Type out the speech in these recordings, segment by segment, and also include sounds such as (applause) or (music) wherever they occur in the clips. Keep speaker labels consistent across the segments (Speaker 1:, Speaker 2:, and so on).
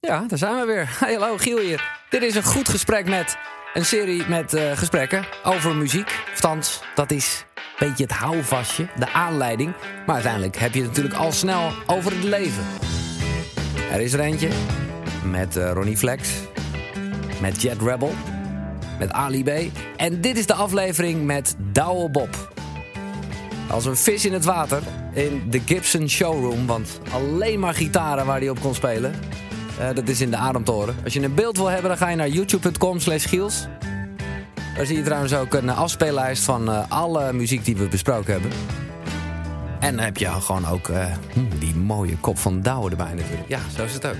Speaker 1: Ja, daar zijn we weer. (laughs) Hey, hallo, Giel hier. Dit is een goed gesprek met een serie met eh, gesprekken over muziek. Althans, dat is een beetje het houvastje, de aanleiding. Maar uiteindelijk heb je het natuurlijk al snel over het leven. Er is er eentje met eh, Ronnie Flex, met Jet Rebel, met Ali B. En dit is de aflevering met Douwe Bob. Als een vis in het water in de Gibson Showroom. Want alleen maar gitaren waar hij op kon spelen. Eh, dat is in de Ademtoren. Als je een beeld wil hebben, dan ga je naar youtube.com slash Giels. Daar zie je trouwens ook een eh, afspeellijst van eh, alle muziek die we besproken hebben. En dan heb je gewoon ook eh, hm, die mooie kop van Douwe erbij natuurlijk. Ja, zo is het ook.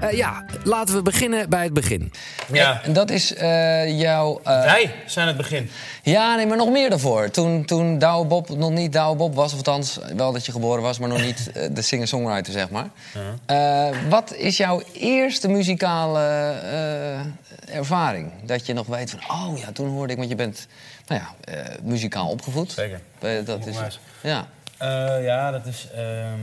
Speaker 1: Eh, ja, laten we beginnen bij het begin.
Speaker 2: Ja.
Speaker 3: En dat is eh, jouw... eh,
Speaker 2: Wij zijn het begin.
Speaker 3: ja, nee, maar nog meer daarvoor. Toen, toen Douwe Bob nog niet Douwe Bob was, of althans wel dat je geboren was... maar nog niet eh, de singer-songwriter, zeg maar. Eh, wat is jouw eerste muzikale eh, ervaring? Dat je nog weet van, oh ja, toen hoorde ik... want je bent, nou ja, eh, muzikaal opgevoed.
Speaker 2: Zeker.
Speaker 3: Eh, dat is,
Speaker 2: Ongewijs.
Speaker 3: ja.
Speaker 2: Eh, ja, dat is ehm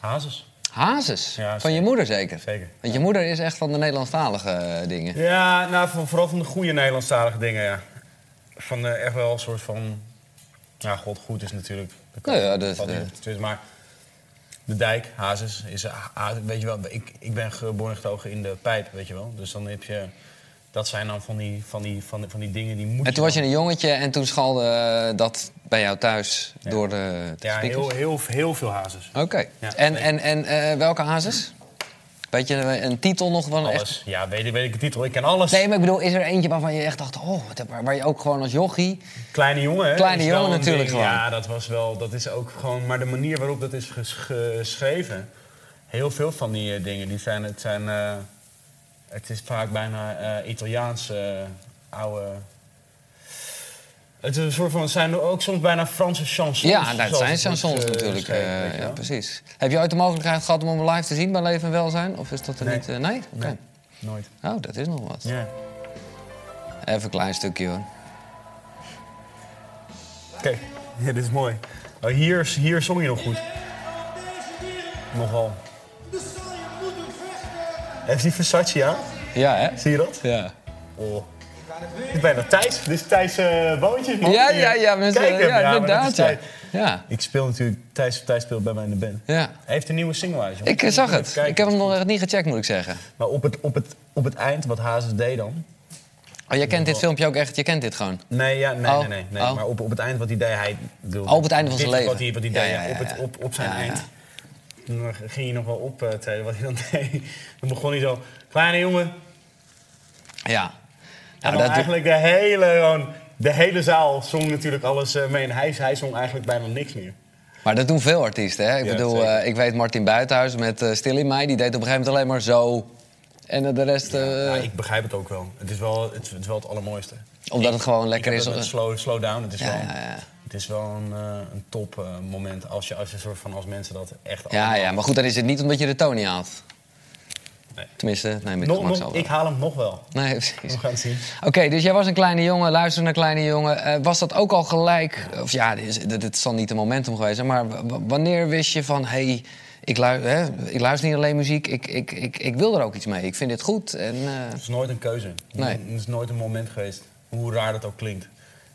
Speaker 2: Hazes.
Speaker 3: Hazes,
Speaker 2: Ja,
Speaker 3: van
Speaker 2: zeker.
Speaker 3: je moeder zeker?
Speaker 2: Zeker.
Speaker 3: Want je moeder is echt van de Nederlandstalige eh, dingen.
Speaker 2: Ja, nou, voor- vooral van de goede Nederlandstalige dingen, ja. Van eh, echt wel een soort van... Ja, god, goed is natuurlijk... Dat
Speaker 3: Nou ja, dat-
Speaker 2: valt niet
Speaker 3: eh.
Speaker 2: op te twisten, maar de dijk, Hazes, is... eh, ha- weet je wel, ik, ik ben geboren en getogen in de pijp, weet je wel. Dus dan heb je... Dat zijn dan van die, van die, van die, van die dingen die moeten...
Speaker 3: En toen was je een jongetje en toen schalde eh, dat bij jou thuis door de, de
Speaker 2: Ja,
Speaker 3: speakers?
Speaker 2: heel, heel, heel veel Hazes.
Speaker 3: Oké.
Speaker 2: Ja,
Speaker 3: en
Speaker 2: nee.
Speaker 3: en, en eh, welke hazes? Weet je eh, een titel nog van echt?
Speaker 2: Alles. Ja, weet, ik- weet ik de titel. Ik ken alles.
Speaker 3: Nee, maar ik bedoel, is er eentje waarvan je echt dacht, oh, wat heb- waar, waar je ook gewoon als jochie...
Speaker 2: Kleine jongen, hè?
Speaker 3: Kleine
Speaker 2: is wel
Speaker 3: jongen
Speaker 2: een
Speaker 3: natuurlijk
Speaker 2: ding.
Speaker 3: gewoon.
Speaker 2: Ja, dat was wel, dat is ook gewoon, maar de manier waarop dat is ges- geschreven, heel veel van die eh, dingen, die zijn, het zijn, eh, het is vaak bijna eh Italiaans eh, oude. Het is een soort van, zijn ook soms bijna Franse chansons.
Speaker 3: Ja, dat
Speaker 2: zoals
Speaker 3: zijn
Speaker 2: het wordt,
Speaker 3: chansons
Speaker 2: eh,
Speaker 3: natuurlijk.
Speaker 2: geschreven,
Speaker 3: eh,
Speaker 2: weet je
Speaker 3: ja,
Speaker 2: wel.
Speaker 3: precies. Heb je ooit de mogelijkheid gehad om hem live te zien bij Leven en Welzijn? Of is dat er
Speaker 2: Nee.
Speaker 3: niet? eh, nee? Oké.
Speaker 2: Nee, nooit.
Speaker 3: Oh, dat is nog wat.
Speaker 2: Ja.
Speaker 3: Even een klein stukje hoor.
Speaker 2: Kijk, ja, dit is mooi. Oh, hier, hier zong je nog goed. Nogal. Heeft die Versace aan?
Speaker 3: Ja, hè?
Speaker 2: Zie je dat?
Speaker 3: Ja.
Speaker 2: Oh. Dit is bijna Thijs. Dit is Thijs eh Boontjes, man.
Speaker 3: Ja, ja, ja. mensen,
Speaker 2: Kijk hem. nou,
Speaker 3: ja,
Speaker 2: maar dat is
Speaker 3: inderdaad. Ja.
Speaker 2: Thijs.
Speaker 3: Ja.
Speaker 2: Ik speel natuurlijk... Thijs, Thijs speelt bij mij in de band.
Speaker 3: ja.
Speaker 2: Hij heeft een nieuwe single uit, jongen.
Speaker 3: Ik eh, zag het.
Speaker 2: Kijk.
Speaker 3: Ik heb hem nog echt niet gecheckt, moet ik zeggen.
Speaker 2: Maar op het, op, het, op het eind, wat Hazes deed dan...
Speaker 3: Oh, jij kent dit filmpje ook echt? Je kent dit gewoon?
Speaker 2: Nee, ja, nee,
Speaker 3: Oh.
Speaker 2: nee, nee. nee.
Speaker 3: Oh.
Speaker 2: Maar op, op het eind wat hij deed, hij... Bedoelde,
Speaker 3: Oh, op het einde van zijn
Speaker 2: dit is
Speaker 3: leven.
Speaker 2: Wat hij, wat hij
Speaker 3: Ja, ja,
Speaker 2: deed,
Speaker 3: ja,
Speaker 2: Op, het,
Speaker 3: ja.
Speaker 2: op, op zijn
Speaker 3: Ja, ja.
Speaker 2: eind. Toen ging hij nog wel optreden wat hij dan (laughs) deed. Dan begon hij zo... Kleine jongen,
Speaker 3: Ja.
Speaker 2: En
Speaker 3: Nou,
Speaker 2: dan
Speaker 3: dat
Speaker 2: eigenlijk de hele, gewoon, de hele zaal zong natuurlijk alles eh, mee. En hij, hij zong eigenlijk bijna niks meer.
Speaker 3: Maar dat doen veel artiesten, hè? Ik
Speaker 2: Ja,
Speaker 3: bedoel,
Speaker 2: zeker.
Speaker 3: eh, ik weet Martin Buitenhuis met eh Stil in Mij. Die deed op een gegeven moment alleen maar zo. En eh, de rest... eh,
Speaker 2: Ja, nou, ik begrijp het ook wel. Het is wel het, het, is wel het allermooiste.
Speaker 3: Omdat het gewoon
Speaker 2: Ik heb
Speaker 3: lekker is. eh.
Speaker 2: dat met slow, slow down. Het is,
Speaker 3: Ja,
Speaker 2: wel,
Speaker 3: ja, ja.
Speaker 2: Het is wel een, eh, een top eh, moment als je, als je soort van als mensen dat echt
Speaker 3: Ja, ja, maar goed, dan is het niet omdat je de toon niet haalt.
Speaker 2: Nee.
Speaker 3: Tenminste, nee, met
Speaker 2: Nog-
Speaker 3: gemak
Speaker 2: nog-
Speaker 3: zal wel.
Speaker 2: ik haal hem nog wel.
Speaker 3: Nee, (laughs) precies.
Speaker 2: We gaan het zien.
Speaker 3: Oké, dus jij was een kleine jongen, luisterde naar kleine jongen. Eh, was dat ook al gelijk, of ja, dit, is- dit- dit zal niet de momentum geweest zijn, maar w- w- wanneer wist je van, hé, hey, ik, lui- hè, ik luister niet alleen muziek, ik, ik, ik, ik wil er ook iets mee, ik vind dit goed. En, eh,
Speaker 2: Het is nooit een keuze.
Speaker 3: Nee.
Speaker 2: Het is nooit een moment geweest. Hoe raar dat ook klinkt.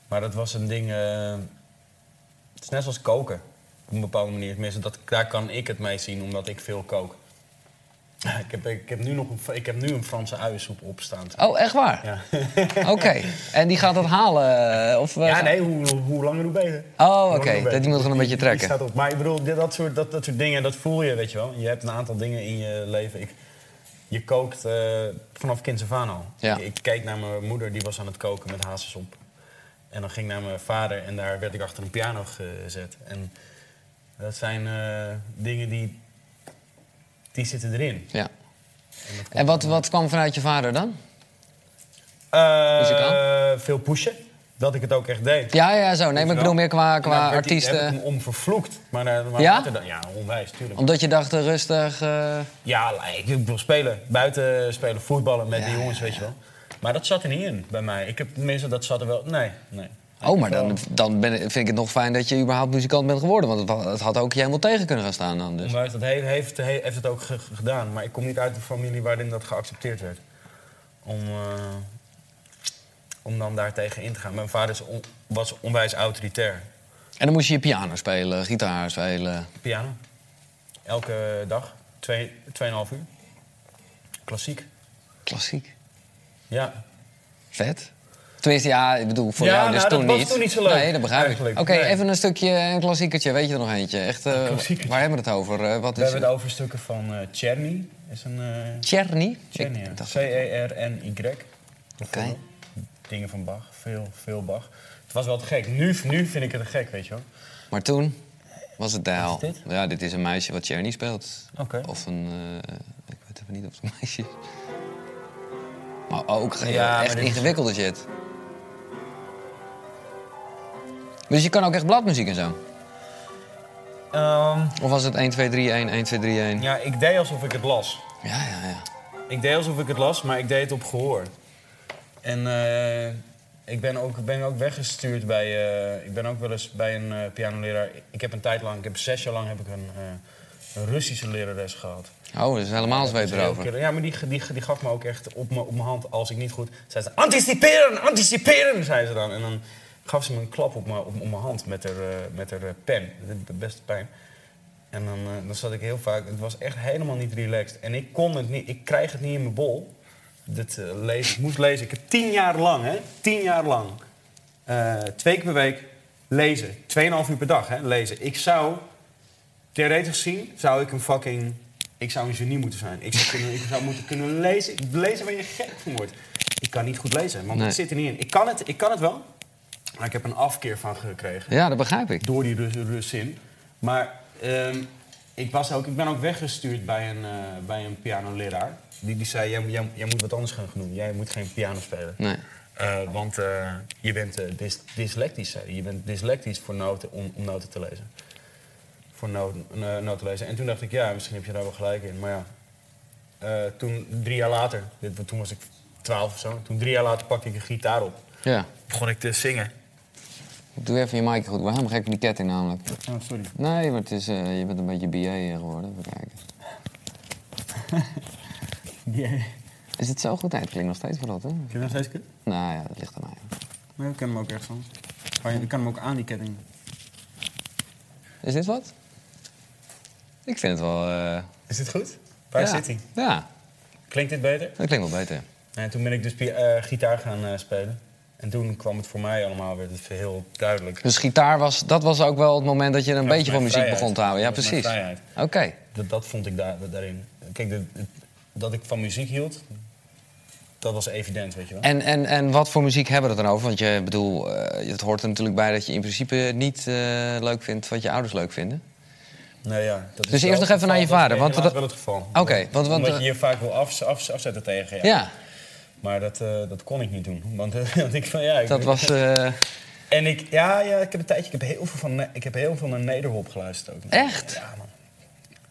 Speaker 2: Maar dat was een ding. eh, het is net zoals koken. Op een bepaalde manier. Tenminste, dat, daar kan ik het mee zien, omdat ik veel kook. (laughs) Ik heb, ik heb, nu, nog een, ik heb nu een Franse uiensoep opstaan.
Speaker 3: oh, echt waar?
Speaker 2: Ja. (laughs)
Speaker 3: Oké, en die gaat dat halen? eh, Of, eh,
Speaker 2: ja, nee, hoe, hoe- hoe langer hoe beter.
Speaker 3: Oh,
Speaker 2: Hoe langer,
Speaker 3: oké.
Speaker 2: hoe beter.
Speaker 3: Dat- die moet gewoon een beetje
Speaker 2: Die- die
Speaker 3: trekken.
Speaker 2: staat op. Maar ik bedoel, dit- dat soort, dat, dat soort dingen, dat voel je, weet je wel. Je hebt een aantal dingen in je leven. Ik, je kookt eh, vanaf kinds af aan al.
Speaker 3: Ja.
Speaker 2: Ik, ik keek naar mijn moeder, die was aan het koken met hazesop. En dan ging ik naar mijn vader en daar werd ik achter een piano gezet. En dat zijn eh, dingen die, die zitten erin.
Speaker 3: Ja. En wat, wat kwam vanuit je vader dan?
Speaker 2: Eh,
Speaker 3: Muzikaal?
Speaker 2: veel pushen, dat ik het ook echt deed.
Speaker 3: Ja, ja, zo. Nee, maar ik bedoel meer qua,
Speaker 2: En
Speaker 3: qua
Speaker 2: daar werd hij- Heb ik
Speaker 3: artiesten.
Speaker 2: hem om vervloekt. Maar, daar- maar
Speaker 3: Ja?
Speaker 2: later dan- ja, onwijs, tuurlijk.
Speaker 3: Omdat je dacht, eh, rustig... eh,
Speaker 2: Ja, ik wil spelen. Buiten spelen, voetballen met
Speaker 3: Ja,
Speaker 2: die jongens, weet je wel. Maar dat zat er niet in bij mij. Ik heb tenminste, dat zat er wel... Nee, nee.
Speaker 3: Oh, maar dan, dan ben, ik- vind ik het nog fijn dat je überhaupt muzikant bent geworden. Want het, wa- het had ook je helemaal tegen kunnen gaan staan dan. Dus.
Speaker 2: Onwijs, dat heeft, heeft, he- heeft het ook ge- ge- gedaan. Maar ik kom niet uit een familie waarin dat geaccepteerd werd. Om, eh, om dan daartegen in te gaan. Mijn vader is on- was onwijs autoritair.
Speaker 3: En dan moest je piano spelen, gitaar spelen.
Speaker 2: Piano. Elke dag. Twee, tweeënhalf uur. Klassiek.
Speaker 3: Klassiek.
Speaker 2: Ja.
Speaker 3: Vet. Tenminste, ja, ik bedoel, voor
Speaker 2: Ja,
Speaker 3: jou dus
Speaker 2: nou, dat
Speaker 3: toen
Speaker 2: was
Speaker 3: niet.
Speaker 2: toen niet zo leuk,
Speaker 3: Nee, dat begrijp
Speaker 2: eigenlijk.
Speaker 3: ik. Oké,
Speaker 2: Nee.
Speaker 3: even een stukje, een klassiekertje. Weet je er nog eentje? Echt, eh,
Speaker 2: klassiekertje.
Speaker 3: waar hebben we het over? Eh, wat
Speaker 2: We
Speaker 3: is
Speaker 2: hebben het over stukken van eh Czerny. Is een... eh,
Speaker 3: Czerny?
Speaker 2: Czerny,
Speaker 3: Ik
Speaker 2: ja.
Speaker 3: dacht-
Speaker 2: C-E-R-N-Y. Bijvoorbeeld. Dingen van Bach. Veel, veel Bach. Het was wel te gek. Nu, nu vind ik het te gek, weet je wel.
Speaker 3: Maar toen was het de hel.
Speaker 2: dit? Oh,
Speaker 3: Ja, dit is een meisje wat Czerny speelt.
Speaker 2: Oké.
Speaker 3: Of een... eh, ik weet even niet of het een meisje is. Maar ook ge-
Speaker 2: Ja, maar
Speaker 3: echt
Speaker 2: dit is-
Speaker 3: ingewikkelde shit. Dus je kan ook echt bladmuziek en zo?
Speaker 2: Ehm,
Speaker 3: Of was het 1, 2, 3, 1, 1, 2, 3, 1? Ja,
Speaker 2: ja, ik deed alsof ik het las.
Speaker 3: ja, ja.
Speaker 2: Ik deed alsof ik het las, maar ik deed het op gehoor. En eh, ik ben ook, ben ook weggestuurd bij... eh, ik ben ook wel eens bij een eh, pianoleraar... Ik heb een tijd lang, ik heb zes jaar lang heb ik een, eh, een Russische lerares gehad.
Speaker 3: Oh, dus helemaal zweet
Speaker 2: Dus elke
Speaker 3: erover.
Speaker 2: keer- Ja, maar die, die, die gaf me ook echt op, me- op mijn hand als ik niet goed... Zei ze, anticiperen, anticiperen, zei ze dan. En dan gaf ze me een klap op mijn, op, op mijn hand met haar, eh, met haar eh, pen. Dat deed best pijn. En dan, eh, dan zat ik heel vaak... Het was echt helemaal niet relaxed. En ik kon het niet... Ik krijg het niet in mijn bol. Dit, eh, lezen, ik moest lezen. Ik heb tien jaar lang, hè. Tien jaar lang. eh, twee keer per week lezen. Tweeënhalf uur per dag, hè. Lezen. Ik zou Theoretisch gezien zou ik een fucking... Ik zou een genie moeten zijn. Ik zou, kunnen, ik zou moeten kunnen lezen. Lezen waar je gek van wordt. Ik kan niet goed lezen, want
Speaker 3: Nee.
Speaker 2: het zit er niet in. Ik kan het, ik kan het wel, maar ik heb een afkeer van gekregen.
Speaker 3: Ja, dat begrijp ik.
Speaker 2: Door die Rus- Russin. Maar ehm, ik, was ook, ik ben ook weggestuurd bij een, eh bij een pianoleraar. Die, die zei, jij, moet- jij, jij moet wat anders gaan doen. Jij moet geen piano spelen.
Speaker 3: Nee.
Speaker 2: Eh, want eh, je bent eh, dys- dyslectisch, zei hij. Je bent dyslectisch voor noten, om, om noten te lezen. Voor noten, eh, noten te lezen. En toen dacht ik, ja, misschien heb je daar wel gelijk in. Maar ja, Eh, toen, drie jaar later, dit, toen was ik twaalf of zo. Toen drie jaar later pakte ik een gitaar op.
Speaker 3: Ja.
Speaker 2: Begon ik te zingen.
Speaker 3: Doe even je mic goed. We gaan helemaal gek met die ketting namelijk.
Speaker 2: Oh, sorry.
Speaker 3: Nee, maar het is, eh, je bent een beetje BA geworden. Even kijken. Is het zo goed? Nee, het klinkt nog steeds verrot, hè?
Speaker 2: Kun je nog steeds kunnen?
Speaker 3: Nou ja, dat ligt aan mij.
Speaker 2: Maar ik ken hem ook echt van. Oh, Ik kan hem ook aan die ketting.
Speaker 3: Is dit wat? Ik vind het wel... eh,
Speaker 2: Is dit goed? Waar
Speaker 3: ja.
Speaker 2: zit hij?
Speaker 3: Ja,
Speaker 2: Klinkt dit beter?
Speaker 3: dat klinkt wel beter.
Speaker 2: En toen ben ik dus pi- eh, gitaar gaan eh, spelen. En toen kwam het voor mij allemaal, werd het heel duidelijk.
Speaker 3: Dus gitaar was, dat was ook wel het moment dat je een
Speaker 2: Ja,
Speaker 3: beetje
Speaker 2: mijn
Speaker 3: van muziek
Speaker 2: vrijheid.
Speaker 3: begon te houden. Ja,
Speaker 2: Dat was
Speaker 3: precies.
Speaker 2: mijn
Speaker 3: Oké.
Speaker 2: vrijheid. Dat, dat vond ik daar, daarin. Kijk, de- het- dat ik van muziek hield, dat was evident, weet je wel.
Speaker 3: En, en, en wat voor muziek hebben we het dan over? Want je ik bedoel, eh, het hoort er natuurlijk bij dat je in principe niet eh, leuk vindt wat je ouders leuk vinden.
Speaker 2: Nou ja, dat is
Speaker 3: Dus
Speaker 2: wel
Speaker 3: eerst nog
Speaker 2: het
Speaker 3: even naar je
Speaker 2: geval.
Speaker 3: vader,
Speaker 2: Dat
Speaker 3: want
Speaker 2: is helaas
Speaker 3: dat-
Speaker 2: wel het geval.
Speaker 3: Oké, want- want, eh,
Speaker 2: Omdat je je vaak wil af, af, afzetten tegen je.
Speaker 3: Ja,
Speaker 2: Maar dat, eh, dat kon ik niet doen. Want, eh, (laughs) want ik van ja. Ik
Speaker 3: dat was. eh,
Speaker 2: En ik, ja, ja, ik heb een tijdje, ik heb heel veel, van, Ne- ik heb heel veel naar Nederhop geluisterd ook.
Speaker 3: Echt?
Speaker 2: Ja, man.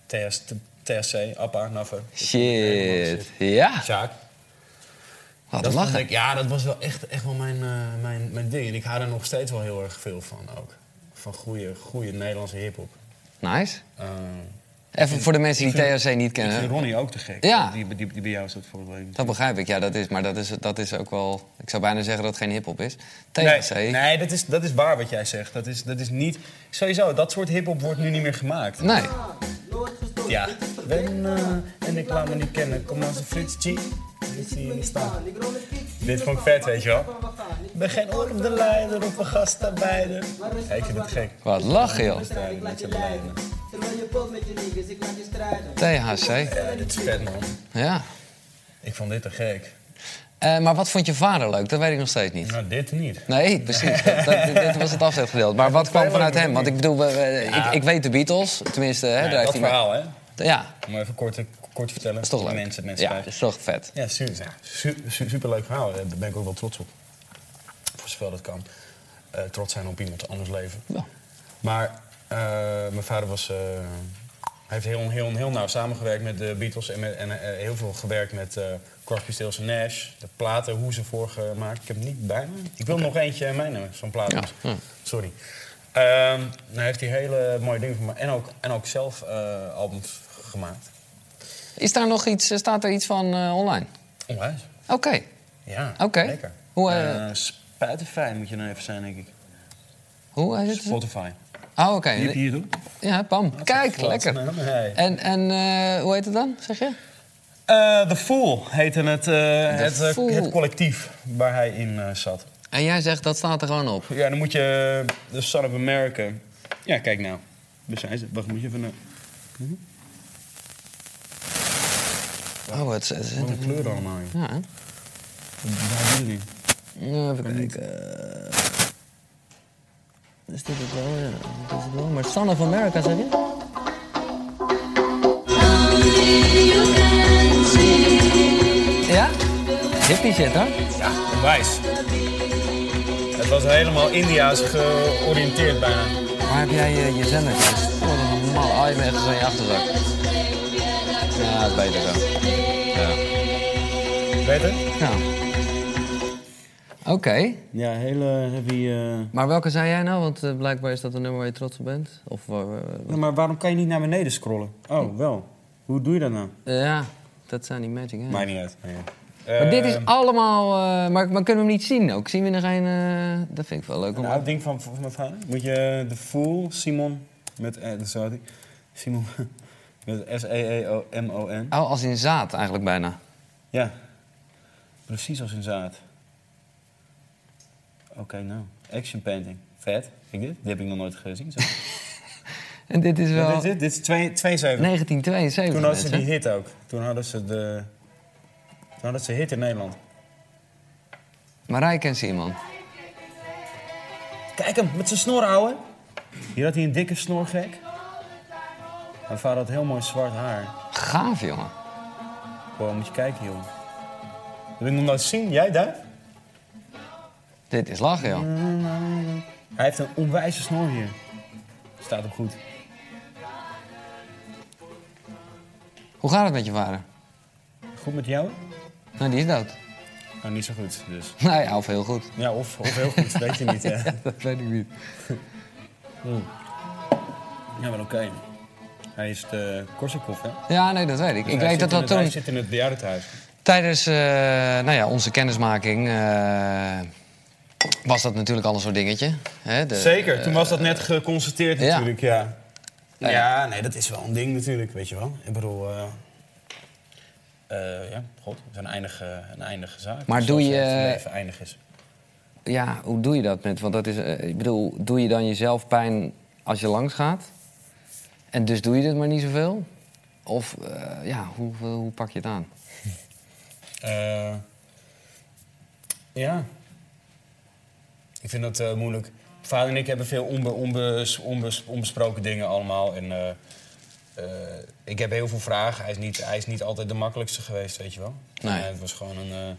Speaker 2: TS, TSC, Appa, Naffe.
Speaker 3: shit. Ja,
Speaker 2: Sjaak.
Speaker 3: wat
Speaker 2: Dat
Speaker 3: een
Speaker 2: vond
Speaker 3: lachen.
Speaker 2: ik- ja, dat was wel echt, echt wel mijn, eh, mijn, mijn ding. En ik hou er nog steeds wel heel erg veel van ook. Van goede, goede Nederlandse hip-hop.
Speaker 3: Nice.
Speaker 2: Eh,
Speaker 3: Even voor de mensen die THC niet
Speaker 2: ik
Speaker 3: kennen.
Speaker 2: vind Ronnie ook te gek.
Speaker 3: Ja.
Speaker 2: Die, die, die bij jou is dat voorbeeld.
Speaker 3: Dat begrijp ik, ja, dat is. Maar dat is, dat is ook wel. Ik zou bijna zeggen dat het geen hip-hop is. THC.
Speaker 2: Nee, nee dat, is, dat is waar wat jij zegt. Dat is, dat is niet. Sowieso, dat soort hip-hop wordt nu niet meer gemaakt.
Speaker 3: nee.
Speaker 2: Ja. Ben, eh, en ik laat me niet kennen, kom als een Frits G. Dit zie je niet staan. Dit vond ik vet, weet je wel. Ik ben geen orde leider of een gastarbeider. Ja, ik vind het gek.
Speaker 3: Wat lachen, joh.
Speaker 2: Gastarbeider, met je lijnen.
Speaker 4: Terwijl je pot met je niggas, ik laat je strijden.
Speaker 3: THC.
Speaker 2: Ja, dit is vet, man.
Speaker 3: Ja.
Speaker 2: Ik vond dit te gek.
Speaker 3: Eh, maar wat vond je vader leuk? Dat weet ik nog steeds niet.
Speaker 2: Nou, dit niet.
Speaker 3: Nee, precies. Dat, dat- dit was het afzetgedeelte. Maar wat kwam vanuit hem? Want ik bedoel, we- we- ik, ik weet de Beatles. Tenminste, hè, daar
Speaker 2: Ja, Nou, dat
Speaker 3: heeft hij maar-
Speaker 2: verhaal, hè?
Speaker 3: Ja, dat
Speaker 2: Om even kort, te- kort te vertellen.
Speaker 3: is toch leuk.
Speaker 2: Mensen, mensen
Speaker 3: ja, dus-
Speaker 2: thuis.
Speaker 3: dat is toch vet.
Speaker 2: Ja, super, ja, su- su- superleuk verhaal. Daar ben ik ook wel trots op. Voor zover dat kan. Eh, trots zijn op iemand anders leven.
Speaker 3: Ja.
Speaker 2: Maar eh, mijn vader was eh, heeft heel, heel, heel nauw samengewerkt met de Beatles en, met, en eh, heel veel gewerkt met eh Crosby, Stills en Nash. De platen, hoe ze voorgemaakt. Ik heb het niet bij me. Ik wil nog eentje en meenemen, zo'n plaat.
Speaker 3: Ja, ja.
Speaker 2: Sorry. Ehm nou heeft hij hele mooie dingen gemaakt. En ook, en ook zelf eh, albums gemaakt.
Speaker 3: Is daar nog iets, eh, staat er iets van eh, online?
Speaker 2: Onwijs.
Speaker 3: Oké.
Speaker 2: Ja,
Speaker 3: Oké.
Speaker 2: lekker.
Speaker 3: Hoe, eh,
Speaker 2: Eh Spotify moet je nou even zijn, denk ik.
Speaker 3: Hoe heet het?
Speaker 2: Spotify.
Speaker 3: Oh, oké.
Speaker 2: Die heb je hier doen.
Speaker 3: Ja, Pam. Kijk,
Speaker 2: Wat
Speaker 3: lekker.
Speaker 2: een naam, hey.
Speaker 3: En, en eh, hoe heet het dan, zeg je?
Speaker 2: Eh, The Fool heette het, eh, het, eh,
Speaker 3: Fool.
Speaker 2: het collectief waar hij in eh, zat.
Speaker 3: En jij zegt, dat staat er gewoon op.
Speaker 2: Ja, dan moet je eh, The Son of America. Ja, kijk nou. Daar zijn ze. Wacht, moet je even... eh,
Speaker 3: Oh, het, het,
Speaker 2: Wat een kleur allemaal, joh.
Speaker 3: ja. hè?
Speaker 2: Waar doen niet?
Speaker 3: Ja, Even kijken. Is dit het wel? Ja, dit is het wel. Maar Son of America, zeg je? Ja? Hip die shit, hoor.
Speaker 2: Ja, wijs. Het was helemaal India's georiënteerd bijna.
Speaker 3: Waar heb jij eh, je, je zender? Voor een normaal. Oh, je bent echt zo in je achterzak. Ja, dat is beter zo. Ja.
Speaker 2: Beter?
Speaker 3: Nou. Oké.
Speaker 2: Ja, hele heavy... eh,
Speaker 3: Maar welke zei jij nou? Want eh, blijkbaar is dat een nummer waar je trots op bent. Of eh, waar- waar- waar-
Speaker 2: maar waarom kan je niet naar beneden scrollen? Oh, wel. Hoe doe je dat nou?
Speaker 3: ja, dat zijn die Magic Hands.
Speaker 2: Maakt niet uit. Nee.
Speaker 3: Maar
Speaker 2: Eh,
Speaker 3: dit is allemaal... eh, maar, maar kunnen we hem niet zien ook? Zien we er geen... eh, dat vind ik wel leuk. om-
Speaker 2: Een oud ding Nou, van, van mijn vader. Moet je de Fool, Simon, met... eh, dat zou ik- Simon, (laughs) met S-E-E-O-M-O-N.
Speaker 3: Oh, als in zaad eigenlijk bijna.
Speaker 2: Ja. Precies als in zaad. Oké, nou. Action painting. Vet. Kijk dit. Die heb ik nog nooit gezien. Zo.
Speaker 3: En dit is wel
Speaker 2: Ja, dit, is het. dit is twee- 72.
Speaker 3: 1972,
Speaker 2: Toen hadden ze
Speaker 3: mensen.
Speaker 2: die hit ook. Toen hadden ze de... Toen hadden ze hit in Nederland.
Speaker 3: Marijke en Simon.
Speaker 2: Kijk hem, met zijn snor, ouwe. Hier had hij een dikke snor, gek. Mijn vader had heel mooi zwart haar.
Speaker 3: Gaaf, jongen.
Speaker 2: Wow, moet je kijken, joh. Dat wil ik nog nooit zien. Jij daar?
Speaker 3: Dit is lachen, joh.
Speaker 2: Hij heeft een onwijze snor hier. Staat hem goed.
Speaker 3: Hoe gaat het met je vader?
Speaker 2: Goed met jou?
Speaker 3: Nou, die is dood. (laughs)
Speaker 2: Nou, niet zo goed, dus.
Speaker 3: Nou ja, of heel goed.
Speaker 2: Ja, of, of heel goed, (laughs) weet je niet, hè.
Speaker 3: (laughs) Ja, dat weet ik niet.
Speaker 2: Ja, wel oké. Hij is de Korsakoff, hè?
Speaker 3: Ja, nee, dat weet ik. Ik
Speaker 2: Hij
Speaker 3: weet dat
Speaker 2: zit in
Speaker 3: dat
Speaker 2: het-
Speaker 3: toen...
Speaker 2: Hij zit in het bejaardentehuis.
Speaker 3: Tijdens eh, nou ja, onze kennismaking eh, was dat natuurlijk al een soort dingetje. Hè? De-
Speaker 2: Zeker, toen was dat net geconstateerd
Speaker 3: ja.
Speaker 2: natuurlijk, ja. Ja. nee, dat is wel een ding natuurlijk, weet je wel. Ik bedoel, eh, eh, ja, god, het is een eindige, een eindige zaak.
Speaker 3: Maar doe
Speaker 2: Zoals
Speaker 3: je-
Speaker 2: Het leven eindig is.
Speaker 3: Ja, hoe doe je dat met? Want dat is, eh, ik bedoel, doe je dan jezelf pijn als je langs gaat? En dus doe je het maar niet zoveel? Of eh, ja, hoe, hoe, hoe pak je het aan?
Speaker 2: Eh, ja. Ik vind dat eh, moeilijk. Vader en ik hebben veel onbe, onbes- onbes- onbesproken dingen allemaal. En, eh, eh, ik heb heel veel vragen. Hij is, niet, hij is niet altijd de makkelijkste geweest, weet je wel.
Speaker 3: Nee.
Speaker 2: Eh, het was gewoon een, eh,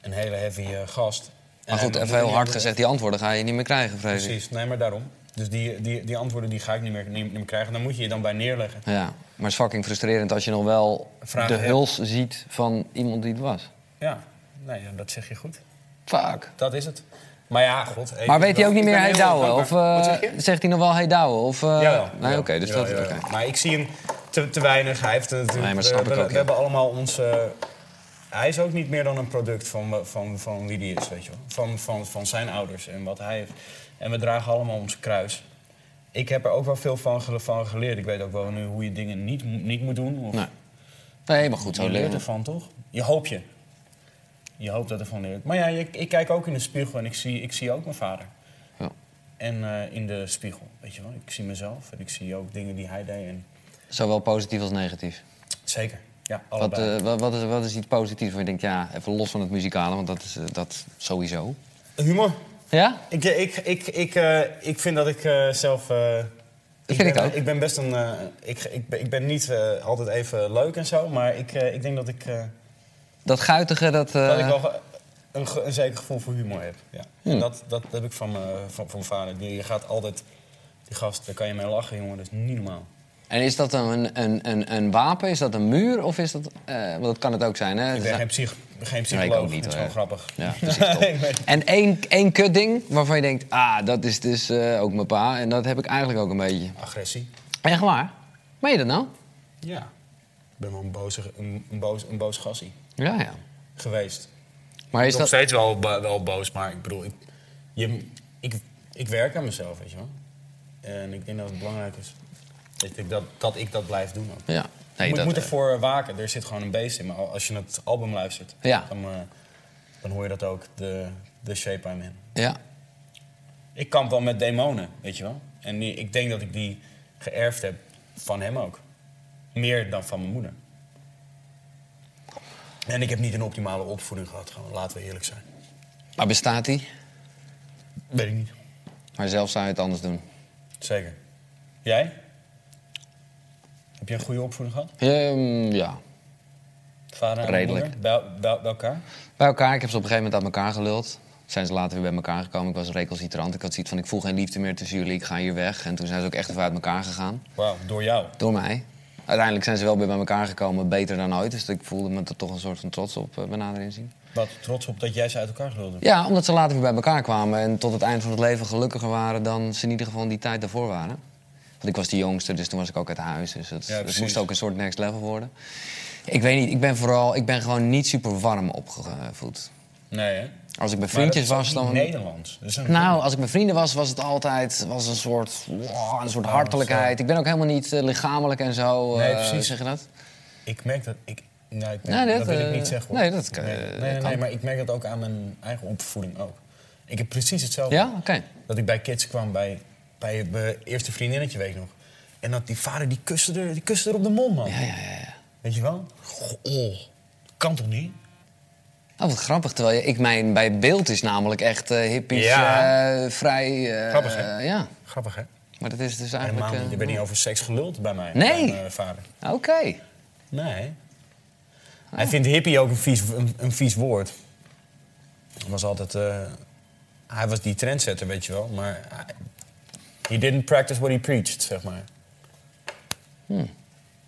Speaker 2: een hele heavy eh, gast.
Speaker 3: Maar
Speaker 2: En
Speaker 3: goed,
Speaker 2: hij-
Speaker 3: even heel hard
Speaker 2: hij-
Speaker 3: gezegd, die antwoorden ga je niet meer krijgen, vrees ik.
Speaker 2: Precies, nee, maar daarom. Dus die, die, die antwoorden die ga ik niet meer, niet, niet meer krijgen. Daar moet je je dan bij neerleggen.
Speaker 3: Ja, maar het is fucking frustrerend als je nog wel
Speaker 2: Vragen
Speaker 3: de
Speaker 2: hebt.
Speaker 3: huls ziet van iemand die het was.
Speaker 2: Ja, nee, ja, dat zeg je goed.
Speaker 3: Fuck.
Speaker 2: Dat is het. Maar ja, god. hey,
Speaker 3: Maar
Speaker 2: ik
Speaker 3: weet
Speaker 2: ben
Speaker 3: hij ook niet
Speaker 2: wel-
Speaker 3: meer
Speaker 2: ik
Speaker 3: hey
Speaker 2: ben heel erg
Speaker 3: douwen? Of
Speaker 2: dankbaar. Wat
Speaker 3: eh,
Speaker 2: zeg je?
Speaker 3: zegt hij nog wel hey douwen? Of, eh,
Speaker 2: Jawel,
Speaker 3: nee,
Speaker 2: jawel.
Speaker 3: oké, dus
Speaker 2: Jawel,
Speaker 3: dat...
Speaker 2: jawel.
Speaker 3: oké.
Speaker 2: Maar ik zie hem te, te weinig. Hij heeft natuurlijk. eh,
Speaker 3: Nee, maar
Speaker 2: we,
Speaker 3: snap ik
Speaker 2: hebben-
Speaker 3: ook,
Speaker 2: we
Speaker 3: ja.
Speaker 2: hebben allemaal onze. Hij is ook niet meer dan een product van, wa- van, van wie die is, weet je wel. Van, van, van zijn ouders en wat hij heeft. En we dragen allemaal ons kruis. Ik heb er ook wel veel van, gele- van geleerd. Ik weet ook wel nu hoe je dingen niet, mo- niet moet doen. Of
Speaker 3: Nee. Nee, maar goed, zo
Speaker 2: je leert
Speaker 3: leren.
Speaker 2: ervan, toch? Je hoopt je. Je hoopt dat ervan leert. Maar ja, je- ik kijk ook in de spiegel en ik zie, ik zie ook mijn vader.
Speaker 3: Ja.
Speaker 2: En eh, in de spiegel, weet je wel. Ik zie mezelf en ik zie ook dingen die hij deed. En
Speaker 3: Zowel positief als negatief.
Speaker 2: Zeker. Ja,
Speaker 3: Wat,
Speaker 2: allebei.
Speaker 3: eh, wat, wat, is, wat is iets positiefs waar je denkt, ja, even los van het muzikale, want dat is eh, dat sowieso.
Speaker 2: Humor.
Speaker 3: Ja?
Speaker 2: Ik, ik, ik, ik, eh, ik vind dat ik eh, zelf... eh,
Speaker 3: vind ik
Speaker 2: ben,
Speaker 3: ook.
Speaker 2: Ik ben best een... eh, ik, ik, ben- ik ben niet eh, altijd even leuk en zo, maar ik, eh, ik denk dat ik, eh,
Speaker 3: Dat guitige, dat... eh,
Speaker 2: dat ik wel ge- een, ge- een zeker gevoel voor humor heb. Ja. En
Speaker 3: Hmm.
Speaker 2: dat, dat heb eh, ik van, mijn- van, van mijn vader. Die, je gaat altijd... Die gast, daar kan je mee lachen, jongen. Dat is niet normaal.
Speaker 3: En is dat een, een, een, een wapen? Is dat een muur? Of is dat... eh, want dat kan het ook zijn, hè?
Speaker 2: Ik ben geen, psych, geen
Speaker 3: Nee,
Speaker 2: psycholoog.
Speaker 3: ik ook niet,
Speaker 2: dat is
Speaker 3: hoor.
Speaker 2: gewoon grappig. (laughs)
Speaker 3: Ja, precies, top.
Speaker 2: Ik weet-
Speaker 3: En één, één kutding waarvan je denkt... Ah, dat is dus eh, ook mijn pa. En dat heb ik eigenlijk ook een beetje.
Speaker 2: Agressie.
Speaker 3: Echt waar? Meen je dat nou?
Speaker 2: Ja. Ik ben wel een, boze, een, een boos, een boos gassie
Speaker 3: Ja, ja.
Speaker 2: geweest.
Speaker 3: Maar is
Speaker 2: Nog
Speaker 3: dat...
Speaker 2: steeds wel, bo- wel boos, maar ik bedoel, ik, je, ik, ik werk aan mezelf, weet je wel. En ik denk dat het belangrijk is dat ik dat, dat, ik dat blijf doen. Ook.
Speaker 3: Ja.
Speaker 2: ik moet,
Speaker 3: dat,
Speaker 2: moet
Speaker 3: eh,
Speaker 2: ervoor waken. Er zit gewoon een beest in. Maar al- als je het album luistert,
Speaker 3: Ja.
Speaker 2: dan, eh, dan hoor je dat ook, de, de shape I'm in.
Speaker 3: Ja.
Speaker 2: Ik kamp wel met demonen, weet je wel. En die- ik denk dat ik die geërfd heb van hem ook. Meer dan van mijn moeder. En ik heb niet een optimale opvoeding gehad, gewoon, laten we eerlijk zijn.
Speaker 3: Maar bestaat die?
Speaker 2: Weet ik niet.
Speaker 3: Maar zelf zou je het anders doen.
Speaker 2: Zeker. Jij? Heb je een goede opvoeding gehad?
Speaker 3: Ehm, ja.
Speaker 2: Vader en
Speaker 3: Redelijk.
Speaker 2: moeder? Bij, bij, bij elkaar?
Speaker 3: Bij elkaar. Ik heb ze op een gegeven moment uit elkaar geluld. Zijn ze later weer bij elkaar gekomen. Ik was recalcitrant. Ik had zoiets van, ik voel geen liefde meer tussen jullie. Ik ga hier weg. En toen zijn ze ook echt even uit elkaar gegaan.
Speaker 2: Wauw, door jou.
Speaker 3: Door mij. Uiteindelijk zijn ze wel weer bij elkaar gekomen. Beter dan ooit. Dus ik voelde me er toch een soort van trots op eh, bij nader inzien.
Speaker 2: Wat trots op dat jij ze uit elkaar wilde.
Speaker 3: Ja, omdat ze later weer bij elkaar kwamen. En tot het eind van het leven gelukkiger waren dan ze in ieder geval in die tijd daarvoor waren. Want ik was de jongste, dus toen was ik ook uit huis. Dus het,
Speaker 2: Ja,
Speaker 3: het
Speaker 2: precies.
Speaker 3: moest ook een soort next level worden. Ik weet niet, ik ben vooral, ik ben gewoon niet super warm opgevoed.
Speaker 2: Nee, hè?
Speaker 3: Als ik bij
Speaker 2: Maar dat
Speaker 3: vriendjes
Speaker 2: is ook
Speaker 3: was,
Speaker 2: niet
Speaker 3: dan...
Speaker 2: Nederlands. Dat is een-
Speaker 3: Nou, als ik met vrienden was, was het altijd was een soort, wow, een soort hartelijkheid. Ik ben ook helemaal niet eh, lichamelijk en zo.
Speaker 2: Oh, Nee,
Speaker 3: eh,
Speaker 2: precies.
Speaker 3: Zeg je dat?
Speaker 2: Ik merk dat ik... Nou, ik
Speaker 3: Nee,
Speaker 2: dat,
Speaker 3: dat,
Speaker 2: wil ik
Speaker 3: eh,
Speaker 2: niet zeggen, hoor.
Speaker 3: nee, dat kan-
Speaker 2: Nee, nee,
Speaker 3: dat
Speaker 2: nee,
Speaker 3: kan.
Speaker 2: nee, maar ik merk dat ook aan mijn eigen opvoeding ook. Ik heb precies hetzelfde.
Speaker 3: Ja, oké.
Speaker 2: Dat ik bij kids kwam, bij, bij mijn eerste vriendinnetje, weet ik nog. En dat die vader, die kuste er, die kuste er op de mond, man.
Speaker 3: Ja, ja, ja. ja.
Speaker 2: Weet je wel? Goh, oh, kan toch niet?
Speaker 3: Oh, wat grappig. Terwijl je, ik mijn bij beeld is namelijk echt eh hippies,
Speaker 2: Ja.
Speaker 3: eh, vrij. eh,
Speaker 2: Grappig, hè?
Speaker 3: eh, ja,
Speaker 2: Grappig, hè?
Speaker 3: maar dat is dus eigenlijk.
Speaker 2: Helemaal niet.
Speaker 3: eh,
Speaker 2: Je bent niet over seks geluld bij mij.
Speaker 3: Nee.
Speaker 2: Bij mijn vader.
Speaker 3: Oké.
Speaker 2: Nee.
Speaker 3: Ah.
Speaker 2: Hij vindt hippie ook een vies, een, een vies woord. Hij was altijd... eh, hij was die trendsetter, weet je wel. Maar hij- he didn't practice what he preached, zeg maar.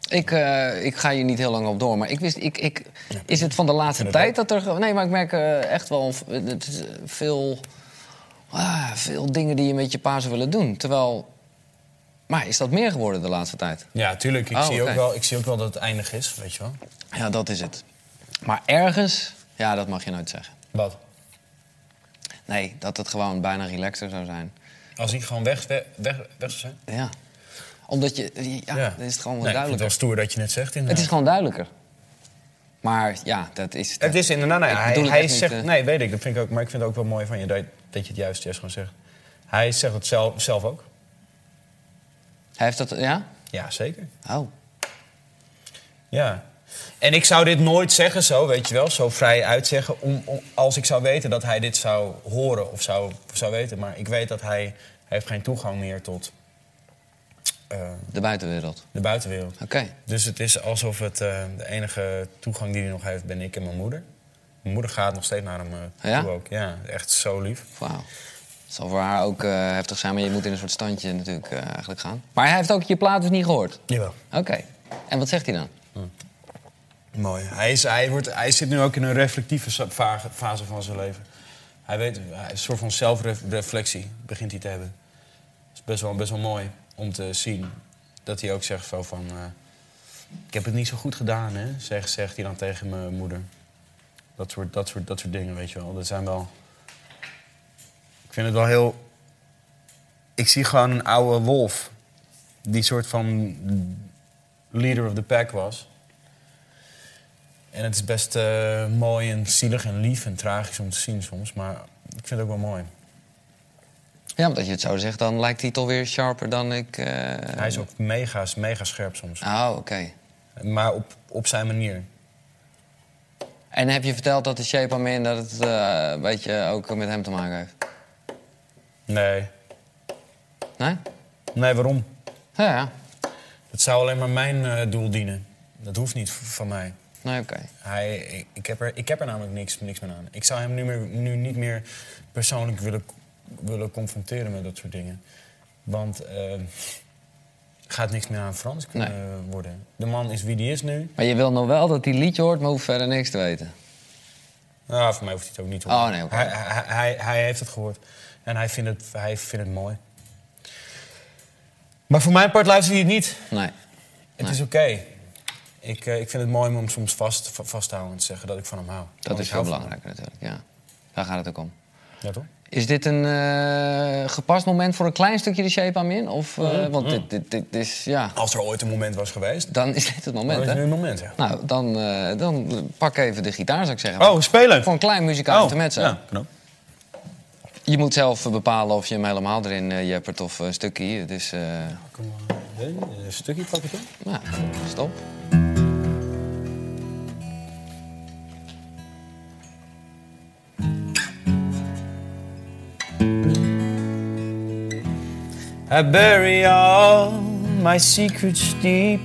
Speaker 3: Ik, eh, ik ga hier niet heel lang op door, maar ik wist, ik, ik, is het van de laatste
Speaker 2: vind het
Speaker 3: tijd dat er... ge- Nee, maar ik merk eh, echt wel een v- het is, eh, veel, ah, veel dingen die je met je pa zou willen doen. Terwijl, maar is dat meer geworden de laatste tijd?
Speaker 2: Ja, tuurlijk. Ik,
Speaker 3: Oh,
Speaker 2: zie,
Speaker 3: oké.
Speaker 2: ook wel, ik zie ook wel dat het eindig is, weet je wel.
Speaker 3: Ja, dat is het. Maar ergens, ja, dat mag je nooit zeggen.
Speaker 2: Wat?
Speaker 3: Nee, dat het gewoon bijna relaxer zou zijn.
Speaker 2: Als ik gewoon weg, weg, weg, weg zou zijn?
Speaker 3: Ja, omdat je, ja, dan is het gewoon wat
Speaker 2: Nee, ik vind het wel
Speaker 3: duidelijker.
Speaker 2: stoer dat je net zegt, inderdaad.
Speaker 3: Het is gewoon duidelijker. Maar ja, dat is...
Speaker 2: Het is inderdaad, nou ja,
Speaker 3: Ik
Speaker 2: hij,
Speaker 3: bedoel het
Speaker 2: hij
Speaker 3: echt niet,
Speaker 2: zegt,
Speaker 3: eh.
Speaker 2: nee, weet ik, dat vind ik ook, maar ik vind het ook wel mooi van je dat, dat je het juist juist gewoon zegt. Hij zegt het zelf, zelf ook.
Speaker 3: Hij heeft dat, ja?
Speaker 2: Ja, zeker.
Speaker 3: Oh,
Speaker 2: Ja. En ik zou dit nooit zeggen zo, weet je wel, zo vrij uitzeggen, om, om- als ik zou weten dat hij dit zou horen of zou, zou weten. Maar ik weet dat hij, hij heeft geen toegang meer tot eh,
Speaker 3: de buitenwereld.
Speaker 2: de buitenwereld.
Speaker 3: Oké.
Speaker 2: Dus het is alsof het, eh, de enige toegang die hij nog heeft, ben ik en mijn moeder. Mijn moeder gaat nog steeds naar hem eh,
Speaker 3: Ja?
Speaker 2: toe ook. Ja, echt zo lief.
Speaker 3: Wauw. Het zal voor haar ook eh, heftig zijn, maar je moet in een soort standje natuurlijk eh, eigenlijk gaan. Maar hij heeft ook je plaat dus niet gehoord.
Speaker 2: Jawel.
Speaker 3: Oké. En wat zegt hij dan?
Speaker 2: Mooi. Hij, is, hij, wordt, hij zit nu ook in een reflectieve sa- va- fase van zijn leven. Hij weet, hij, een soort van zelfreflectie begint hij te hebben. Het is best wel, best wel mooi om te zien dat hij ook zegt zo van... eh, ik heb het niet zo goed gedaan, hè, zegt, zegt hij dan tegen mijn moeder. Dat soort, dat, soort, dat soort dingen, weet je wel. Dat zijn wel... Ik vind het wel heel... Ik zie gewoon een oude wolf. Die soort van leader of the pack was. En het is best eh, mooi en zielig en lief en tragisch om te zien soms. Maar ik vind het ook wel mooi.
Speaker 3: Ja, omdat je het zo zegt, dan lijkt hij toch weer sharper dan ik. eh,
Speaker 2: Hij is ook mega, mega scherp soms.
Speaker 3: Oh, oké.
Speaker 2: Maar op, op zijn manier.
Speaker 3: En heb je verteld dat de shape aan in dat het eh, een beetje ook met hem te maken heeft?
Speaker 2: Nee.
Speaker 3: Nee?
Speaker 2: Nee, waarom?
Speaker 3: Ja, ja.
Speaker 2: Het zou alleen maar mijn eh, doel dienen. Dat hoeft niet v- van mij.
Speaker 3: Nee, oké.
Speaker 2: Hij, ik- ik, heb er, ik heb er namelijk niks, niks meer aan. Ik zou hem nu, meer, nu niet meer persoonlijk willen, willen confronteren met dat soort dingen. Want eh, gaat niks meer aan Frans kunnen worden. De man is wie die is nu.
Speaker 3: Maar je wil nog wel dat die liedje hoort, maar hoeft verder niks te weten.
Speaker 2: Nou, voor mij hoeft hij het ook niet te
Speaker 3: Oh,
Speaker 2: horen.
Speaker 3: nee, oké.
Speaker 2: hij, hij, hij, hij heeft het gehoord. En hij vindt het, hij vindt het mooi. Maar voor mijn part luistert hij het niet.
Speaker 3: Nee.
Speaker 2: Het is oké. Ik, eh, ik vind het mooi om hem soms vast, va- vast te houden en te zeggen dat ik van hem hou.
Speaker 3: Dat
Speaker 2: Want
Speaker 3: is
Speaker 2: ik hou
Speaker 3: veel
Speaker 2: van
Speaker 3: belangrijker natuurlijk, ja. Daar gaat het ook om.
Speaker 2: hem. Ja, toch?
Speaker 3: Is dit een eh, gepast moment voor een klein stukje de shape aan in? Of, eh, want dit, dit, dit is, ja,
Speaker 2: Als er ooit een moment was geweest,
Speaker 3: dan is dit het moment,
Speaker 2: dan Oh, is nu
Speaker 3: hè?
Speaker 2: een moment, ja.
Speaker 3: Nou, dan, eh, dan pak even de gitaar, zou ik zeggen.
Speaker 2: Oh, spelen!
Speaker 3: Voor een klein muzikaal intermezzo.
Speaker 2: Oh, ja, knap.
Speaker 3: Je moet zelf eh, bepalen of je hem helemaal erin eh, jeppert of een stukje. Het is, eh,
Speaker 2: Kom maar, Een een stukje pak ik in.
Speaker 3: nou, stop.
Speaker 2: I bury all my secrets deep.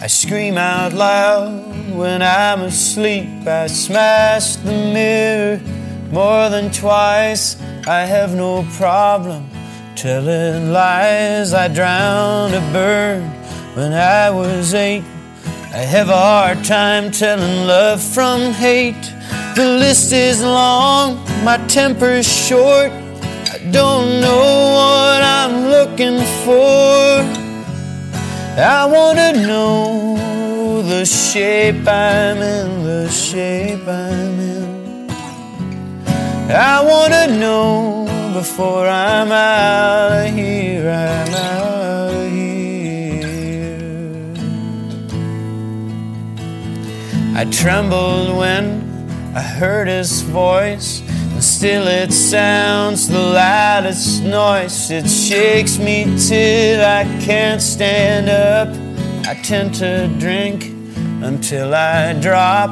Speaker 2: I scream out loud when I'm asleep. I smash the mirror more than twice. I have no problem telling lies. I drowned a bird when I was eight. I have a hard time telling love from hate. The list is long, my temper's short. I don't know what I'm looking for. I wanna know the shape I'm in, the shape I'm in. I wanna know before I'm out of here, I'm out of here. I trembled when I heard his voice, and still it sounds the loudest noise. It shakes me till I can't stand up. I tend to drink until I drop,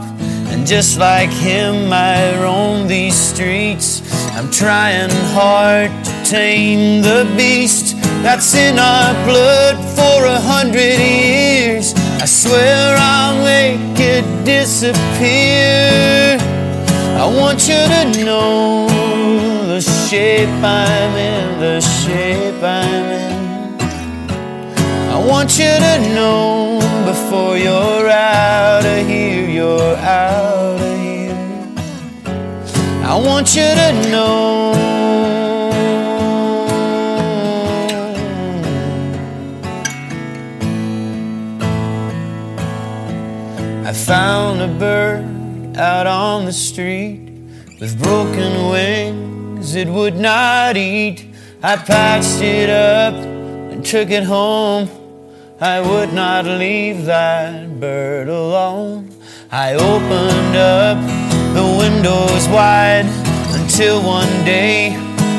Speaker 2: and just like him, I roam these streets. I'm trying hard to tame the beast that's in our blood for a hundred years. I swear I'll make it disappear. I want you to know the shape I'm in, the shape I'm in. I want you to know before you're out of here, you're out of here. I want you to know. I found a bird out on the street with broken wings it would not eat. I patched it up and took it home. I would not leave that bird alone. I opened up the windows wide until one day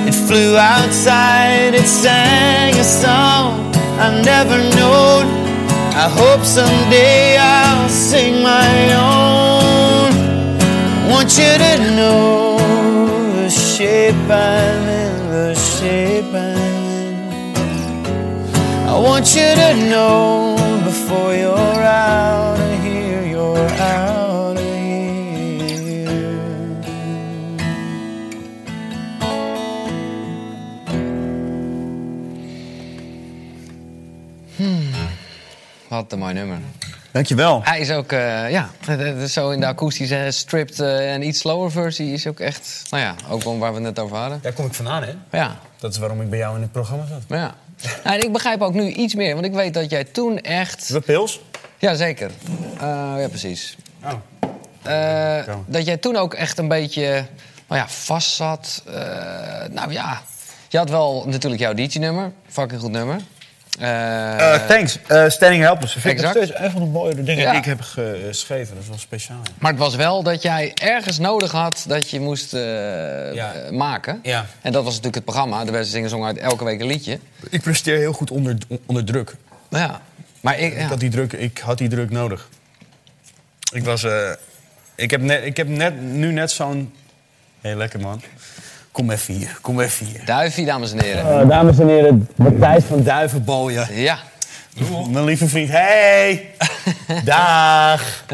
Speaker 2: it flew outside. It sang a song I never known. I hope someday I'll sing my own. I want you to know the shape I'm in, the shape I'm in. I want you to know before you're out of here, you're out of here.
Speaker 3: Wat een mooi nummer.
Speaker 2: Dankjewel.
Speaker 3: Hij is ook, eh, ja, het- het is zo in de akoestische eh, stripped eh, en iets slower versie is ook echt, nou ja, ook wel waar we het net over hadden.
Speaker 2: Daar kom ik vandaan, hè?
Speaker 3: Ja,
Speaker 2: Dat is waarom ik bij jou in het programma zat.
Speaker 3: maar ja. Nou, en ik begrijp ook nu iets meer, want ik weet dat jij toen echt,
Speaker 2: We pils?
Speaker 3: ja zeker, Eh, ja precies,
Speaker 2: Oh.
Speaker 3: Eh, dat jij toen ook echt een beetje nou ja, vast zat. Eh, nou ja, je had wel natuurlijk jouw DJ-nummer. Fucking goed nummer. Eh,
Speaker 2: thanks. Eh, Standing Helpers. Vind ik nog
Speaker 3: Exact.
Speaker 2: steeds een van de mooie dingen
Speaker 3: Ja.
Speaker 2: die ik heb geschreven. Dat is wel speciaal. hè.
Speaker 3: maar het was wel dat jij ergens nodig had dat je moest eh,
Speaker 2: Ja.
Speaker 3: eh, maken.
Speaker 2: Ja.
Speaker 3: En dat was natuurlijk het programma. De beste zingen zong uit elke week een liedje.
Speaker 2: Ik presteer heel goed onder, onder druk.
Speaker 3: Maar ja, maar ik, ja.
Speaker 2: Ik, had die druk, ik had die druk nodig. Ik was... eh, ik heb, net, ik heb net, nu net zo'n... Hé, lekker man. Kom even hier. Kom even hier.
Speaker 3: Duifie, dames en heren.
Speaker 2: Eh, dames en heren, Matthijs van Duivenbooien.
Speaker 3: Ja. (laughs)
Speaker 2: Mijn lieve vriend. Hey! (laughs) Daag!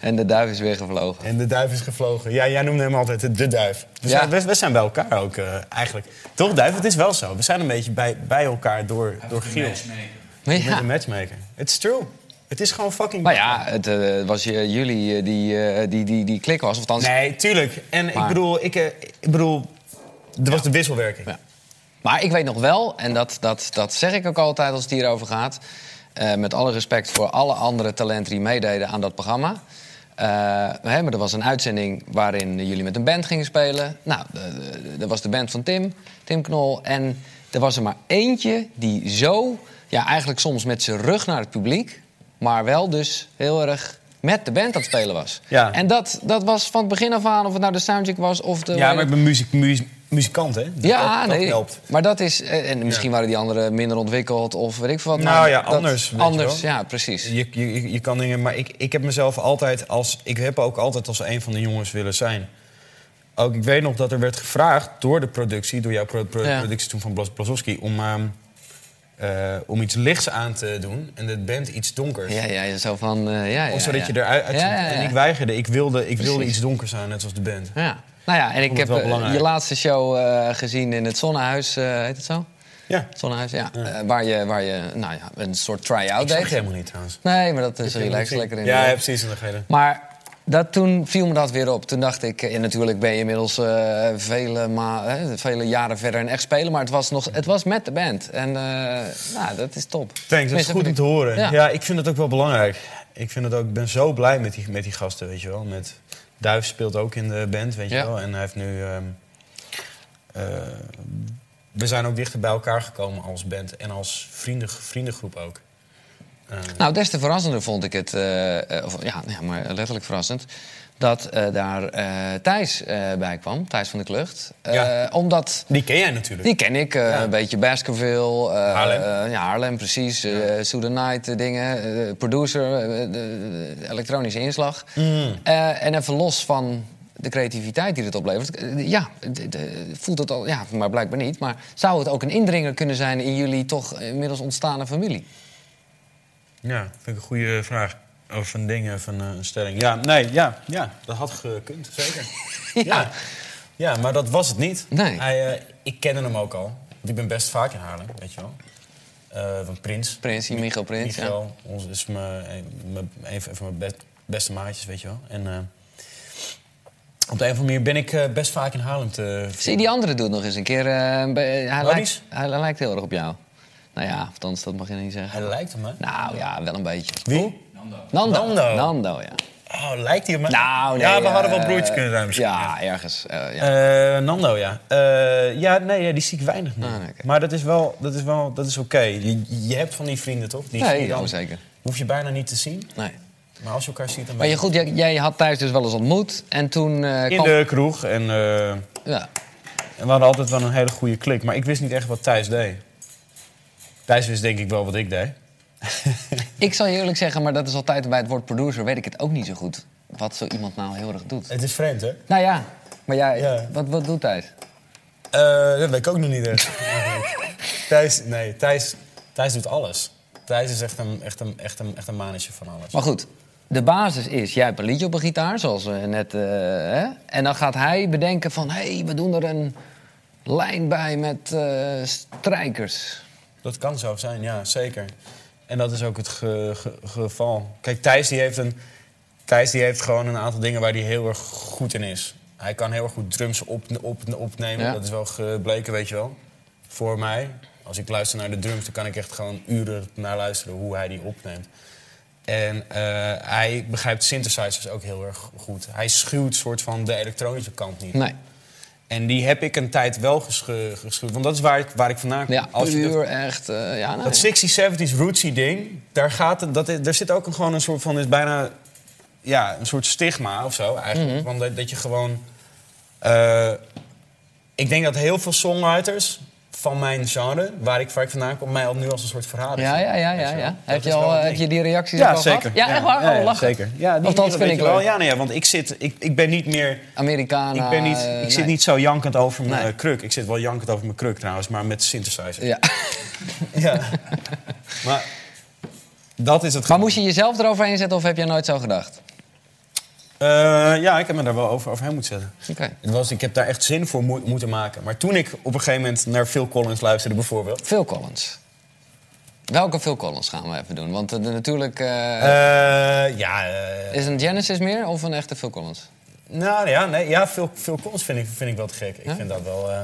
Speaker 3: en de duif is weer gevlogen.
Speaker 2: En de duif is gevlogen. Ja, jij noemde hem altijd de- de duif. We,
Speaker 3: Ja.
Speaker 2: zijn, we, we zijn bij elkaar ook eh, eigenlijk. Toch, duif? Het is wel zo. We zijn een beetje bij, bij elkaar door, door Giel.
Speaker 3: Maar
Speaker 2: Je bent
Speaker 3: ja,
Speaker 2: een matchmaker. It's true. Het is gewoon fucking...
Speaker 3: maar ja het eh, was eh, jullie eh, die, eh, die, die, die klik was. Of althans,
Speaker 2: Nee, tuurlijk. En ik
Speaker 3: Maar-
Speaker 2: bedoel, ik, eh, ik bedoel... Er was de wisselwerking.
Speaker 3: Ja. Maar ik weet nog wel, en dat, dat, dat zeg ik ook altijd als het hierover gaat... eh, met alle respect voor alle andere talenten die meededen aan dat programma... eh, hè, maar er was een uitzending waarin jullie met een band gingen spelen. Nou, eh, eh, er was de band van Tim, Tim Knol. En er was er maar eentje die zo... Ja, eigenlijk soms met zijn rug naar het publiek... maar wel dus heel erg met de band aan het spelen was.
Speaker 2: Ja.
Speaker 3: En dat, dat was van het begin af aan, of het nou de soundcheck was... of de
Speaker 2: Ja, maar ik ben muziek, muziek- muzikant, hè? Dus
Speaker 3: ja,
Speaker 2: dat, dat
Speaker 3: nee.
Speaker 2: helpt.
Speaker 3: Maar dat is. eh, En misschien waren die anderen minder ontwikkeld of weet ik veel wat.
Speaker 2: Nou
Speaker 3: maar
Speaker 2: ja,
Speaker 3: dat-
Speaker 2: anders, weet je
Speaker 3: Anders,
Speaker 2: wel.
Speaker 3: ja, precies.
Speaker 2: Je, je, je kan dingen, maar ik, ik heb mezelf altijd als. Ik heb ook altijd als een van de jongens willen zijn. Ook ik weet nog dat er werd gevraagd door de productie, door jouw pro- pro-
Speaker 3: Ja.
Speaker 2: productie toen van Blas Blasowski, om, ehm, eh, om iets lichts aan te doen en de band iets donkers.
Speaker 3: Ja, ja, zo van. eh, ja, ja,
Speaker 2: Of zodat
Speaker 3: ja.
Speaker 2: je eruit
Speaker 3: Ja,
Speaker 2: uit.
Speaker 3: ja, ja.
Speaker 2: En ik weigerde, ik wilde, ik wilde
Speaker 3: Precies.
Speaker 2: iets donkers aan, net zoals de band.
Speaker 3: Ja. Nou ja, en ik
Speaker 2: het
Speaker 3: heb
Speaker 2: wel
Speaker 3: eh,
Speaker 2: belangrijk.
Speaker 3: je laatste show eh, gezien in het Zonnehuis, eh, heet het zo?
Speaker 2: Ja,
Speaker 3: Zonnehuis, ja. Eh, waar, je, waar je, nou ja, een soort try-out
Speaker 2: ik zag
Speaker 3: deed.
Speaker 2: je helemaal niet trouwens.
Speaker 3: Nee, maar dat is
Speaker 2: Ik heb
Speaker 3: relaxed,
Speaker 2: hem
Speaker 3: lekker in
Speaker 2: niet gezien. Ja,
Speaker 3: de-
Speaker 2: ja, precies, dat reden.
Speaker 3: Maar dat, toen viel me dat weer op. Toen dacht ik, eh, en natuurlijk ben je inmiddels eh, vele, ma- hè, vele jaren verder en echt spelen. Maar het was, nog, het was met de band. En eh, nou, dat is top.
Speaker 2: Thanks, dat is
Speaker 3: Tenminste,
Speaker 2: goed om
Speaker 3: vind
Speaker 2: te
Speaker 3: ik.
Speaker 2: horen.
Speaker 3: Ja.
Speaker 2: Ja. ik vind het ook wel belangrijk. Ik, vind het ook, ik ben zo blij met die, met die gasten, weet je wel. Met Duif speelt ook in de band, weet
Speaker 3: Ja.
Speaker 2: je wel. En hij heeft nu... ehm, eh, we zijn ook dichter bij elkaar gekomen als band en als vrienden, vriendengroep ook. Eh,
Speaker 3: Nou, des te verrassender vond ik het, eh, eh, of, ja, ja, maar letterlijk verrassend, dat eh, daar eh, Thijs eh, bij kwam, Thijs van de Klucht. Eh,
Speaker 2: Ja.
Speaker 3: Omdat
Speaker 2: die ken jij natuurlijk.
Speaker 3: Die ken ik. eh,
Speaker 2: Ja.
Speaker 3: Een beetje Baskerville. eh,
Speaker 2: Haarlem.
Speaker 3: eh, ja, Haarlem, precies. eh Sue the Night eh, dingen. eh, producer, eh, eh, de- de elektronische inslag.
Speaker 2: Mm.
Speaker 3: Eh, en even los van de creativiteit die het oplevert. eh, ja, d- d- voelt het al... Ja, maar blijkbaar niet. Maar zou het ook een indringer kunnen zijn in jullie toch eh, inmiddels ontstane familie?
Speaker 2: Ja, vind ik een goede vraag. Of een ding, of een, eh, een stelling. Ja, nee, ja, ja, dat had gekund, zeker. (laughs) ja. Ja. maar dat was het niet.
Speaker 3: Nee.
Speaker 2: Hij, eh, ik kende hem ook al. Want ik ben best vaak in Haarlem, weet je wel. Eh, van Prins.
Speaker 3: Prins, hier, Michiel Prins. ja.
Speaker 2: Michel, ons is mijn, een- mijn- een van mijn best- beste maatjes, weet je wel. En eh, op de een of andere manier ben ik eh, best vaak in Haarlem te...
Speaker 3: Zie je die andere doet nog eens een keer. eh, een be- hij, lijkt,
Speaker 2: Maurice?
Speaker 3: hij lijkt heel erg op jou. Nou ja, althans, dat mag je niet zeggen.
Speaker 2: Hij lijkt hem, hè?
Speaker 3: Nou ja, wel een beetje.
Speaker 2: Wie?
Speaker 3: Nando.
Speaker 2: Nando.
Speaker 3: Nando, ja.
Speaker 2: Oh, lijkt hij hem? hè?
Speaker 3: Nou, nee,
Speaker 2: ja, we hadden
Speaker 3: eh,
Speaker 2: wel broertjes kunnen zijn misschien.
Speaker 3: Ja, ergens. eh, ja.
Speaker 2: Eh, Nando, ja. Eh, ja, nee, ja, die zie ik weinig meer.
Speaker 3: Ah, oké.
Speaker 2: Maar dat is wel, dat is wel, dat is oké. Je, je hebt van die vrienden, toch? Die zie
Speaker 3: nee,
Speaker 2: je dan-
Speaker 3: oh, zeker.
Speaker 2: Hoef je bijna niet te zien.
Speaker 3: Nee.
Speaker 2: Maar als je elkaar ziet,
Speaker 3: Maar
Speaker 2: dan ben
Speaker 3: je, goed, jij, jij had thuis dus wel eens ontmoet. En toen eh,
Speaker 2: in
Speaker 3: kwam...
Speaker 2: de kroeg. En, eh, en
Speaker 3: Ja.
Speaker 2: we hadden altijd wel een hele goede klik. Maar ik wist niet echt wat Thijs deed. Thijs wist denk ik wel wat
Speaker 3: (laughs)
Speaker 2: ik deed.
Speaker 3: Ik zal je eerlijk zeggen, maar dat is altijd bij het woord producer... weet ik het ook niet zo goed. Wat zo iemand nou heel erg doet.
Speaker 2: Het is vreemd, hè?
Speaker 3: Nou ja, maar jij,
Speaker 2: Ja.
Speaker 3: wat, wat doet Thijs?
Speaker 2: Eh, dat weet ik ook nog niet echt. Thijs, nee, Thijs, Thijs doet alles. Thijs is echt een, echt een, echt een, echt een mannetje van alles.
Speaker 3: Maar goed, de basis is, jij hebt een liedje op een gitaar, zoals eh, net... eh, hè? En dan gaat hij bedenken van, hé, hey, we doen er een lijn bij met eh, strijkers.
Speaker 2: Dat kan zo zijn, ja, zeker. En dat is ook het ge- ge- geval. Kijk, Thijs die heeft, een, Thijs die heeft gewoon een aantal dingen waar hij heel erg goed in is. Hij kan heel erg goed drums op, op, opnemen,
Speaker 3: Ja.
Speaker 2: dat is wel gebleken, weet je wel. Voor mij, als ik luister naar de drums, dan kan ik echt gewoon uren naar luisteren hoe hij die opneemt. En eh, hij begrijpt synthesizers ook heel erg goed. Hij schuwt soort van de elektronische kant niet.
Speaker 3: Nee,
Speaker 2: En die heb ik een tijd wel geschu- geschuwd, want dat is waar ik, waar ik vandaan kom.
Speaker 3: ja,
Speaker 2: Als je dat-
Speaker 3: puur echt... eh, ja, nou,
Speaker 2: dat 60s, 70s rootsy ding, daar, gaat het, dat, is- daar zit ook een, gewoon een soort van, is bijna ja, een soort stigma of zo eigenlijk.
Speaker 3: Mhm.
Speaker 2: Want dat, dat je gewoon. eh, ik denk dat heel veel songwriters van mijn genre, waar ik, waar ik vandaan kom, mij al nu als een soort verrader
Speaker 3: Ja,
Speaker 2: zien.
Speaker 3: ja, ja,
Speaker 2: Weet
Speaker 3: ja.
Speaker 2: je wel?
Speaker 3: ja.
Speaker 2: Dat
Speaker 3: Heb, je
Speaker 2: is wel
Speaker 3: al,
Speaker 2: het
Speaker 3: eh, heb
Speaker 2: ding.
Speaker 3: je die reacties
Speaker 2: Ja,
Speaker 3: ook al
Speaker 2: zeker.
Speaker 3: gehad? Ja, echt waar,
Speaker 2: ja,
Speaker 3: gewoon
Speaker 2: ja,
Speaker 3: lachen.
Speaker 2: Zeker. Ja, die,
Speaker 3: Althans, vind
Speaker 2: dat weet
Speaker 3: ik
Speaker 2: je wel.
Speaker 3: leuk.
Speaker 2: Ja, nee, ja, want ik zit, ik, ik ben niet meer,
Speaker 3: Amerikanen.
Speaker 2: ik ben niet, ik
Speaker 3: eh,
Speaker 2: zit
Speaker 3: nee.
Speaker 2: niet zo jankend over mijn
Speaker 3: Nee.
Speaker 2: eh, kruk. Ik zit wel jankend over mijn kruk trouwens, maar met synthesizer.
Speaker 3: Ja.
Speaker 2: Ja. (laughs) maar dat is het.
Speaker 3: Maar moest je jezelf eroverheen zetten of heb jij nooit zo gedacht?
Speaker 2: Eh, ja, ik heb me daar wel over, overheen moeten zetten.
Speaker 3: Oké.
Speaker 2: Het was, ik heb daar echt zin voor moe- moeten maken. Maar toen ik op een gegeven moment naar Phil Collins luisterde bijvoorbeeld...
Speaker 3: Phil Collins. Welke Phil Collins gaan we even doen? Want eh, de- natuurlijk... eh,
Speaker 2: Eh, ja, eh,
Speaker 3: is een Genesis meer of een echte Phil Collins?
Speaker 2: nou ja, nee, ja veel, veel cons vind ik, vind ik wel te gek. Ik vind dat wel eh,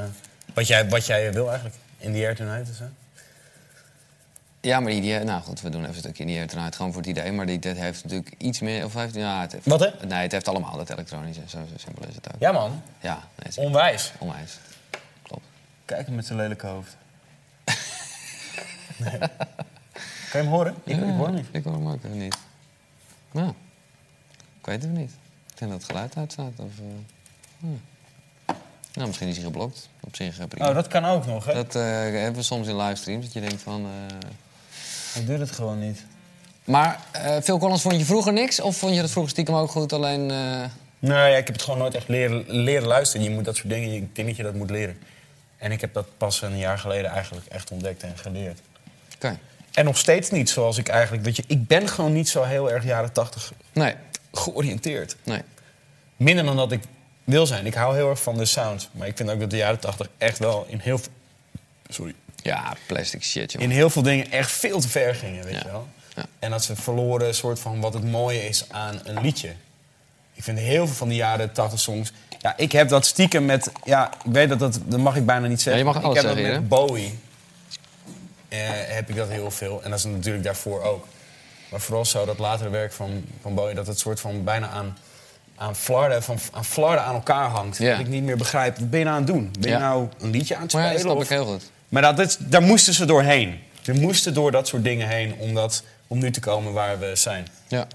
Speaker 2: wat, jij, wat jij wil eigenlijk. In the air tonight is hè?
Speaker 3: Ja, maar die, die- nou goed, we doen even een stukje in die eruit, gewoon voor het idee. Maar die, dat heeft natuurlijk iets meer, of heeft, ja, het heeft,
Speaker 2: Wat, hè?
Speaker 3: Nee, het heeft allemaal dat elektronische, zo, zo simpel is het ook.
Speaker 2: Ja man,
Speaker 3: Ja, nee, het is
Speaker 2: onwijs.
Speaker 3: onwijs. Klopt.
Speaker 2: Kijk hem met zijn lelijke hoofd. nee. Kan je hem horen? Ik, ik hoor hem (laughs) niet.
Speaker 3: Ik hoor hem ook even niet. Nou, ik weet het niet. Ik denk dat het geluid uitstaat, of... eh, hm. Nou, misschien is hij geblokt. Op zich eh, prima.
Speaker 2: Oh, dat kan ook nog, hè?
Speaker 3: Dat, eh, hebben we soms in livestreams, dat je denkt van... eh,
Speaker 2: Ik doe het gewoon niet.
Speaker 3: Maar eh Phil Collins vond je vroeger niks? Of vond je dat vroeger stiekem ook goed, alleen... eh,
Speaker 2: Nou ja, ik heb het gewoon nooit echt leren, leren luisteren. Je moet dat soort dingen, ik denk dat je dat moet leren. En ik heb dat pas een jaar geleden eigenlijk echt ontdekt en geleerd.
Speaker 3: Oké.
Speaker 2: En nog steeds niet zoals ik eigenlijk... Dat je, ik ben gewoon niet zo heel erg jaren tachtig
Speaker 3: Nee,
Speaker 2: georiënteerd.
Speaker 3: nee.
Speaker 2: Minder dan dat ik wil zijn. Ik hou heel erg van de sound. Maar ik vind ook dat de jaren tachtig echt wel in heel, veel- sorry,
Speaker 3: Ja, plastic shit, joh.
Speaker 2: in heel veel dingen echt veel te ver gingen, weet
Speaker 3: Ja.
Speaker 2: je wel.
Speaker 3: Ja.
Speaker 2: En dat ze verloren soort van wat het mooie is aan een liedje. Ik vind heel veel van die jaren 80 songs. Ja, ik heb dat stiekem met. Ja, ik weet dat dat, dat mag ik bijna niet zeggen.
Speaker 3: Ja, je mag
Speaker 2: maar
Speaker 3: alles
Speaker 2: ik heb
Speaker 3: zeggen
Speaker 2: dat met Bowie. eh, heb ik dat heel veel. En dat is natuurlijk daarvoor ook. Maar vooral zo dat latere werk van, van Bowie, dat het soort van bijna aan, aan, Florida, van, aan Florida aan elkaar hangt.
Speaker 3: Ja.
Speaker 2: Dat ik niet meer begrijp, wat ben je nou aan het doen? Ben je
Speaker 3: Ja.
Speaker 2: nou een liedje aan het
Speaker 3: Maar ja,
Speaker 2: spelen?
Speaker 3: dat snap ik
Speaker 2: of-
Speaker 3: heel goed.
Speaker 2: maar dat, is- daar moesten ze doorheen. Ze moesten door dat soort dingen heen om, dat, om nu te komen waar we zijn.
Speaker 3: Ja.
Speaker 2: Dat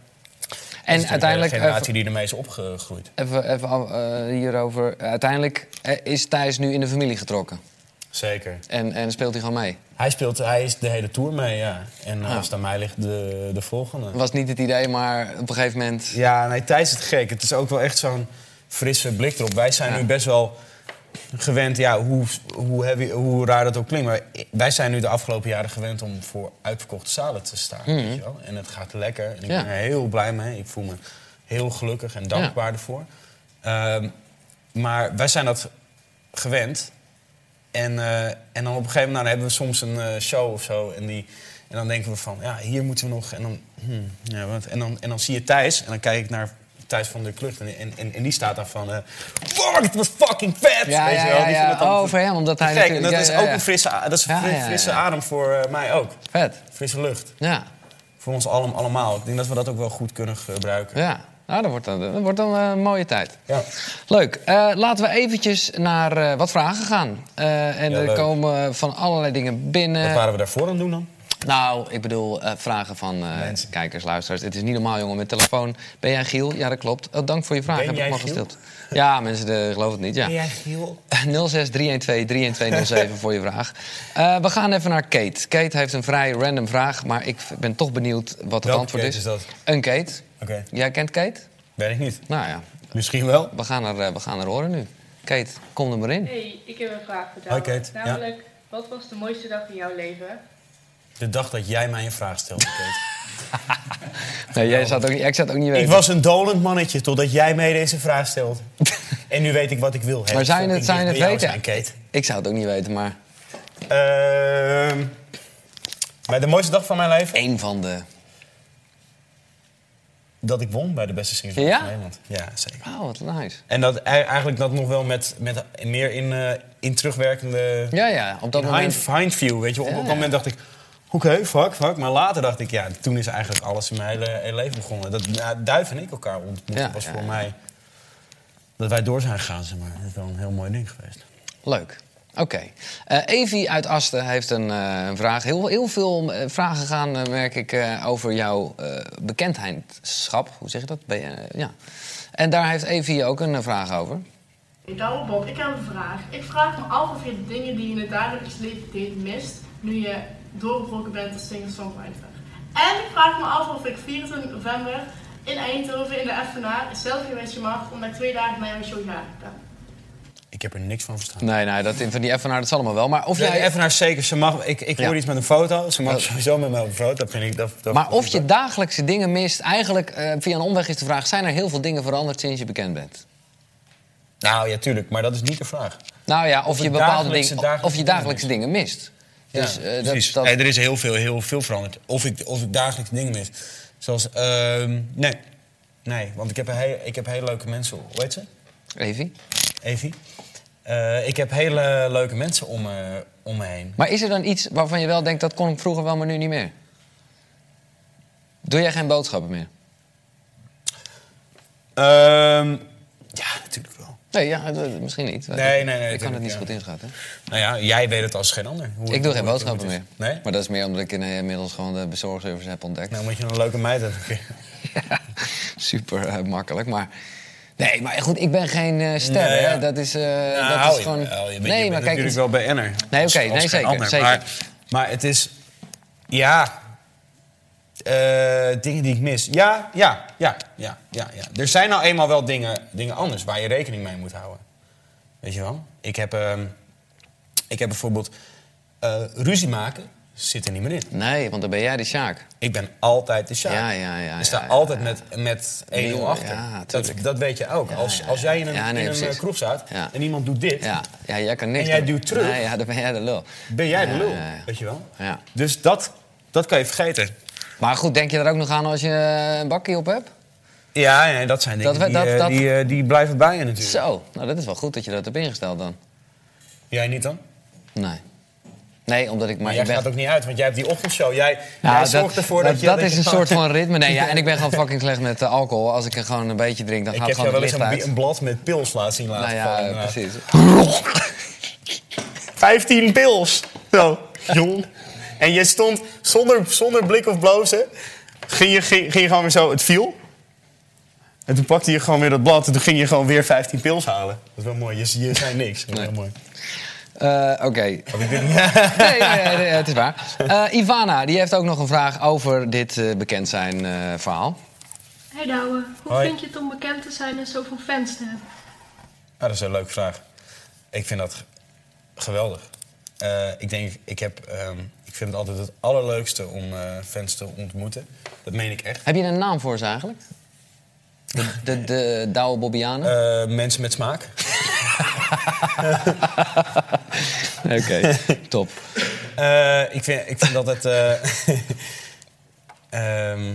Speaker 2: is
Speaker 3: En
Speaker 2: natuurlijk
Speaker 3: uiteindelijk, eh, even,
Speaker 2: De generatie die ermee is opgegroeid.
Speaker 3: even, even af- eh, hierover. Uiteindelijk eh, is Thijs nu in de familie getrokken.
Speaker 2: Zeker.
Speaker 3: En, en speelt hij gewoon mee.
Speaker 2: Hij speelt hij is de hele tour mee, ja. En als het aan mij ligt, de, de volgende.
Speaker 3: Was niet het idee, maar op een gegeven moment...
Speaker 2: Ja, nee, Thijs is het gek. Het is ook wel echt zo'n frisse blik erop. Wij zijn
Speaker 3: Ja.
Speaker 2: nu best wel gewend, ja, hoe, hoe, heavy, hoe raar dat ook klinkt. Maar wij zijn nu de afgelopen jaren gewend om voor uitverkochte zalen te staan. Weet je wel? En het gaat lekker. En ik
Speaker 3: Mhm. Ja.
Speaker 2: ben er heel blij mee. Ik voel me heel gelukkig en dankbaar ervoor. Ehm, maar wij zijn dat gewend. En, eh, en dan op een gegeven moment nou, dan hebben we soms een eh, show of zo. En, die, en dan denken we van, ja, hier moeten we nog. En dan, hmm, ja, wat? En dan, en dan zie je Thijs. En dan kijk ik naar Thijs van der Klucht. En, en, en, en die staat daar van, eh, fuck, het was fucking vet!
Speaker 3: Ja,
Speaker 2: Weet
Speaker 3: ja,
Speaker 2: je wel?
Speaker 3: ja,
Speaker 2: Die
Speaker 3: ja.
Speaker 2: vindt het dan
Speaker 3: Oh, voor hem, omdat hij
Speaker 2: te gek. En dat
Speaker 3: natuurlijk- ja,
Speaker 2: is
Speaker 3: ja,
Speaker 2: ook
Speaker 3: ja.
Speaker 2: een frisse, a- dat is een
Speaker 3: Ja,
Speaker 2: fri-
Speaker 3: ja, ja,
Speaker 2: frisse
Speaker 3: ja.
Speaker 2: adem voor eh, mij ook.
Speaker 3: Vet.
Speaker 2: Frisse lucht.
Speaker 3: Ja,
Speaker 2: Voor ons allem, allemaal. Ik denk dat we dat ook wel goed kunnen gebruiken.
Speaker 3: ja. Nou, dat wordt dan, dat wordt dan eh, een mooie tijd.
Speaker 2: Ja.
Speaker 3: Leuk. Eh, laten we eventjes naar eh, wat vragen gaan. Eh, en
Speaker 2: Ja,
Speaker 3: er
Speaker 2: leuk.
Speaker 3: komen van allerlei dingen binnen.
Speaker 2: Wat waren we daarvoor aan het doen dan?
Speaker 3: Nou, ik bedoel, eh, vragen van eh, kijkers, luisteraars. Het is niet normaal, jongen, met telefoon. Ben jij Giel? Ja, dat klopt. Oh, dank voor je vraag.
Speaker 2: Ben
Speaker 3: Heb
Speaker 2: jij
Speaker 3: ik hem al
Speaker 2: Giel?
Speaker 3: gesteld. Ja, mensen eh, geloven het niet, ja.
Speaker 2: jij Giel?
Speaker 3: 06-312-31207 voor je vraag. Eh, we gaan even naar Kate. Kate heeft een vrij random vraag, maar ik v- ben toch benieuwd wat het
Speaker 2: Welke
Speaker 3: antwoord
Speaker 2: Kate
Speaker 3: is.
Speaker 2: is dat?
Speaker 3: Een Kate.
Speaker 2: Oké.
Speaker 3: Jij kent Kate?
Speaker 2: Weet ik niet.
Speaker 3: Nou ja,
Speaker 2: Misschien wel.
Speaker 3: we gaan er, eh, we gaan er horen nu. Kate, kom er maar in.
Speaker 5: Hey, ik heb een vraag voor jou.
Speaker 2: Hi, Kate. Ja.
Speaker 5: Namelijk, wat was de mooiste dag in jouw leven?
Speaker 2: De dag dat jij mij een vraag stelde, Kate.
Speaker 3: Nee, jij zou het ook niet, ik zou het ook niet weten.
Speaker 2: ik was een dolend mannetje totdat jij mij deze vraag stelde.
Speaker 3: (laughs)
Speaker 2: en nu weet ik wat ik wil. Hey,
Speaker 3: Maar zou je
Speaker 2: fucking
Speaker 3: het- zou je
Speaker 2: dicht
Speaker 3: het
Speaker 2: bij jou
Speaker 3: weten?
Speaker 2: Zijn, Kate.
Speaker 3: Ik zou het ook niet weten, maar
Speaker 2: Ehm, maar de mooiste dag van mijn leven?
Speaker 3: één van de...
Speaker 2: Dat ik won bij de beste singers van
Speaker 3: Ja?
Speaker 2: Nederland. Ja, zeker.
Speaker 3: Oh, wat nice.
Speaker 2: En dat, e- eigenlijk dat nog wel met, met meer in, eh, in terugwerkende...
Speaker 3: Ja, ja, op dat
Speaker 2: in
Speaker 3: moment...
Speaker 2: hind, hindview, weet je. Op,
Speaker 3: Ja,
Speaker 2: op dat
Speaker 3: ja.
Speaker 2: moment dacht ik... Oké, fuck, fuck. Maar later dacht ik, ja, toen is eigenlijk alles in mijn hele, hele leven begonnen. Dat ja, Duif en ik elkaar ontmoeten
Speaker 3: Ja,
Speaker 2: was
Speaker 3: ja,
Speaker 2: voor
Speaker 3: ja.
Speaker 2: mij... Dat wij door zijn gegaan, zeg maar. Dat is wel een heel mooi ding geweest.
Speaker 3: Leuk. Oké. Eh, Evi uit Asten heeft een eh, een vraag. Heel, heel veel eh, vragen gaan, eh, merk ik, eh, over jouw eh, bekendheidschap. Hoe zeg je dat? Ben je, eh, ja. En daar heeft Evi ook een eh, vraag over.
Speaker 6: Douwe Bob, ik heb een vraag. Ik vraag me af of je de dingen die je in het dagelijks leven deed mist, nu je doorgebroken bent als singer-songwriter. En ik vraag me af of ik 24 november in Eindhoven in de FNA een selfie met je mag, omdat ik twee dagen na jouw show jarig ben.
Speaker 2: Ik heb er niks van verstaan.
Speaker 3: Nee, nee, dat van die FNR, dat zal allemaal wel. Maar of,
Speaker 2: Ja,
Speaker 3: jij,
Speaker 2: even naar zeker. Ze mag, ik ik
Speaker 3: Ja. Oh.
Speaker 2: hoor iets met een foto. Ze mag sowieso met mij op een foto. Dat vind ik, dat, dat-
Speaker 3: maar
Speaker 2: dat
Speaker 3: of
Speaker 2: is
Speaker 3: je
Speaker 2: wel-
Speaker 3: dagelijkse dingen mist, eigenlijk eh, via een omweg is de vraag... zijn er heel veel dingen veranderd sinds je bekend bent?
Speaker 2: Nou ja, tuurlijk. Maar dat is niet de vraag.
Speaker 3: Nou ja, of,
Speaker 2: de
Speaker 3: je bepaalde
Speaker 2: dagelijkse-
Speaker 3: dingen, of je
Speaker 2: dagelijkse
Speaker 3: dagelijkse dingen mist. Dus, eh, dat-
Speaker 2: Precies.
Speaker 3: dat-
Speaker 2: Hey, er is heel veel, heel veel veranderd. Of ik, of ik dagelijks dingen mis. Zoals, ehm, nee. Nee, want ik heb, een heel, ik heb hele leuke mensen. Hoe heet ze?
Speaker 3: Evie.
Speaker 2: Evie? Eh, ik heb hele leuke mensen om, me- om me heen.
Speaker 3: Maar is er dan iets waarvan je wel denkt, dat kon ik vroeger wel, maar nu niet meer? Doe jij geen boodschappen meer?
Speaker 2: Ehm, ja, natuurlijk wel.
Speaker 3: Nee, ja, d- misschien niet.
Speaker 2: Nee, nee, nee,
Speaker 3: Ik kan het niet
Speaker 2: tuurlijk,
Speaker 3: zo goed
Speaker 2: ja.
Speaker 3: inschatten.
Speaker 2: Nou ja, jij weet het als geen ander. hoe
Speaker 3: Ik doe
Speaker 2: het- hoe
Speaker 3: geen
Speaker 2: het-
Speaker 3: boodschappen
Speaker 2: hoe het
Speaker 3: meer.
Speaker 2: is. Nee?
Speaker 3: Maar dat is meer omdat ik in- inmiddels gewoon de bezorgservice heb ontdekt.
Speaker 2: Nou, moet je een leuke meid hebben.
Speaker 3: (laughs) Super eh, makkelijk, maar... Nee, maar goed, ik ben geen eh, ster,
Speaker 2: Nee, ja.
Speaker 3: hè. Dat is, eh,
Speaker 2: Nou,
Speaker 3: dat is
Speaker 2: je-
Speaker 3: gewoon...
Speaker 2: wel, je bent- je
Speaker 3: nee, maar kijk,
Speaker 2: bent natuurlijk
Speaker 3: het-
Speaker 2: wel bij Enner.
Speaker 3: Nee,
Speaker 2: Als-
Speaker 3: oké,
Speaker 2: als
Speaker 3: nee,
Speaker 2: geen
Speaker 3: zeker,
Speaker 2: ander.
Speaker 3: zeker.
Speaker 2: Maar, maar het is... Ja... eh, dingen die ik mis. Ja, ja, ja, ja, ja, ja. Er zijn nou eenmaal wel dingen, dingen anders waar je rekening mee moet houden. Weet je wel? Ik heb, ehm, ik heb bijvoorbeeld... eh, ruzie maken zit er niet meer in.
Speaker 3: nee, want dan ben jij de Sjaak.
Speaker 2: Ik ben altijd de Sjaak.
Speaker 3: Ja, ja, ja,
Speaker 2: Ik sta
Speaker 3: ja, ja,
Speaker 2: altijd
Speaker 3: ja.
Speaker 2: met, met 1-0
Speaker 3: Nieuwe,
Speaker 2: achter.
Speaker 3: ja,
Speaker 2: dat,
Speaker 3: tuurlijk.
Speaker 2: dat weet je ook.
Speaker 3: Ja,
Speaker 2: als,
Speaker 3: ja,
Speaker 2: als jij in een,
Speaker 3: ja. Ja, nee,
Speaker 2: in een
Speaker 3: precies.
Speaker 2: eh, kroeg staat
Speaker 3: Ja.
Speaker 2: en iemand doet dit...
Speaker 3: Ja, ja, jij kan niks
Speaker 2: En jij
Speaker 3: doen.
Speaker 2: duwt terug.
Speaker 3: Nee, ja, dan ben jij de lul.
Speaker 2: ben jij de
Speaker 3: Ja,
Speaker 2: lul.
Speaker 3: ja, ja.
Speaker 2: Weet je wel?
Speaker 3: Ja.
Speaker 2: Dus dat, dat kan je vergeten.
Speaker 3: Maar goed, denk je er ook nog aan als je eh, een bakkie op hebt?
Speaker 2: Ja, nee, dat zijn dingen
Speaker 3: Dat we-
Speaker 2: die,
Speaker 3: dat-
Speaker 2: eh,
Speaker 3: dat-
Speaker 2: Die, eh, die blijven bij je natuurlijk.
Speaker 3: Zo, nou dat is wel goed dat je dat hebt ingesteld dan.
Speaker 2: Jij niet dan?
Speaker 3: Nee. Nee, omdat ik maar...
Speaker 2: Maar jij
Speaker 3: ik ben...
Speaker 2: gaat ook niet uit, want jij hebt die ochtendshow. Jij,
Speaker 3: Nou,
Speaker 2: jij zorgt ervoor dat, je...
Speaker 3: dat is
Speaker 2: je
Speaker 3: een
Speaker 2: gewoon-
Speaker 3: soort van ritme. Nee, ja, en ik ben
Speaker 2: (laughs)
Speaker 3: gewoon fucking slecht met eh, alcohol. Als ik er gewoon een beetje drink, dan
Speaker 2: Ik
Speaker 3: gaat
Speaker 2: heb jou
Speaker 3: gewoon het
Speaker 2: wel eens
Speaker 3: licht
Speaker 2: een, bi-
Speaker 3: uit.
Speaker 2: een blad met pils laten zien
Speaker 3: Nou
Speaker 2: laten
Speaker 3: ja,
Speaker 2: vallen.
Speaker 3: eh,
Speaker 2: Nou,
Speaker 3: precies.
Speaker 2: (laughs) 15 pils. Zo, jong. En je stond zonder, zonder blik of blozen. Ging je, ging, ging je gewoon weer zo, het viel. En toen pakte je gewoon weer dat blad en toen ging je gewoon weer 15 pils halen. Dat is wel mooi, je, je zei niks. Dat is wel mooi.
Speaker 3: Eh, Oké.
Speaker 2: (laughs)
Speaker 3: nee, nee, nee, nee, het is waar. Eh, Ivana, die heeft ook nog een vraag over dit eh, bekend zijn eh, verhaal.
Speaker 7: Hey Douwe, hoe
Speaker 2: Hoi.
Speaker 7: vind je het om bekend te zijn en zoveel fans te hebben?
Speaker 2: Ah, dat is een leuke vraag. Ik vind dat geweldig. Eh, ik denk, ik heb... ehm, ik vind het altijd het allerleukste om eh, fans te ontmoeten. Dat meen ik echt.
Speaker 3: Heb je er een naam voor ze eigenlijk? De, de, de Douwe Bobbianen?
Speaker 2: Eh, mensen met smaak.
Speaker 3: Oké, (laughs) top.
Speaker 2: Eh, ik, vind, ik vind dat het. eh, (laughs) ehm,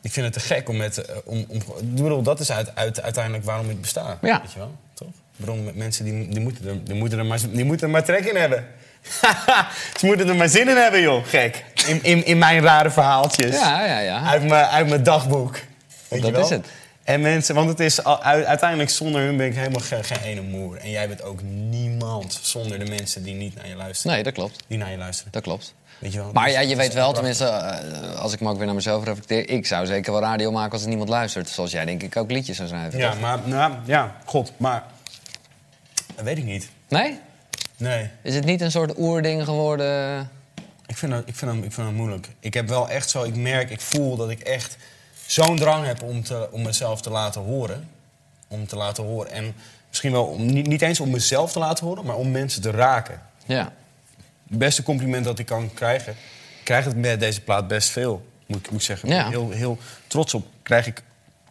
Speaker 2: ik vind het te gek om met. eh, om, om, ik bedoel, dat is uit, uit, uiteindelijk waarom ik besta.
Speaker 3: Ja.
Speaker 2: Weet je wel, toch? Waarom met mensen die, die, moeten er, die, moeten er maar, die moeten er maar trek in hebben. (laughs) Ze moeten er maar zin in hebben, joh, gek. In, in, in mijn rare verhaaltjes.
Speaker 3: Ja, ja, ja.
Speaker 2: Uit mijn, uit mijn dagboek. Weet
Speaker 3: Dat
Speaker 2: je wel?
Speaker 3: is het.
Speaker 2: En mensen, want het is al- u- uiteindelijk zonder hun ben ik helemaal ge- geen ene moer. En jij bent ook niemand zonder de mensen die niet naar je luisteren.
Speaker 3: Nee, dat klopt.
Speaker 2: Die naar je luisteren.
Speaker 3: Dat klopt.
Speaker 2: Weet je wel,
Speaker 3: Maar
Speaker 2: dus-
Speaker 3: ja, je
Speaker 2: dus-
Speaker 3: weet wel, tenminste, eh, als ik me ook weer naar mezelf reflecteer... ik zou zeker wel radio maken als er niemand luistert. Zoals jij denk ik ook liedjes zou schrijven.
Speaker 2: Ja,
Speaker 3: toch?
Speaker 2: maar, nou, ja, god, maar. Dat weet ik niet.
Speaker 3: Nee?
Speaker 2: Nee,
Speaker 3: Is het niet een soort oerding geworden?
Speaker 2: ik vind dat, ik vind dat, ik vind dat moeilijk. Ik heb wel echt zo, ik merk, ik voel dat ik echt zo'n drang heb om, te, om mezelf te laten horen. Om te laten horen. En misschien wel om, niet, niet eens om mezelf te laten horen, maar om mensen te raken.
Speaker 3: Ja.
Speaker 2: Het beste compliment dat ik kan krijgen. Ik krijg het met deze plaat best veel, moet ik, moet ik zeggen. Ik ben
Speaker 3: Ja.
Speaker 2: Heel, heel trots op krijg ik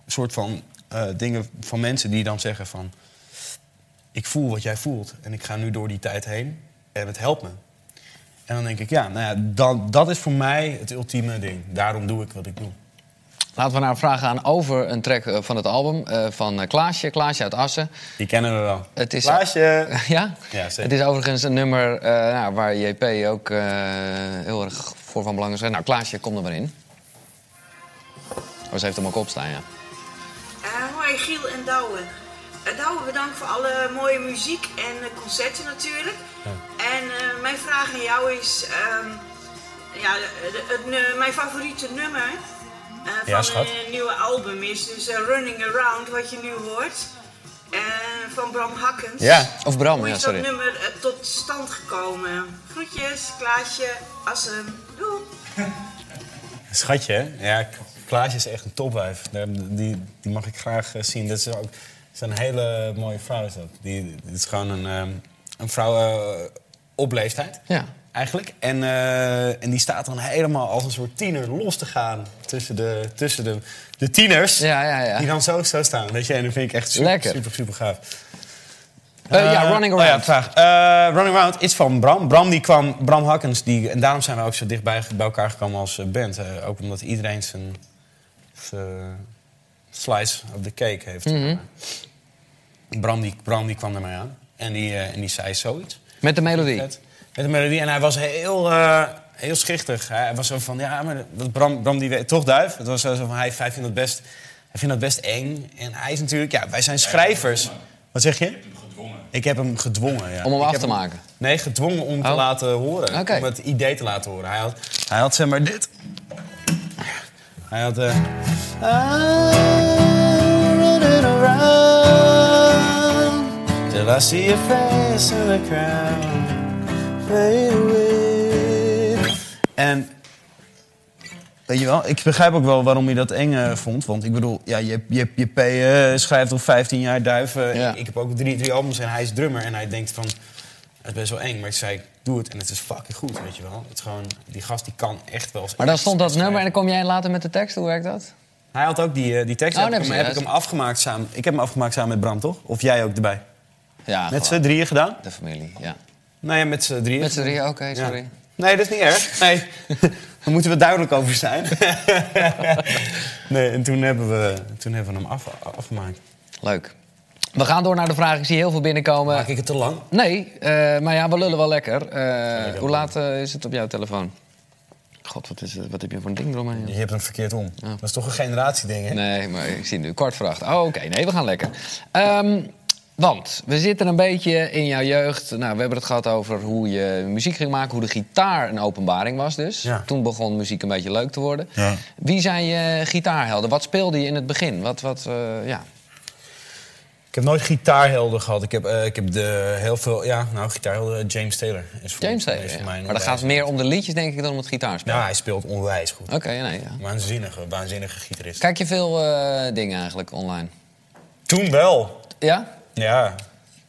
Speaker 2: een soort van eh, dingen van mensen die dan zeggen van... Ik voel wat jij voelt en ik ga nu door die tijd heen en het helpt me. En dan denk ik, ja, nou ja, dan, dat is voor mij het ultieme ding. Daarom doe ik wat ik doe.
Speaker 3: Laten we naar een vraag gaan over een track eh, van het album eh, van eh, Klaasje. Klaasje uit Assen.
Speaker 2: Die kennen we wel.
Speaker 3: Het is-
Speaker 2: Klaasje!
Speaker 3: (laughs) ja?
Speaker 2: Ja, zeker.
Speaker 3: Het is overigens een nummer eh, nou, waar JP ook eh, heel erg voor van belang is. Nou, Klaasje, kom er maar in. Oh, ze heeft hem ook op staan, ja.
Speaker 8: Eh, hoi Giel en Douwe. Eh, Douwe, bedankt voor alle mooie muziek en eh, concerten natuurlijk. En eh, mijn vraag aan jou is, ehm, ja, de- de- het nu- mijn favoriete nummer eh,
Speaker 2: Ja,
Speaker 8: van
Speaker 2: schat.
Speaker 8: een nieuwe album is dus eh, Running Around, wat je nu hoort, eh, van Bram Hakkens.
Speaker 2: Ja.
Speaker 3: Of Bram,
Speaker 8: Hoe
Speaker 3: ja,
Speaker 8: is dat
Speaker 3: sorry.
Speaker 8: nummer eh, tot stand gekomen? Groetjes, Klaasje, Assem, doei!
Speaker 2: Schatje, hè? Ja, Klaasje is echt een topwijf. Daar- Die, die mag ik graag eh, zien. Dat is ook dat is een hele mooie vrouw. Is dat. Die, dat is gewoon een, ehm, een vrouw eh, op leeftijd.
Speaker 3: Ja.
Speaker 2: Eigenlijk. En, eh, en die staat dan helemaal als een soort tiener los te gaan tussen de, tussen de, de tieners.
Speaker 3: Ja, ja, ja.
Speaker 2: Die dan zo, zo staan. Weet je? En dat vind ik echt super,
Speaker 3: Lekker.
Speaker 2: super, super gaaf.
Speaker 3: Eh, ja,
Speaker 2: Eh,
Speaker 3: Running
Speaker 2: oh ja,
Speaker 3: Around.
Speaker 2: vraag. Eh, running Around is van Bram. Bram, die kwam, Bram Hakkens. Die, en daarom zijn we ook zo dicht bij, bij elkaar gekomen als eh, band. Eh, ook omdat iedereen zijn, zijn slice of the cake heeft.
Speaker 3: Mhm.
Speaker 2: Bram, die, Bram die kwam ermee aan. En die, eh, en die zei zoiets.
Speaker 3: Met de melodie.
Speaker 2: Vet. Met de melodie. En hij was heel, eh, heel schichtig. Hij was zo van, ja, maar dat Bram, Bram die weet toch duif. Het was zo van, hij, hij vindt dat best... Hij vindt dat best eng. En hij is natuurlijk... Ja, wij zijn schrijvers. Wat zeg je? Ik heb hem gedwongen, ja.
Speaker 3: Om hem
Speaker 2: Ik
Speaker 3: af
Speaker 2: heb
Speaker 3: te maken?
Speaker 2: Nee, gedwongen om te
Speaker 3: Oh.
Speaker 2: laten horen.
Speaker 3: Oké.
Speaker 2: Om het idee te laten horen. Hij had, hij had zeg maar dit. Hij had... eh, I'm running around Till I see your face in the crowd Fade away En... Weet je wel, ik begrijp ook wel waarom je dat eng eh, vond. Want ik bedoel, ja, je, je, je P eh, schrijft al 15 jaar duiven.
Speaker 3: Ja.
Speaker 2: Ik, ik heb ook drie, drie albums en hij is drummer. En hij denkt van, het is best wel eng. Maar ik zei, doe het en het is fucking goed, weet je wel. Het is gewoon, die gast die kan echt wel...
Speaker 3: Maar dan stond dat
Speaker 2: schrijven.
Speaker 3: nummer en dan kom jij later met de tekst. Hoe werkt dat?
Speaker 2: Hij had ook die, eh, die tekst.
Speaker 3: Oh,
Speaker 2: heb
Speaker 3: nee,
Speaker 2: ik, hem, heb
Speaker 3: precies.
Speaker 2: ik hem afgemaakt samen. Ik heb hem afgemaakt samen met Bram, toch? Of jij ook erbij?
Speaker 3: Ja,
Speaker 2: Met z'n
Speaker 3: gewoon.
Speaker 2: drieën gedaan?
Speaker 3: De familie, ja.
Speaker 2: Nou ja, met z'n drieën.
Speaker 3: Met z'n drieën, oké,
Speaker 2: Ja.
Speaker 3: sorry.
Speaker 2: Nee, dat is niet
Speaker 3: (laughs)
Speaker 2: erg. Nee. Daar moeten we duidelijk over zijn. nee, en toen hebben we, toen hebben we hem af, afgemaakt.
Speaker 3: Leuk. We gaan door naar de vraag. Ik zie heel veel binnenkomen.
Speaker 2: Maak ik het te lang?
Speaker 3: Nee, eh, maar ja, we lullen wel lekker. Eh, hoe laat eh, is het op jouw telefoon? God, wat, is het? wat heb je voor een ding eromheen?
Speaker 2: Je hebt hem verkeerd om. Dat is toch een generatieding, hè?
Speaker 3: Nee, maar ik zie nu kwart voor acht. Oh, oké. Nee, we gaan lekker. Ehm, want we zitten een beetje in jouw jeugd. Nou, we hebben het gehad over hoe je muziek ging maken. Hoe de gitaar een openbaring was dus.
Speaker 2: Ja.
Speaker 3: Toen begon muziek een beetje leuk te worden.
Speaker 2: Ja.
Speaker 3: Wie zijn je gitaarhelden? Wat speelde je in het begin? Wat, wat, eh, ja.
Speaker 2: Ik heb nooit gitaarhelden gehad. Ik heb, eh, ik heb de, heel veel... Ja, nou, gitaarhelden... James Taylor is voor,
Speaker 3: James Taylor.
Speaker 2: is voor
Speaker 3: ja.
Speaker 2: mij een
Speaker 3: Maar dat gaat
Speaker 2: onwijs-
Speaker 3: meer om de liedjes, denk ik, dan om het gitaarspel.
Speaker 2: Ja, hij speelt onwijs goed.
Speaker 3: Oké, nee, ja.
Speaker 2: Waanzinnige, waanzinnige gitarist.
Speaker 3: Kijk je veel eh, dingen eigenlijk online?
Speaker 2: Toen wel.
Speaker 3: Ja?
Speaker 2: Ja,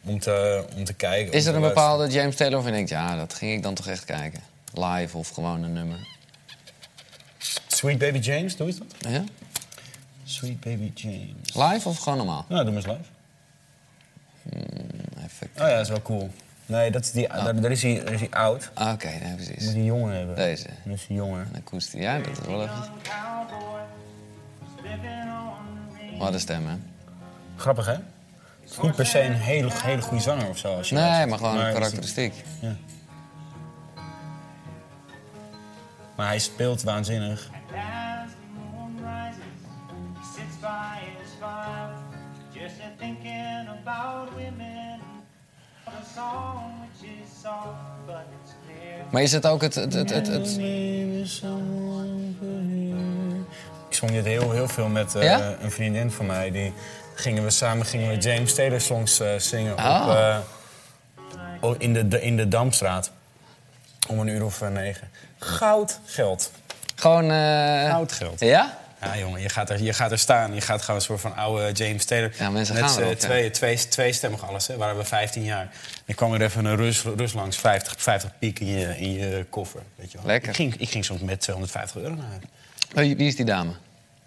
Speaker 2: om te, om te kijken. om
Speaker 3: Is
Speaker 2: te
Speaker 3: er een
Speaker 2: luisteren.
Speaker 3: bepaalde James Taylor waarvan je denkt... ja, dat ging ik dan toch echt kijken? Live of gewoon een nummer?
Speaker 2: Sweet Baby James, doe je dat?
Speaker 3: Ja?
Speaker 2: Sweet Baby James.
Speaker 3: Live of gewoon normaal?
Speaker 2: Nou, doe maar eens live.
Speaker 3: Even...
Speaker 2: Oh ja, dat is wel cool. Nee, dat is die, daar, daar is hij, daar is hij oud.
Speaker 3: Ah, Oké, nee, precies.
Speaker 2: Moet
Speaker 3: Een
Speaker 2: hij jongen hebben.
Speaker 3: Deze.
Speaker 2: Dan is hij jonger.
Speaker 3: akoestie. Ja, dat is wel even... Wat een stem, hè?
Speaker 2: Grappig, hè? Het is niet per se een hele, hele goede zanger of zo. Als je
Speaker 3: Nee,
Speaker 2: luistert.
Speaker 3: maar gewoon
Speaker 2: het
Speaker 3: een
Speaker 2: is-
Speaker 3: karakteristiek.
Speaker 2: Maar hij speelt waanzinnig.
Speaker 3: Maar is het ook het... het, het, het, het-
Speaker 2: Ik zong dit heel, heel veel met eh,
Speaker 3: Ja?
Speaker 2: een vriendin van mij. Die gingen we samen gingen we James Taylor songs eh, zingen op,
Speaker 3: Ah.
Speaker 2: eh, o- in, de, de- in de Damstraat. Om een uur of eh, negen. Goud geld.
Speaker 3: Gewoon... eh,
Speaker 2: Goud geld.
Speaker 3: Ja?
Speaker 2: Ja, jongen, je gaat, er, je gaat er staan. Je gaat gewoon een soort van oude James Taylor.
Speaker 3: Ja, mensen
Speaker 2: Met
Speaker 3: gaan
Speaker 2: z'n
Speaker 3: erop, ja.
Speaker 2: twee, twee, tweestemmig alles, hè. Waren we 15 jaar. Dan kwam er even een rus, rus langs. 50, 50 piek in je, in je koffer. Weet je wel.
Speaker 3: Lekker.
Speaker 2: Ik ging, ik ging soms met 250 euro naar huis.
Speaker 3: Wie wie Oh, is die dame?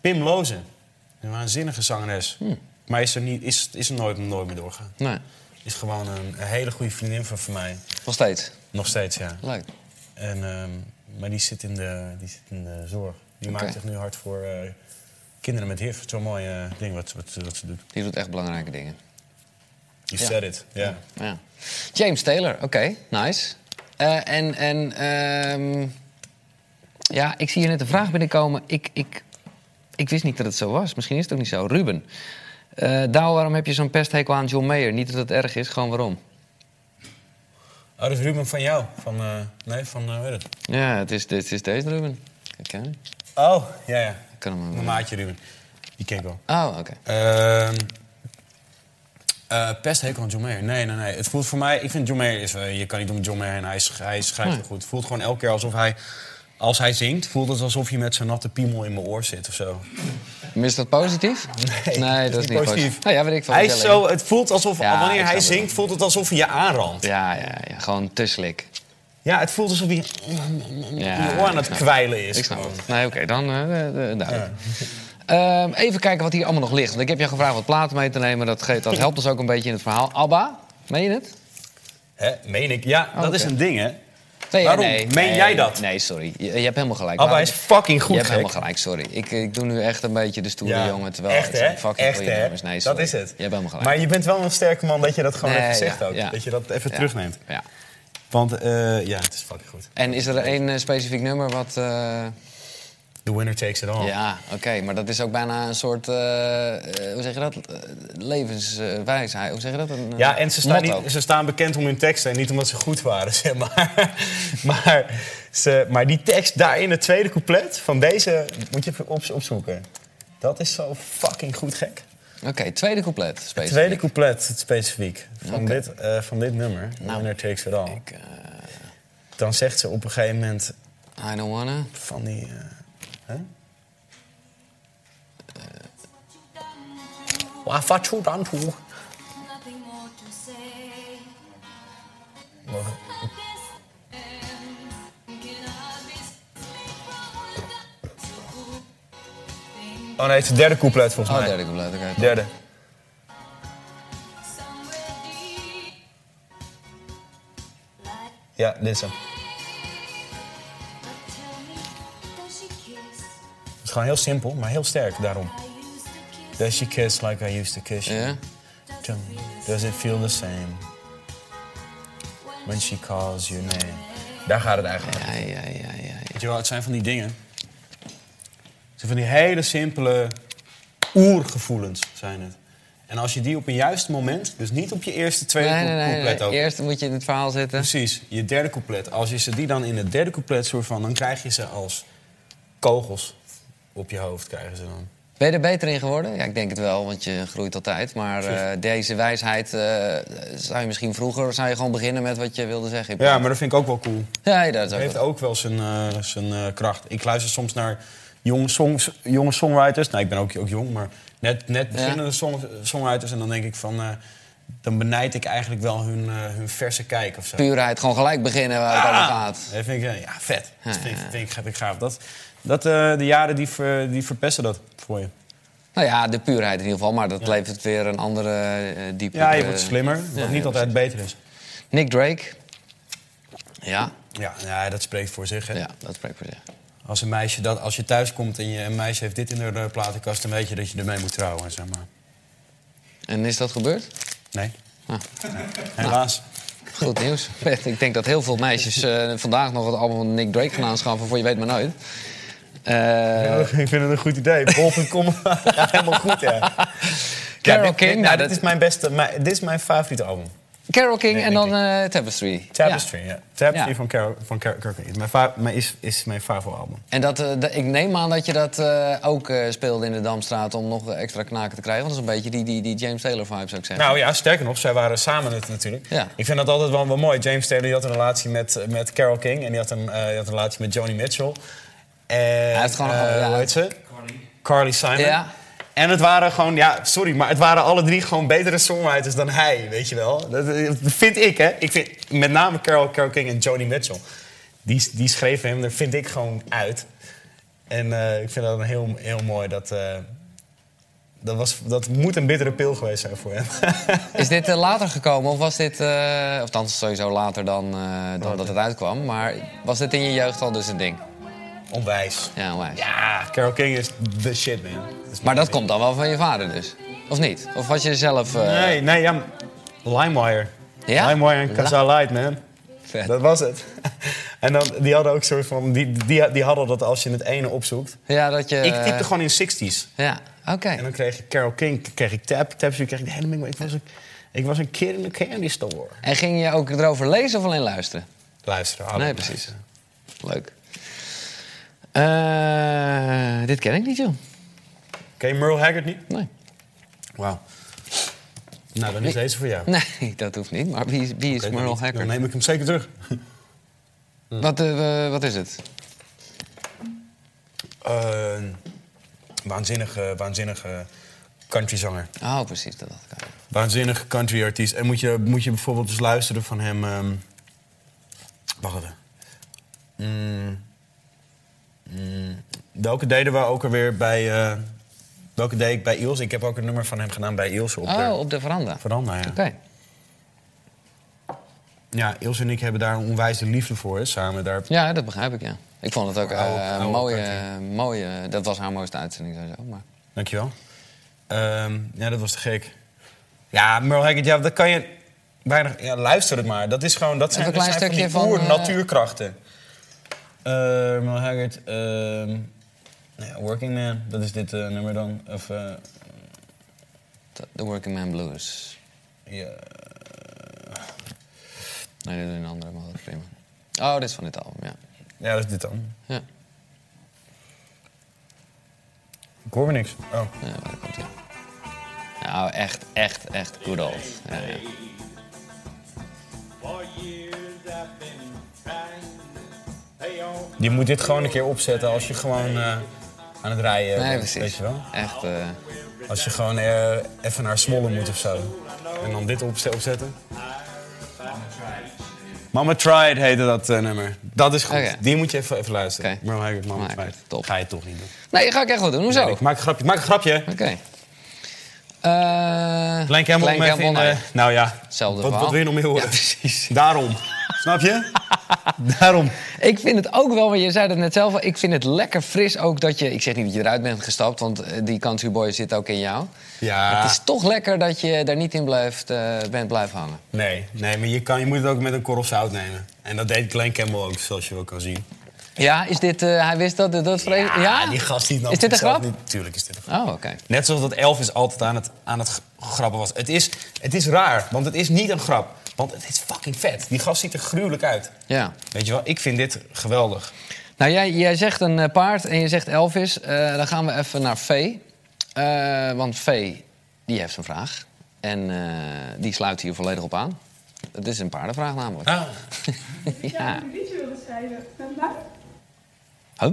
Speaker 2: Pim Lozen. Een waanzinnige zangeres. Maar is er, niet, is, is er nooit, nooit meer doorgaan.
Speaker 3: Nee,
Speaker 2: Is gewoon een, een hele goede vriendin van, van mij.
Speaker 3: nog steeds.
Speaker 2: Nog steeds, ja.
Speaker 3: Leuk.
Speaker 2: En, ehm, maar die zit, in de, die zit in de zorg. Die
Speaker 3: Oké.
Speaker 2: maakt zich nu hard voor eh, kinderen met HIV. Zo'n mooi eh, ding wat, wat, wat ze doet.
Speaker 3: Die doet echt belangrijke dingen.
Speaker 2: You
Speaker 3: Ja.
Speaker 2: said it, ja.
Speaker 3: Ja. James Taylor, oké, nice. Eh, en en ehm, ja, ik zie hier net een vraag binnenkomen. Ik, ik, ik wist niet dat het zo was. Misschien is het ook niet zo. Ruben, eh Douwe, waarom heb je zo'n pesthekel aan John Mayer? Niet dat het erg is, gewoon waarom?
Speaker 2: Oh, dat is Ruben van jou. Van, eh, nee, van, eh weet het.
Speaker 3: Ja, het is, dit is deze Ruben. Kijk, hè? Ik
Speaker 2: Oh, ja, ja.
Speaker 3: kan hem
Speaker 2: Mijn maatje Ruben. Die ken ik wel.
Speaker 3: Oh, oké.
Speaker 2: Ehm eh, pest hekel aan John Mayer. Nee, nee, nee. Het voelt voor mij... Ik vind John Mayer... Is, eh, je kan niet om John Mayer heen. Hij, sch- hij schrijft het goed. Het voelt gewoon elke keer alsof hij... Als hij zingt, voelt het alsof je met zijn natte piemel in mijn oor zit of zo.
Speaker 3: Maar Is dat positief? (laughs) Nee, dat is niet positief. Nou ja, weet ik van
Speaker 2: Hij is zo, het voelt alsof,
Speaker 3: Ja, ik
Speaker 2: wanneer hij
Speaker 3: snap het
Speaker 2: zingt, voelt het alsof hij je aanrandt. Ja,
Speaker 3: Ja, ja, ja, gewoon te slik.
Speaker 2: het voelt alsof hij
Speaker 3: Ja,
Speaker 2: je oor aan
Speaker 3: ik
Speaker 2: het
Speaker 3: snap
Speaker 2: kwijlen is.
Speaker 3: Ik snap
Speaker 2: gewoon.
Speaker 3: het. Nee, oké, dan eh, eh, eh, duidelijk. Ehm, even kijken wat hier allemaal nog ligt. Want ik heb jou gevraagd wat platen mee te nemen. Dat, ge- dat helpt ons ook een beetje in het verhaal. Abba, Meen je het?
Speaker 2: Hè, meen ik? Ja, dat
Speaker 3: oké.
Speaker 2: is een ding, hè?
Speaker 3: Nee,
Speaker 2: Waarom? Meen jij dat?
Speaker 3: Nee, sorry. Je, je hebt helemaal gelijk.
Speaker 2: Abba
Speaker 3: Waarom-
Speaker 2: is fucking goed,
Speaker 3: Je hebt
Speaker 2: gek.
Speaker 3: helemaal gelijk, sorry. Ik, ik doe nu echt een beetje de stoere jongen. Terwijl
Speaker 2: echt,
Speaker 3: het zijn
Speaker 2: hè?
Speaker 3: fucking
Speaker 2: echt,
Speaker 3: goede
Speaker 2: hè?
Speaker 3: nummers. Nee, sorry.
Speaker 2: Dat is het.
Speaker 3: Je hebt helemaal gelijk.
Speaker 2: Maar je bent wel een sterke man dat je dat gewoon
Speaker 3: Nee,
Speaker 2: even zegt
Speaker 3: ja,
Speaker 2: ook.
Speaker 3: ja.
Speaker 2: Dat je dat even
Speaker 3: Ja.
Speaker 2: terugneemt.
Speaker 3: Ja.
Speaker 2: Want eh, ja, het is fucking goed.
Speaker 3: En is er één eh, specifiek nummer wat... eh,
Speaker 2: The winner takes it all.
Speaker 3: Ja, oké, maar dat is ook bijna een soort, eh, eh, hoe zeg je dat, Eh, levenswijsheid, hoe zeg je dat? Een, eh,
Speaker 2: Ja, en ze staan,
Speaker 3: motto.
Speaker 2: niet, ze staan bekend om hun teksten. En niet omdat ze goed waren, (laughs) zeg maar. maar, ze, maar die tekst daar in het tweede couplet van deze moet je even op, opzoeken. Dat is zo fucking goed gek.
Speaker 3: Oké, tweede couplet, specifiek.
Speaker 2: Tweede couplet het specifiek van,
Speaker 3: Oké. Nou,
Speaker 2: dit, eh, van dit nummer. The winner takes it all.
Speaker 3: Ik, eh,
Speaker 2: Dan zegt ze op een gegeven moment
Speaker 3: I don't wanna.
Speaker 2: van die... eh, hè? Wa- wat you done to-
Speaker 9: Nothing more to say.
Speaker 2: Oh nee, het is het derde couplet volgens
Speaker 3: Oh,
Speaker 2: mij.
Speaker 3: derde couplet, oké.
Speaker 2: Derde. Ja, dit is hem. Het is gewoon heel simpel, maar heel sterk daarom. Does she kiss like I used to kiss you?
Speaker 3: Ja?
Speaker 2: Tell me, Does it feel the same? When she calls your name. Daar gaat het eigenlijk om.
Speaker 3: Ja, ja, ja, ja. ja.
Speaker 2: Weet je wel, het zijn van die dingen. Het zijn van die hele simpele oergevoelens zijn het. En als je die op een juist moment, dus niet op je eerste, tweede
Speaker 3: Nee, nee, nee, nee.
Speaker 2: couplet ook.
Speaker 3: Eerst moet je in het verhaal zitten.
Speaker 2: Precies, je derde couplet. Als je ze die dan in het derde couplet soort van, dan krijg je ze als kogels op je hoofd krijgen ze dan.
Speaker 3: Ben je er beter in geworden? Ja, ik denk het wel, want je groeit altijd. Maar eh, deze wijsheid eh, zou je misschien vroeger... zou je gewoon beginnen met wat je wilde zeggen. in
Speaker 2: Ja, maar dat vind ik ook wel cool.
Speaker 3: plaats- ja, dat is
Speaker 2: Het
Speaker 3: ook
Speaker 2: heeft
Speaker 3: wel-
Speaker 2: ook wel zijn, eh, zijn eh, kracht. Ik luister soms naar jonge, songs, jonge songwriters. Nou, ik ben ook, ook jong, maar net, net beginnende song- songwriters. En dan denk ik van, eh, dan benijd ik eigenlijk wel hun, eh, hun verse kijk of zo.
Speaker 3: Puurheid, gewoon gelijk beginnen waar het
Speaker 2: Ah.
Speaker 3: over gaat.
Speaker 2: Dat vind ik, eh, ja, vet. Dat vind, ik- vind ik, vind ik gaaf. Dat, dat, eh, de jaren die, ver- die verpesten dat voor je.
Speaker 3: Nou ja, de puurheid in ieder geval, maar dat levert weer een andere eh diepte.
Speaker 2: Ja, je wordt slimmer, wat
Speaker 3: ja,
Speaker 2: niet
Speaker 3: ja,
Speaker 2: altijd beter is.
Speaker 3: Nick Drake. Ja,
Speaker 2: Ja, ja, dat spreekt voor zich. Hè?
Speaker 3: ja dat spreekt voor zich.
Speaker 2: Als, een meisje dat, als je thuis komt en je, een meisje heeft dit in haar eh, platenkast... dan weet je dat je ermee moet trouwen, zeg maar.
Speaker 3: En is dat gebeurd?
Speaker 2: Nee. Helaas.
Speaker 3: Ah, Goed nieuws. (laughs) Fred, Ik denk dat heel veel meisjes eh, vandaag nog het album van Nick Drake gaan aanschaffen, voor je weet maar nooit. Eh,
Speaker 2: ik vind het een goed idee. (laughs) Bol.com. ja, helemaal goed, ja.
Speaker 3: Carole
Speaker 2: dit,
Speaker 3: King,
Speaker 2: Dit, nou,
Speaker 3: nou,
Speaker 2: dit
Speaker 3: dat-
Speaker 2: is mijn beste... mijn- dit is mijn favoriete album.
Speaker 3: Carole King
Speaker 2: Nee,
Speaker 3: en
Speaker 2: Nick
Speaker 3: dan eh, Tapestry.
Speaker 2: Tapestry,
Speaker 3: Ja.
Speaker 2: ja. Tapestry
Speaker 3: Ja.
Speaker 2: van Carol van Carol King. Is Mijn fa- mijn- is, is mijn favoriete album.
Speaker 3: En dat, eh, dat- ik neem aan dat je dat eh, ook eh, speelde in de Damstraat om nog eh, extra knaken te krijgen. Want dat is een beetje die, die, die James Taylor vibe, zou ik zeggen.
Speaker 2: Nou ja, sterker nog, zij waren samen het natuurlijk.
Speaker 3: Ja.
Speaker 2: Ik vind dat altijd wel, wel mooi. James Taylor die had een relatie met, met Carol King en die had een, eh, die had een relatie met Joni Mitchell. En, Hij
Speaker 3: heeft gewoon een- ja.
Speaker 2: hoe heet ze? Carly Simon.
Speaker 3: Ja.
Speaker 2: En het waren gewoon, ja, sorry, maar het waren alle drie gewoon betere songwriters dan hij, weet je wel. Dat eh, vind ik, hè. Ik vind met name Carol, Carol King en Joni Mitchell. Die, die schreven hem, daar vind ik gewoon uit. En eh, ik vind dat een heel, heel mooi dat... eh, dat, was, dat moet een bittere pil geweest zijn voor hem.
Speaker 3: Is dit eh, later gekomen of was dit, eh of dan sowieso later dan, eh, dan dat het uitkwam, maar was dit in je jeugd al dus een ding?
Speaker 2: Onwijs.
Speaker 3: Ja, onwijs.
Speaker 2: Ja, Carol King is the shit, man. Dat is
Speaker 3: Maar
Speaker 2: mijn
Speaker 3: dat komt dan wel van je vader dus, of niet? Of was je zelf... eh,
Speaker 2: ding. Nee, nee, ja. LimeWire.
Speaker 3: Ja?
Speaker 2: LimeWire en
Speaker 3: (laughs)
Speaker 2: Casa Light, man.
Speaker 3: Vet.
Speaker 2: Dat was het. (laughs) en dan, die hadden ook soort van... Die, die, die hadden dat als je het ene opzoekt.
Speaker 3: Ja, dat je... eh,
Speaker 2: ik typte gewoon in 60s.
Speaker 3: Ja, oké.
Speaker 2: En dan kreeg ik Carol King, kreeg ik Tap, Tapestry, kreeg ik de hele mingel. Ik was een, ik was een kid in de candy store.
Speaker 3: En ging je ook erover lezen of alleen luisteren?
Speaker 2: Luister, hadden
Speaker 3: Nee,
Speaker 2: we
Speaker 3: precies.
Speaker 2: luisteren.
Speaker 3: Leuk. Eh, dit ken ik niet, joh.
Speaker 2: Ken je Merle Haggard niet?
Speaker 3: Nee.
Speaker 2: Wauw. Nou, dan is
Speaker 3: Wie-
Speaker 2: deze voor jou.
Speaker 3: Nee, dat hoeft niet. Maar wie is, wie is
Speaker 2: Oké, dan
Speaker 3: Merle
Speaker 2: niet. Dan
Speaker 3: Hacker?
Speaker 2: neem ik hem zeker terug.
Speaker 3: Wat, eh, wat is het?
Speaker 2: Eh, waanzinnige, waanzinnige countryzanger.
Speaker 3: Oh, precies, dat dacht ik al.
Speaker 2: Waanzinnige countryartiest. En moet je, moet je bijvoorbeeld eens luisteren van hem... ehm, wacht even. Mm, mm, welke deden we ook alweer bij... eh welke deed ik bij Iels? Ik heb ook een nummer van hem gedaan bij Iels op de
Speaker 3: Oh, op de veranda.
Speaker 2: veranda, ja.
Speaker 3: Oké.
Speaker 2: ja, Ilse en ik hebben daar een onwijze liefde voor, hè, samen. Daar,
Speaker 3: Ja, dat begrijp ik, ja. Ik vond het ook
Speaker 2: Oude-
Speaker 3: eh,
Speaker 2: oude
Speaker 3: mooie, mooie... Dat was haar mooiste uitzending sowieso, maar...
Speaker 2: Dankjewel. Ehm ja, dat was te gek. Ja, Merle Haggard, ja, dat kan je weinig... Ja, luister het maar. Dat is gewoon... Dat zijn,
Speaker 3: een
Speaker 2: dat
Speaker 3: klein
Speaker 2: zijn
Speaker 3: stukje
Speaker 2: van
Speaker 3: van,
Speaker 2: die
Speaker 3: eh,
Speaker 2: oer-natuurkrachten. Eh Merle Haggard, ehm, nou ja, Working Man, dat is dit eh, nummer dan. Of, eh,
Speaker 3: The Working Man Blues.
Speaker 2: ja.
Speaker 3: Nee, dit is een andere, maar dat is prima. Oh, dit is van dit album, ja.
Speaker 2: ja, dat is dit dan.
Speaker 3: Ja,
Speaker 2: Ik hoor weer niks. Oh.
Speaker 3: ja daar komt ie. Nou, echt, echt, echt good old. Ja, ja.
Speaker 2: Je moet dit gewoon een keer opzetten als je gewoon eh, aan het rijden
Speaker 3: Nee,
Speaker 2: bent,
Speaker 3: precies.
Speaker 2: weet je wel.
Speaker 3: Echt, eh,
Speaker 2: Als je gewoon eh, even naar Smollen moet of zo. En dan dit opze- opzetten. Mama Tried heette dat eh, nummer. Dat is goed.
Speaker 3: Oké.
Speaker 2: Die moet je even, even luisteren.
Speaker 3: Oké.
Speaker 2: Merle Haggard, Mama
Speaker 3: Maak
Speaker 2: Tried.
Speaker 3: het, top.
Speaker 2: Ga je toch niet doen.
Speaker 3: Nee, ga ik echt wel doen. Hoezo?
Speaker 2: Nee, ik
Speaker 3: Oké.
Speaker 2: maak een grapje. Maak een grapje.
Speaker 3: Eh,
Speaker 2: Klein Campbell
Speaker 3: Klein
Speaker 2: met in
Speaker 3: Campbell,
Speaker 2: de-
Speaker 3: nee.
Speaker 2: Nou ja.
Speaker 3: Hetzelfde
Speaker 2: wat, wat
Speaker 3: verhaal.
Speaker 2: wil je nog meer horen?
Speaker 3: Ja, precies.
Speaker 2: Daarom. Snap
Speaker 3: (laughs)
Speaker 2: je? Daarom.
Speaker 3: Ik vind het ook wel, want je zei dat net zelf al, ik vind het lekker fris ook dat je... Ik zeg niet dat je eruit bent gestapt, want eh, die country boy zit ook in jou.
Speaker 2: Ja.
Speaker 3: Maar Het is toch lekker dat je daar niet in blijft, eh, bent blijven hangen.
Speaker 2: Nee, nee maar je, kan, je moet het ook met een korrel zout nemen. En dat deed Klein Campbell ook, zoals je wel kan zien.
Speaker 3: Ja, is dit... eh, hij wist dat, dat vrees... Ja,
Speaker 2: die gast die nam
Speaker 3: Is dit een
Speaker 2: zichzelf
Speaker 3: grap?
Speaker 2: niet- Tuurlijk is dit een grap.
Speaker 3: Oh, oké.
Speaker 2: Net zoals dat Elvis altijd aan het, aan het g- grappen was. Het is, het is raar, want het is niet een grap. Want het is fucking vet. Die gast ziet er gruwelijk uit.
Speaker 3: Ja.
Speaker 2: Weet je wel, ik vind dit geweldig.
Speaker 3: Nou, jij, jij zegt een eh, paard en je zegt Elvis. Eh, dan gaan we even naar Vee. Eh, want Vee, die heeft een vraag. En eh, die sluit hier volledig op aan. Het is een paardenvraag namelijk.
Speaker 2: Ah.
Speaker 3: ja.
Speaker 7: een liedje willen schrijven met mij.
Speaker 3: Huh?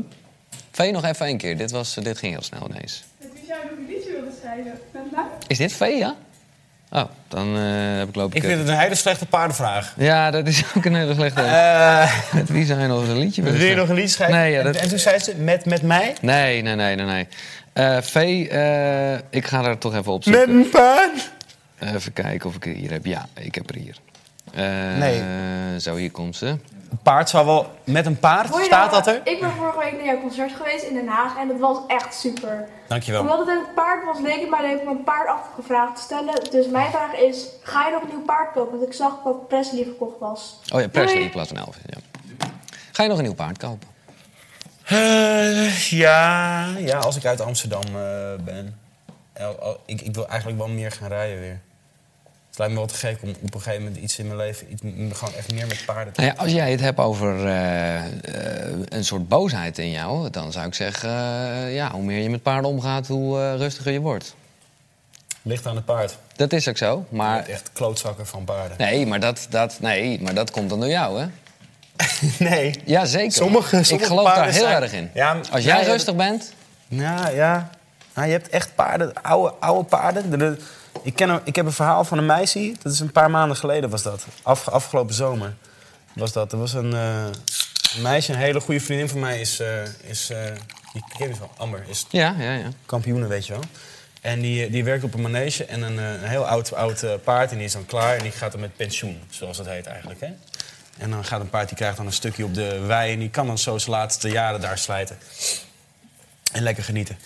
Speaker 3: Vee nog even één keer. Dit, was, eh, dit ging heel snel ineens.
Speaker 7: Met wie zou je nog een liedje willen schrijven met mij?
Speaker 3: Is dit Vee, ja? Oh, dan eh, heb ik lopen
Speaker 2: Ik vind het een hele slechte paardenvraag.
Speaker 3: Ja, dat is ook een hele slechte...
Speaker 2: Eh
Speaker 3: Met wie zou je nog eens een liedje willen
Speaker 2: (laughs) wil je
Speaker 3: schrijven?
Speaker 2: nog een lied schrijven?
Speaker 3: Nee, ja,
Speaker 2: En-
Speaker 3: dat-
Speaker 2: en, toen zei ze, met, met mij?
Speaker 3: Nee, nee, nee, nee. nee. Eh, Vee, eh, ik ga daar toch even op zoeken.
Speaker 2: een paard?
Speaker 3: Even kijken of ik er hier heb. Ja, ik heb er hier. Eh, Zo, hier komt ze.
Speaker 2: Een paard zou wel... Met een paard? Staat dat er?
Speaker 10: Ik ben vorige week naar jouw concert geweest in Den Haag en dat was echt super.
Speaker 2: Dankjewel.
Speaker 10: Omdat het een paard was, leek het mij leuk om een paard afgevraagd te stellen. Dus mijn vraag is, ga je nog een nieuw paard kopen? Want ik zag dat Presley verkocht was.
Speaker 3: Oh ja, Presley
Speaker 10: Doei.
Speaker 3: in plaats van Elvis. Ja. Ga je nog een nieuw paard kopen?
Speaker 2: Eh, ja, ja, als ik uit Amsterdam eh, ben. El- al- ik, ik wil eigenlijk wel meer gaan rijden weer. Het lijkt me wel te gek om op een gegeven moment iets in mijn leven... Iets, m- gewoon echt meer met paarden te
Speaker 3: Nou ja, als jij het hebt over eh, eh, een soort boosheid in jou... dan zou ik zeggen, eh, ja, hoe meer je met paarden omgaat, hoe eh, rustiger je wordt.
Speaker 2: Ligt aan het paard.
Speaker 3: Dat is ook zo, maar...
Speaker 2: Echt klootzakken van (laughs) paarden.
Speaker 3: Nee, maar dat, dat, nee, maar dat komt dan door jou, hè?
Speaker 2: Nee.
Speaker 3: Ja, zeker.
Speaker 2: Sommige-
Speaker 3: ik
Speaker 2: sommige
Speaker 3: geloof daar
Speaker 2: paarden
Speaker 3: heel
Speaker 2: zijn-
Speaker 3: erg in.
Speaker 2: Ja,
Speaker 3: als jij
Speaker 2: ja,
Speaker 3: rustig bent...
Speaker 2: Nou ja. Nou, je hebt echt paarden, oude, oude paarden. De- de- ik, ken, een- ik heb een verhaal van een meisje. Dat is een paar maanden geleden was dat. Af, afgelopen zomer was dat. Er was een, eh, een meisje, een hele goede vriendin van mij is... eh is eh, die ken je van Amber. Is
Speaker 3: Ja, ja, ja.
Speaker 2: kampioenen, weet je wel. En die, die werkt op een manege en een, eh, een heel oud, oud eh, paard. En die is dan klaar en die gaat dan met pensioen, zoals dat heet eigenlijk. Hè? En dan gaat een paard, die krijgt dan een stukje op de wei... en die kan dan zo zijn laatste jaren daar slijten. En lekker genieten.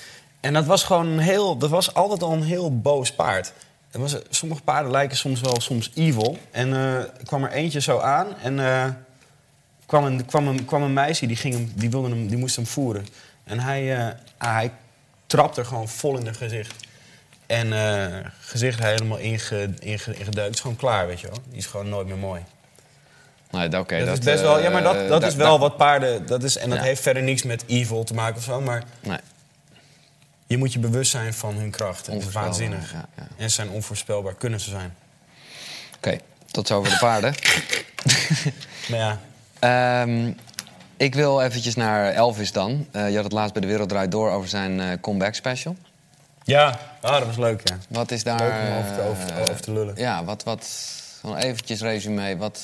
Speaker 2: En dat was gewoon een heel... Dat was altijd al een heel boos paard. Er was, sommige paarden lijken soms wel soms evil. En eh, er kwam er eentje zo aan en... eh, kwam een, kwam een, kwam een meisje die, ging hem, die, wilde hem, die moest hem voeren. En hij, eh, ah, hij trapte er gewoon vol in haar gezicht. En eh gezicht helemaal inge, inge, ingedeukt. Is gewoon klaar, weet je wel. Die is gewoon nooit meer mooi.
Speaker 3: Nee, oké,
Speaker 2: dat, is best wel, ja, maar dat,
Speaker 3: eh,
Speaker 2: dat
Speaker 3: da-
Speaker 2: is wel
Speaker 3: da-
Speaker 2: wat paarden. Dat is, en dat
Speaker 3: Ja.
Speaker 2: heeft verder niks met evil te maken of zo. Maar
Speaker 3: Nee.
Speaker 2: je moet je bewust zijn van hun kracht. Het is
Speaker 3: Onvoorspelbaar,
Speaker 2: waanzinnig.
Speaker 3: ja, ja.
Speaker 2: En ze zijn onvoorspelbaar kunnen ze zijn.
Speaker 3: Oké, tot zover de
Speaker 2: (laughs)
Speaker 3: paarden.
Speaker 2: Maar ja,
Speaker 3: Ehm, ik wil eventjes naar Elvis dan. Eh, je had het laatst bij De Wereld Draait Door over zijn eh, comeback special.
Speaker 2: ja. Ah, dat was leuk, ja.
Speaker 3: Wat is daar...
Speaker 2: Leuk om over te- over te-
Speaker 3: eh,
Speaker 2: over te lullen.
Speaker 3: Ja, wat... wat gewoon eventjes resume. Wat,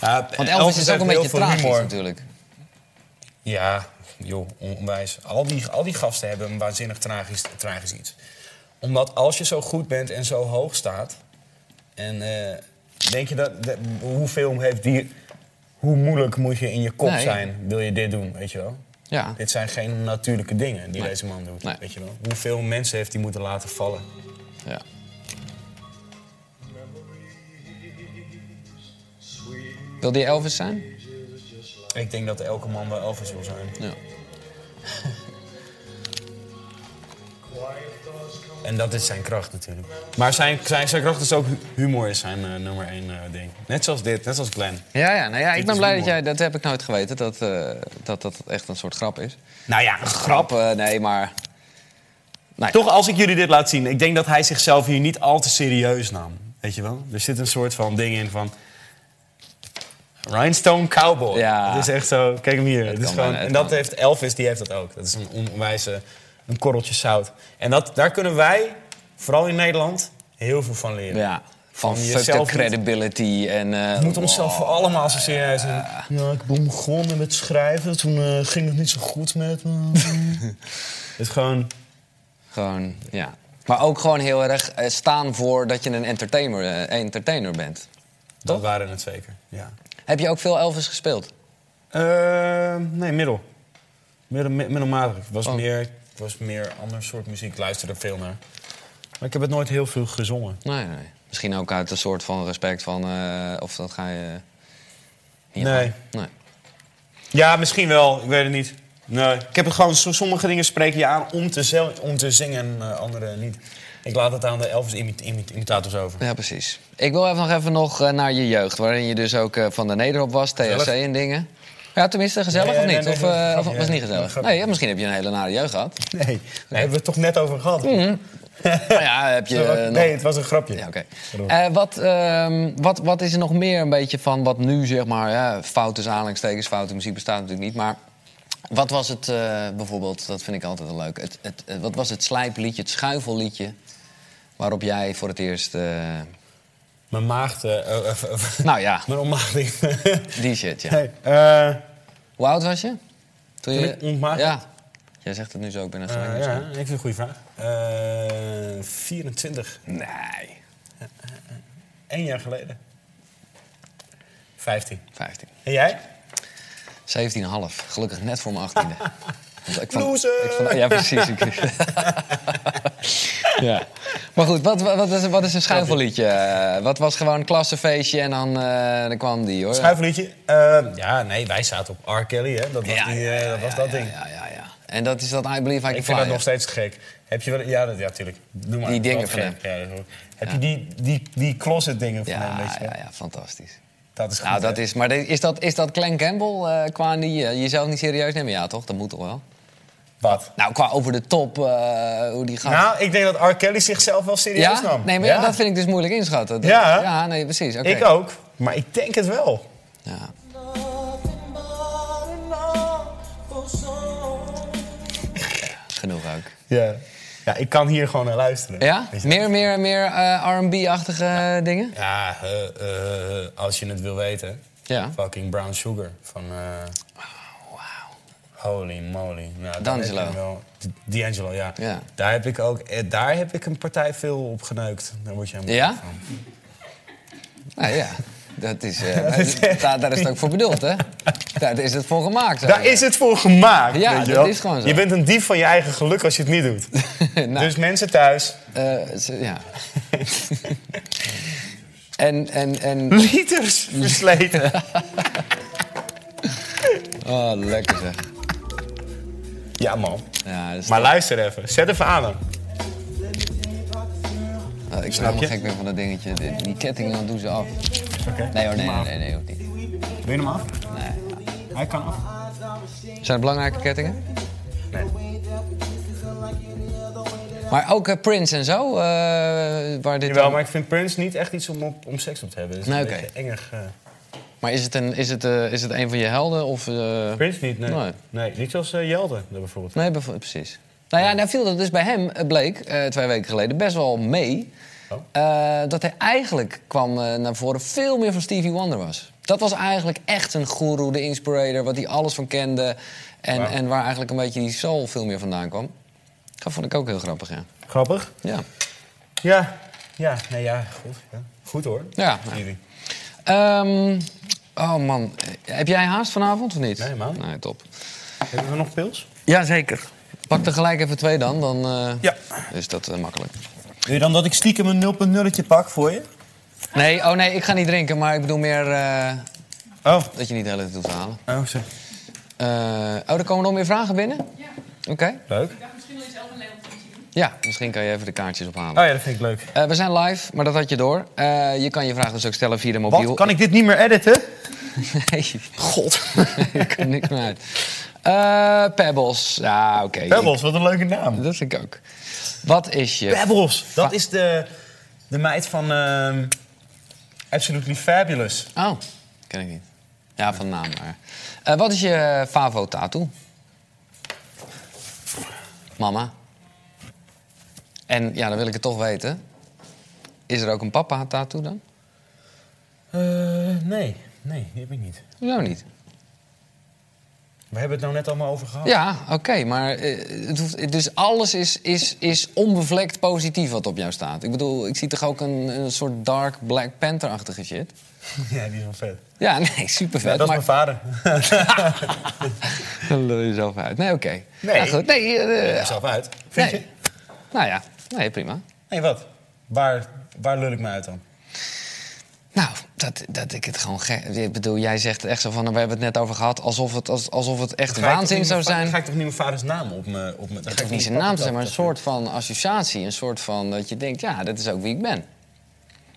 Speaker 2: Ja,
Speaker 3: want Elvis, is ook
Speaker 2: heeft
Speaker 3: een
Speaker 2: heel
Speaker 3: beetje
Speaker 2: veel
Speaker 3: tragisch
Speaker 2: humor.
Speaker 3: natuurlijk.
Speaker 2: Ja, joh, onwijs. Al die, al die gasten hebben een waanzinnig tragisch, tragisch iets. Omdat als je zo goed bent en zo hoog staat... en eh, Denk je dat, dat- hoeveel heeft die... Hoe moeilijk moet je in je kop
Speaker 3: Nee.
Speaker 2: zijn, wil je dit doen, weet je wel?
Speaker 3: Ja.
Speaker 2: Dit zijn geen natuurlijke dingen die
Speaker 3: Nee.
Speaker 2: deze man doet,
Speaker 3: Nee.
Speaker 2: weet je wel? Hoeveel mensen heeft hij moeten laten vallen?
Speaker 3: ja. Wil die Elvis zijn?
Speaker 2: Ik denk dat elke man wel Elvis wil zijn.
Speaker 3: Ja.
Speaker 2: En dat is zijn kracht natuurlijk. Maar zijn, zijn, zijn kracht is ook hu- humor is zijn eh, nummer één eh, ding. Net zoals dit, net zoals Glenn.
Speaker 3: Ja, ja, nou ja, ik
Speaker 2: Dit
Speaker 3: ben
Speaker 2: is
Speaker 3: blij dat
Speaker 2: humor.
Speaker 3: jij... Dat heb ik nooit geweten, dat eh, dat, dat echt een soort grap is.
Speaker 2: Nou ja, een grap.
Speaker 3: Eh, nee, maar... Nee.
Speaker 2: Toch als ik jullie dit laat zien, ik denk dat hij zichzelf hier niet al te serieus nam. Weet je wel? Er zit een soort van ding in van. Rhinestone Cowboy.
Speaker 3: Ja.
Speaker 2: Het is echt zo, kijk hem hier. Het is
Speaker 3: kan
Speaker 2: gewoon,
Speaker 3: bijna,
Speaker 2: en
Speaker 3: het
Speaker 2: dat
Speaker 3: kan.
Speaker 2: heeft Elvis, die heeft dat ook. Dat is een onwijze, een korreltje zout. En dat, daar kunnen wij, vooral in Nederland, heel veel van leren.
Speaker 3: Ja, van
Speaker 2: Van
Speaker 3: fuck de
Speaker 2: jezelf niet-
Speaker 3: credibility en... eh,
Speaker 2: We moeten onszelf
Speaker 3: wow.
Speaker 2: voor allemaal zo serieus nemen. Ja, ik ben begonnen met schrijven. Toen eh, ging het niet zo goed met me. (laughs) het is gewoon...
Speaker 3: Gewoon, ja. Maar ook gewoon heel erg eh, staan voor dat je een entertainer, eh, entertainer bent.
Speaker 2: Dat waren het zeker, ja.
Speaker 3: Heb je ook veel Elvis gespeeld?
Speaker 2: Eh, nee, middel. Middel- mi- middelmatig. Het was, meer, het was meer ander soort muziek. Ik luisterde veel naar. Maar ik heb het nooit heel veel gezongen.
Speaker 3: Nee, nee. Misschien ook uit een soort van respect van... eh, of dat ga je... niet
Speaker 2: Nee.
Speaker 3: aan. nee.
Speaker 2: Ja, misschien wel. Ik weet het niet. Nee. Ik heb het gewoon... so- Sommige dingen spreken je aan om te, zel- om te zingen en eh, andere niet. Ik laat het aan de Elvis imit- imit- imitators over.
Speaker 3: Ja, precies. Ik wil even nog even nog eh, naar je jeugd, waarin je dus ook eh, van de nederop was, THC
Speaker 2: Gezellig.
Speaker 3: en dingen. Ja, tenminste, gezellig
Speaker 2: Nee,
Speaker 3: of
Speaker 2: nee,
Speaker 3: niet?
Speaker 2: nee,
Speaker 3: of
Speaker 2: nee,
Speaker 3: eh,
Speaker 2: grapje,
Speaker 3: of was het niet
Speaker 2: ja.
Speaker 3: gezellig?
Speaker 2: Grapje.
Speaker 3: Nee, ja, misschien heb je een hele nare jeugd gehad.
Speaker 2: (laughs) Nee, daar hebben we het toch net over gehad.
Speaker 3: Maar ja, heb Mm, je eh, nog...
Speaker 2: nee, het was een grapje.
Speaker 3: Ja, oké. Eh, wat, ehm, wat, wat is er nog meer een beetje van wat nu, zeg maar... Ja, fout is aanhalingstekens, foute muziek bestaat natuurlijk niet, maar... Wat was het eh, bijvoorbeeld, dat vind ik altijd wel leuk... Het, het, eh, wat was het slijpliedje, het schuifelliedje... waarop jij voor het eerst... eh,
Speaker 2: Mijn maagd... eh, eh, eh, (laughs) eh,
Speaker 3: nou ja,
Speaker 2: mijn ontmaagding.
Speaker 3: die shit, ja.
Speaker 2: (laughs) Nee, eh,
Speaker 3: Hoe oud was je?
Speaker 2: Toen ik ontmaagd
Speaker 3: Ja. Jij zegt het nu zo, ik ben er gelijk dus
Speaker 2: eh,
Speaker 3: mee
Speaker 2: ja,
Speaker 3: zo.
Speaker 2: even een goede vraag. Eh, 24.
Speaker 3: Nee.
Speaker 2: Eén jaar geleden. 15.
Speaker 3: 15.
Speaker 2: En jij?
Speaker 3: 17,5. Gelukkig net voor mijn
Speaker 2: (laughs)
Speaker 3: 18e. Want ik vond-
Speaker 2: Loser!
Speaker 3: ik vond- ja, precies. Ik- (laughs) ja. Maar goed, wat, wat, wat is, wat is een schuifelliedje? Eh, Wat was gewoon een klassefeestje en dan, eh, dan kwam die, hoor.
Speaker 2: Schuifliedje. Eh, ja, nee, wij zaten op R. Kelly, hè. Dat was,
Speaker 3: Ja,
Speaker 2: die,
Speaker 3: ja,
Speaker 2: eh,
Speaker 3: ja,
Speaker 2: dat, was
Speaker 3: ja,
Speaker 2: dat
Speaker 3: ja,
Speaker 2: ding.
Speaker 3: Ja, ja, ja. En dat is dat I Believe I Can
Speaker 2: Ik
Speaker 3: Fly.
Speaker 2: vind dat nog
Speaker 3: hè?
Speaker 2: steeds gek. Heb je wel... Ja, dat, ja, tuurlijk. Doe maar.
Speaker 3: Die
Speaker 2: Dat is
Speaker 3: dingen
Speaker 2: wel
Speaker 3: van
Speaker 2: gek. Ja, dat is wel- Heb je die, die, die closet dingen van hem,
Speaker 3: Ja,
Speaker 2: weet je wel?
Speaker 3: ja, ja, fantastisch.
Speaker 2: Dat is goed,
Speaker 3: Nou, dat
Speaker 2: hè?
Speaker 3: is, maar de- is dat, is dat Glen Campbell eh, qua die, eh, jezelf niet serieus nemen? Ja, toch? Dat moet toch wel?
Speaker 2: Wat?
Speaker 3: Nou, qua over de top, eh, hoe die gaat.
Speaker 2: Nou, ik denk dat R. Kelly zichzelf wel serieus
Speaker 3: ja?
Speaker 2: nam.
Speaker 3: Nee, maar ja, dat vind ik dus moeilijk inschatten. Dat-
Speaker 2: Ja.
Speaker 3: Ja, nee, precies. Oké.
Speaker 2: Ik ook, maar ik denk het wel.
Speaker 3: Ja. Genoeg ook.
Speaker 2: Ja. Ja, ik kan hier gewoon naar luisteren.
Speaker 3: Ja?
Speaker 2: Weet je?
Speaker 3: Meer, meer, meer eh, R&B-achtige eh, dingen?
Speaker 2: Ja, eh, eh, als je het wil weten.
Speaker 3: Ja.
Speaker 2: Fucking Brown Sugar van... eh, Holy moly. Nou, daar heb
Speaker 3: D'Angelo.
Speaker 2: ik wel- D- D'Angelo, ja.
Speaker 3: Ja.
Speaker 2: Daar heb ik ook... eh, Daar heb ik een partij veel op geneukt. Daar word je helemaal
Speaker 3: Ja?
Speaker 2: gek van.
Speaker 3: Nou ja, dat is,
Speaker 2: (laughs)
Speaker 3: eh, daar, daar is het ook voor bedoeld, hè? Daar is het voor gemaakt. zou
Speaker 2: Daar
Speaker 3: ik
Speaker 2: is het voor gemaakt.
Speaker 3: Ja,
Speaker 2: weet je
Speaker 3: dat
Speaker 2: wel.
Speaker 3: is gewoon zo.
Speaker 2: Je bent een dief van je eigen geluk als je het niet doet.
Speaker 3: zeggen. (laughs) Nou,
Speaker 2: Dus mensen thuis,
Speaker 3: eh, ze- ja. en, en, en... (laughs)
Speaker 2: liters versleten.
Speaker 3: Oh, lekker zeg.
Speaker 2: ja, man.
Speaker 3: Ja, dat is
Speaker 2: Maar luister even. Zet even aan hem.
Speaker 3: Oh, ik ben
Speaker 2: Snap je?
Speaker 3: helemaal gek weer van dat dingetje. Die, die kettingen, dan doen ze af.
Speaker 2: Oké.
Speaker 3: Nee hoor, nee, nee, nee, nee, ook niet.
Speaker 2: Wil je hem af? Hij kan af.
Speaker 3: Zijn het belangrijke kettingen? Maar ook eh, Prince en zo, eh, waar dit
Speaker 2: Jawel,
Speaker 3: dan-
Speaker 2: maar ik vind Prince niet echt iets om, op, om seks op te hebben. Dat is
Speaker 3: Nee,
Speaker 2: een
Speaker 3: oké.
Speaker 2: beetje engig. eh.
Speaker 3: Maar is het, een, is, het, eh, is het een van je helden? Of, eh,
Speaker 2: Prince niet, nee.
Speaker 3: Nee.
Speaker 2: Nee, niet zoals eh, Jelden bijvoorbeeld.
Speaker 3: Nee, bevo- precies. Nou ja, nou viel dat dus bij hem, eh, bleek, eh, twee weken geleden, best wel mee.
Speaker 2: Oh.
Speaker 3: eh, dat hij eigenlijk, kwam eh, naar voren, veel meer van Stevie Wonder was. Dat was eigenlijk echt een guru, de inspirator, wat hij alles van kende. En,
Speaker 2: Wauw.
Speaker 3: en waar eigenlijk een beetje die soul veel meer vandaan kwam. Dat vond ik ook heel grappig, ja.
Speaker 2: Grappig.
Speaker 3: Ja.
Speaker 2: Ja. Ja, nee, ja, goed. Ja. Goed hoor.
Speaker 3: nou Ja.
Speaker 2: Stevie.
Speaker 3: Ehm, oh man, heb jij haast vanavond of niet?
Speaker 2: Nee, man.
Speaker 3: Nee, top.
Speaker 2: Hebben we nog pils?
Speaker 3: Jazeker. Pak er gelijk even twee dan, dan eh,
Speaker 11: Ja.
Speaker 3: is dat eh, makkelijk.
Speaker 11: Wil je dan dat ik stiekem een 0.0'tje pak voor je?
Speaker 3: Nee, oh nee, ik ga niet drinken, maar ik bedoel meer eh,
Speaker 11: Oh.
Speaker 3: dat je niet de hele tijd hoeft te halen.
Speaker 11: Oh, zo.
Speaker 3: Eh, oh, er komen nog meer vragen binnen? Ja. Oké.
Speaker 2: Leuk. Oh
Speaker 3: Ja, misschien kan je even de kaartjes ophalen.
Speaker 2: Oh ja, dat vind ik leuk.
Speaker 3: Eh, we zijn live, maar dat had je door. Eh, je kan je vraag dus ook stellen via de mobiel.
Speaker 11: Wat? Kan ik dit niet meer editen?
Speaker 3: (laughs) Nee. God. (laughs) ik kan niks meer uit. Eh, Pebbles. Ja, oké.
Speaker 11: Pebbles, wat een leuke naam.
Speaker 3: Ik- Dat vind ik ook. Wat is je...
Speaker 11: Pebbles, dat is de, de meid van ehm, Absolutely Fabulous.
Speaker 3: Oh, ken ik niet. Ja, van naam maar. Eh, wat is je favo-tattoo? Mama. En ja, dan wil ik het toch weten. Is er ook een papa-tattoo dan?
Speaker 2: Eh, nee, nee, die heb ik niet.
Speaker 3: Nou niet.
Speaker 2: We hebben het nou net allemaal over gehad.
Speaker 3: Ja, oké, maar eh, het hoeft, dus alles is, is, is onbevlekt positief wat op jou staat. Ik bedoel, ik zie toch ook een, een soort dark Black Panther-achtige shit?
Speaker 2: (laughs) Ja, die is wel vet.
Speaker 3: Ja, (laughs) nee, super vet.
Speaker 11: Ja, dat is
Speaker 3: maar...
Speaker 11: mijn
Speaker 2: (laughs)
Speaker 11: vader.
Speaker 3: (laughs) Dan lul je zelf uit. Nee, oké.
Speaker 11: Nee.
Speaker 3: Ja, goed. Nee, eh,
Speaker 2: Ja. Zelf uit.
Speaker 3: nee. Nou ja, nee, prima.
Speaker 2: Nee, wat? Waar, waar lul ik me uit dan?
Speaker 3: Nou, dat, dat ik het gewoon gek... Ik bedoel, jij zegt echt zo van, nou, we hebben het net over gehad... alsof het, als- alsof het echt
Speaker 2: Ga ik toch
Speaker 3: waanzin
Speaker 2: niet
Speaker 3: zou
Speaker 2: mijn va-
Speaker 3: zijn.
Speaker 2: Ga ik toch niet mijn vaders naam op me... Op me dan ga
Speaker 3: Het
Speaker 2: ik toch
Speaker 3: hoeft niet zijn
Speaker 2: pakken Oh,
Speaker 3: naam te
Speaker 2: dat-
Speaker 3: zijn, maar een
Speaker 2: dat-
Speaker 3: soort van associatie. Een soort van dat je denkt, ja, dat is ook wie ik ben.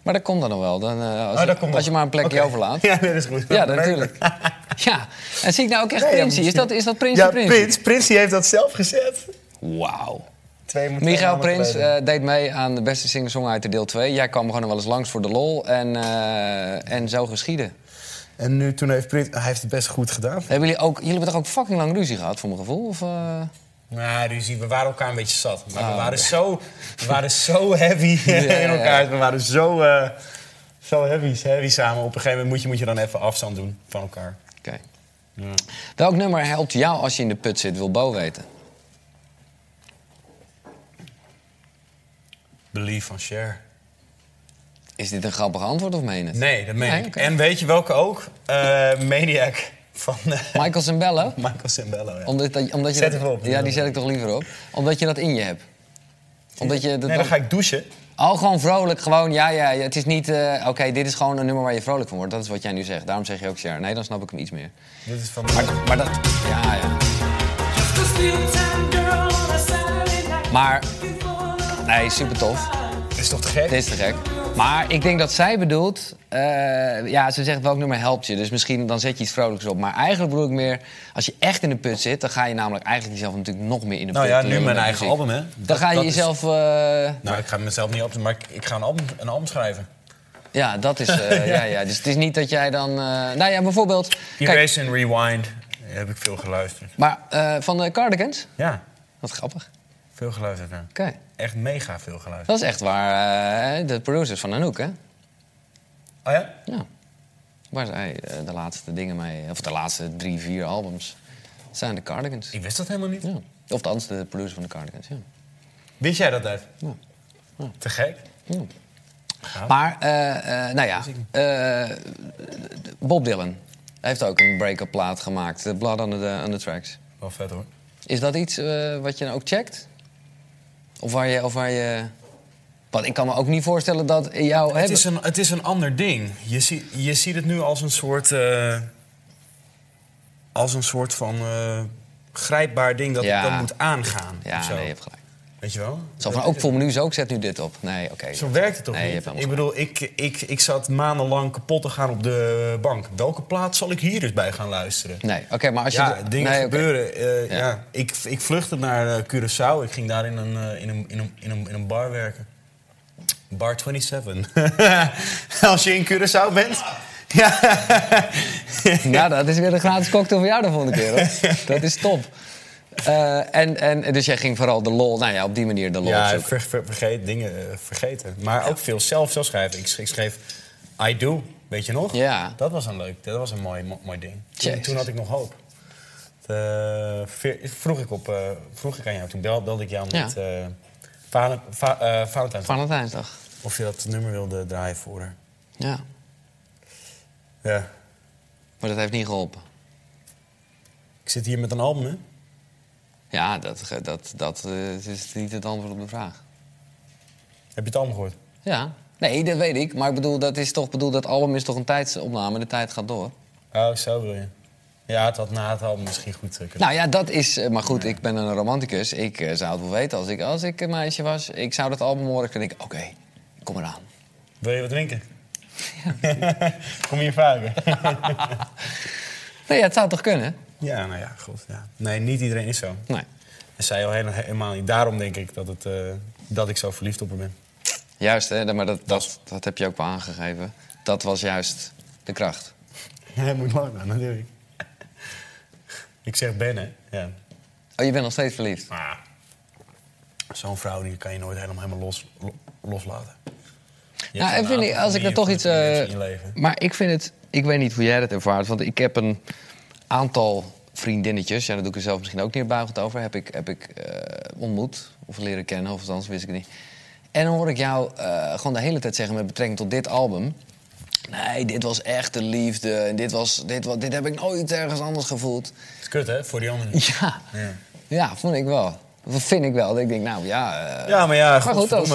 Speaker 3: Maar dat komt dan nog wel. Dan, eh, als,
Speaker 11: Oh, dat
Speaker 3: ik-
Speaker 11: komt
Speaker 3: als je
Speaker 11: nog.
Speaker 3: maar een plekje
Speaker 11: Oké.
Speaker 2: (laughs)
Speaker 3: overlaat.
Speaker 11: Ja, nee, dat is goed.
Speaker 3: Ja, dat natuurlijk. (laughs) Ja, en zie ik nou ook echt
Speaker 11: Nee, ja,
Speaker 3: Prinsie? Is
Speaker 11: misschien.
Speaker 3: dat, is dat Prins
Speaker 11: Ja,
Speaker 3: de Prins?
Speaker 11: Prins. Prins die heeft dat zelf gezet.
Speaker 3: Wauw.
Speaker 11: Twee moet- twee
Speaker 3: Michael
Speaker 11: maanden
Speaker 3: Prins
Speaker 11: geleden.
Speaker 3: eh, deed mee aan de beste singer-songwriter deel 2. Jij kwam gewoon wel eens langs voor de lol en, eh, en zo geschieden.
Speaker 11: En nu, toen heeft Prins... Hij heeft het best goed gedaan.
Speaker 3: Hebben jullie, ook, jullie hebben toch ook fucking lang ruzie gehad, voor mijn gevoel? Of, eh?
Speaker 2: Nou, ruzie. We waren elkaar een beetje zat. Maar we, waren zo, we waren zo heavy in
Speaker 3: Ah, (laughs) ja,
Speaker 2: elkaar. We waren zo, eh, zo heavy, heavy samen. Op een gegeven moment moet je, moet je dan even afstand doen van elkaar.
Speaker 3: Oké.
Speaker 2: Ja.
Speaker 3: Welk nummer helpt jou als je in de put zit, wil Bo weten?
Speaker 2: Believe van share.
Speaker 3: Is dit een grappig antwoord of meen het?
Speaker 2: Nee, dat meen
Speaker 3: Nee,
Speaker 2: ik.
Speaker 3: oké.
Speaker 2: En weet je welke ook? Eh, Maniac van eh,
Speaker 3: Michael Zambello?
Speaker 2: (laughs) Michael Cimbello. Ja.
Speaker 3: Omdat, dat- omdat je
Speaker 2: Zet
Speaker 3: dat-
Speaker 2: even op.
Speaker 3: Ja, die zet ik toch liever op. Omdat je dat in je hebt. Omdat je dat
Speaker 2: Nee, dan ga ik douchen.
Speaker 3: Al gewoon vrolijk, gewoon ja, ja. ja. Het is niet, eh, oké, dit is gewoon een nummer waar je vrolijk van wordt. Dat is wat jij nu zegt. Daarom zeg je ook Cher. Nee, dan snap ik hem iets meer.
Speaker 2: Dit is van...
Speaker 3: Maar dat... Ja, ja. Maar, nee, super tof.
Speaker 2: Dit is toch te gek?
Speaker 3: Dit is te gek. Maar ik denk dat zij bedoelt... eh, ja, ze zegt welk nummer helpt je. Dus misschien dan zet je iets vrolijks op. Maar eigenlijk bedoel ik meer... Als je echt in de put zit, dan ga je namelijk eigenlijk jezelf natuurlijk nog meer in de put
Speaker 2: Nou ja, nu
Speaker 3: lullen
Speaker 2: mijn
Speaker 3: met
Speaker 2: eigen
Speaker 3: muziek.
Speaker 2: album, hè.
Speaker 3: Dan
Speaker 2: Dat-
Speaker 3: ga je
Speaker 2: dat is-
Speaker 3: jezelf... eh,
Speaker 2: Nou, ik ga mezelf niet op, maar ik, ik ga een album, een album schrijven.
Speaker 3: ja, dat is...
Speaker 2: (laughs)
Speaker 3: eh, ja. Ja, Dus het is niet dat jij dan... eh, nou ja, bijvoorbeeld... Kijk,
Speaker 2: Erase and Rewind heb ik veel geluisterd.
Speaker 3: maar eh, van de Cardigans?
Speaker 2: Ja,
Speaker 3: Wat grappig.
Speaker 2: veel geluisterd naar.
Speaker 3: Oké.
Speaker 2: Echt mega veel geluisterd.
Speaker 3: Dat is echt waar eh, de producers van Anouk, hè?
Speaker 2: Oh ja?
Speaker 3: Ja. Waar zij eh, de laatste dingen mee... Of de laatste drie, vier albums. Dat zijn de Cardigans.
Speaker 2: Ik wist dat helemaal niet.
Speaker 3: Ja. Of de anders de producer van de Cardigans, ja.
Speaker 2: Wist jij dat, uit?
Speaker 3: Ja.
Speaker 2: Te gek.
Speaker 3: Maar, eh, eh, nou ja, eh, Bob Dylan heeft ook een break-up plaat gemaakt. eh, Blood on the, on the Tracks.
Speaker 2: Wel vet, hoor.
Speaker 3: Is dat iets eh, wat je dan ook checkt? Of waar je... Of waar je... Want ik kan me ook niet voorstellen dat jou...
Speaker 2: Het
Speaker 3: hebben-
Speaker 2: is, een, het is een ander ding. Je, zie, je ziet het nu als een soort. eh, als een soort van. eh, grijpbaar ding dat
Speaker 3: Ja.
Speaker 2: ik dan moet aangaan. of
Speaker 3: Ja,
Speaker 2: zo.
Speaker 3: nee, je hebt gelijk.
Speaker 2: Weet je wel?
Speaker 3: Zo
Speaker 2: Dat
Speaker 3: van,
Speaker 2: is
Speaker 3: ook
Speaker 2: het.
Speaker 3: voor me nu zo, ik zet nu dit op. Nee, oké.
Speaker 2: Zo werkt het toch
Speaker 3: Nee, je hebt
Speaker 2: niet? Ik
Speaker 3: helemaal
Speaker 2: bedoel, ik, ik, ik zat maandenlang kapot te gaan op de bank. Welke plaats zal ik hier dus bij gaan luisteren?
Speaker 3: Nee, oké, maar als je...
Speaker 2: Ja,
Speaker 3: de-
Speaker 2: dingen
Speaker 3: nee, oké. (laughs)
Speaker 2: gebeuren. eh,
Speaker 3: Ja.
Speaker 2: ja. Ik, ik vluchtte naar eh, Curaçao. Ik ging daar in een, eh, in een, in een, in een, in een bar werken. Bar 27. (laughs) Als je in Curaçao bent. Ja.
Speaker 3: (laughs) Ja, Nou, dat is weer een gratis cocktail voor jou de volgende keer. Hoor.
Speaker 2: (laughs)
Speaker 3: Dat is top. Eh, en, en, dus jij ging vooral de lol, nou ja, op die manier de lol
Speaker 2: Ja,
Speaker 3: opzoeken.
Speaker 2: ver- ver- vergeet, dingen eh, vergeten. Maar ook veel zelf zelf schrijven. Ik, sch- ik schreef I Do, weet je nog?
Speaker 3: Ja.
Speaker 2: Dat was een leuk, dat was een mooi, mo- mooi ding. Toen,
Speaker 3: Jezus.
Speaker 2: toen had ik nog hoop. Eh, ve- vroeg, ik op, eh, vroeg ik aan jou, toen bel- belde ik jou
Speaker 3: Ja.
Speaker 2: met eh Valen- Va- eh, Valentijn.
Speaker 3: Valentijnsdag.
Speaker 2: Of je dat nummer wilde draaien voor haar.
Speaker 3: Ja.
Speaker 2: Ja.
Speaker 3: Maar dat heeft niet geholpen.
Speaker 2: Ik zit hier met een album, hè?
Speaker 3: Ja, dat, ge- dat, dat eh, is niet het antwoord op de vraag.
Speaker 2: Heb je het album gehoord?
Speaker 3: Ja. Nee, dat weet ik. Maar ik bedoel, dat is toch, bedoel, dat album is toch een tijdsopname. De tijd gaat door.
Speaker 2: Oh, zo wil je. Ja, het had na het album misschien goed eh, kunnen.
Speaker 3: Nou ja, dat is... eh, Maar goed, ik ben een romanticus. Ik eh, zou het wel weten. Als ik, als ik een meisje was, ik zou dat album horen. Dan denk ik, oké, kom eraan. Nou.
Speaker 2: Wil je wat drinken? (laughs) Kom hier vaker.
Speaker 3: Nee, ja, het zou toch kunnen?
Speaker 2: ja, nou ja, goed. Ja. Nee, niet iedereen is zo.
Speaker 3: Nee.
Speaker 2: En zij al hele- helemaal niet. Daarom denk ik dat, het, eh, dat ik zo verliefd op haar (laughs) ben.
Speaker 3: Juist, hè? maar dat, dat, dat heb je ook wel aangegeven. Dat was juist de kracht.
Speaker 2: Hij moet lang aan, natuurlijk. (laughs) ik zeg ben, hè. Ja.
Speaker 3: Oh, je bent nog steeds verliefd?
Speaker 2: Maar zo'n vrouw die kan je nooit helemaal, helemaal los, lo- loslaten. Je hebt
Speaker 3: Nou,
Speaker 2: een
Speaker 3: ik vind
Speaker 2: aantal
Speaker 3: niet- als ik er
Speaker 2: manieren
Speaker 3: toch
Speaker 2: voor
Speaker 3: iets.
Speaker 2: mensen
Speaker 3: eh,
Speaker 2: in je leven.
Speaker 3: maar ik vind het. Ik weet niet hoe jij dat ervaart. Want ik heb een aantal vriendinnetjes. Ja, daar doe ik er zelf misschien ook neerbuigend over. Heb ik, heb ik eh, ontmoet. Of leren kennen. Of althans, wist ik het niet. En dan hoor ik jou eh, gewoon de hele tijd zeggen met betrekking tot dit album. Nee, dit was echte liefde. En dit, was, dit, wa- dit heb ik nooit ergens anders gevoeld.
Speaker 2: Het is kut, hè, voor die anderen.
Speaker 3: Ja,
Speaker 2: Ja.
Speaker 3: ja vond ik wel. Dat vind ik wel. Dat ik denk, nou ja. eh,
Speaker 2: Ja, maar ja, goed,
Speaker 3: als-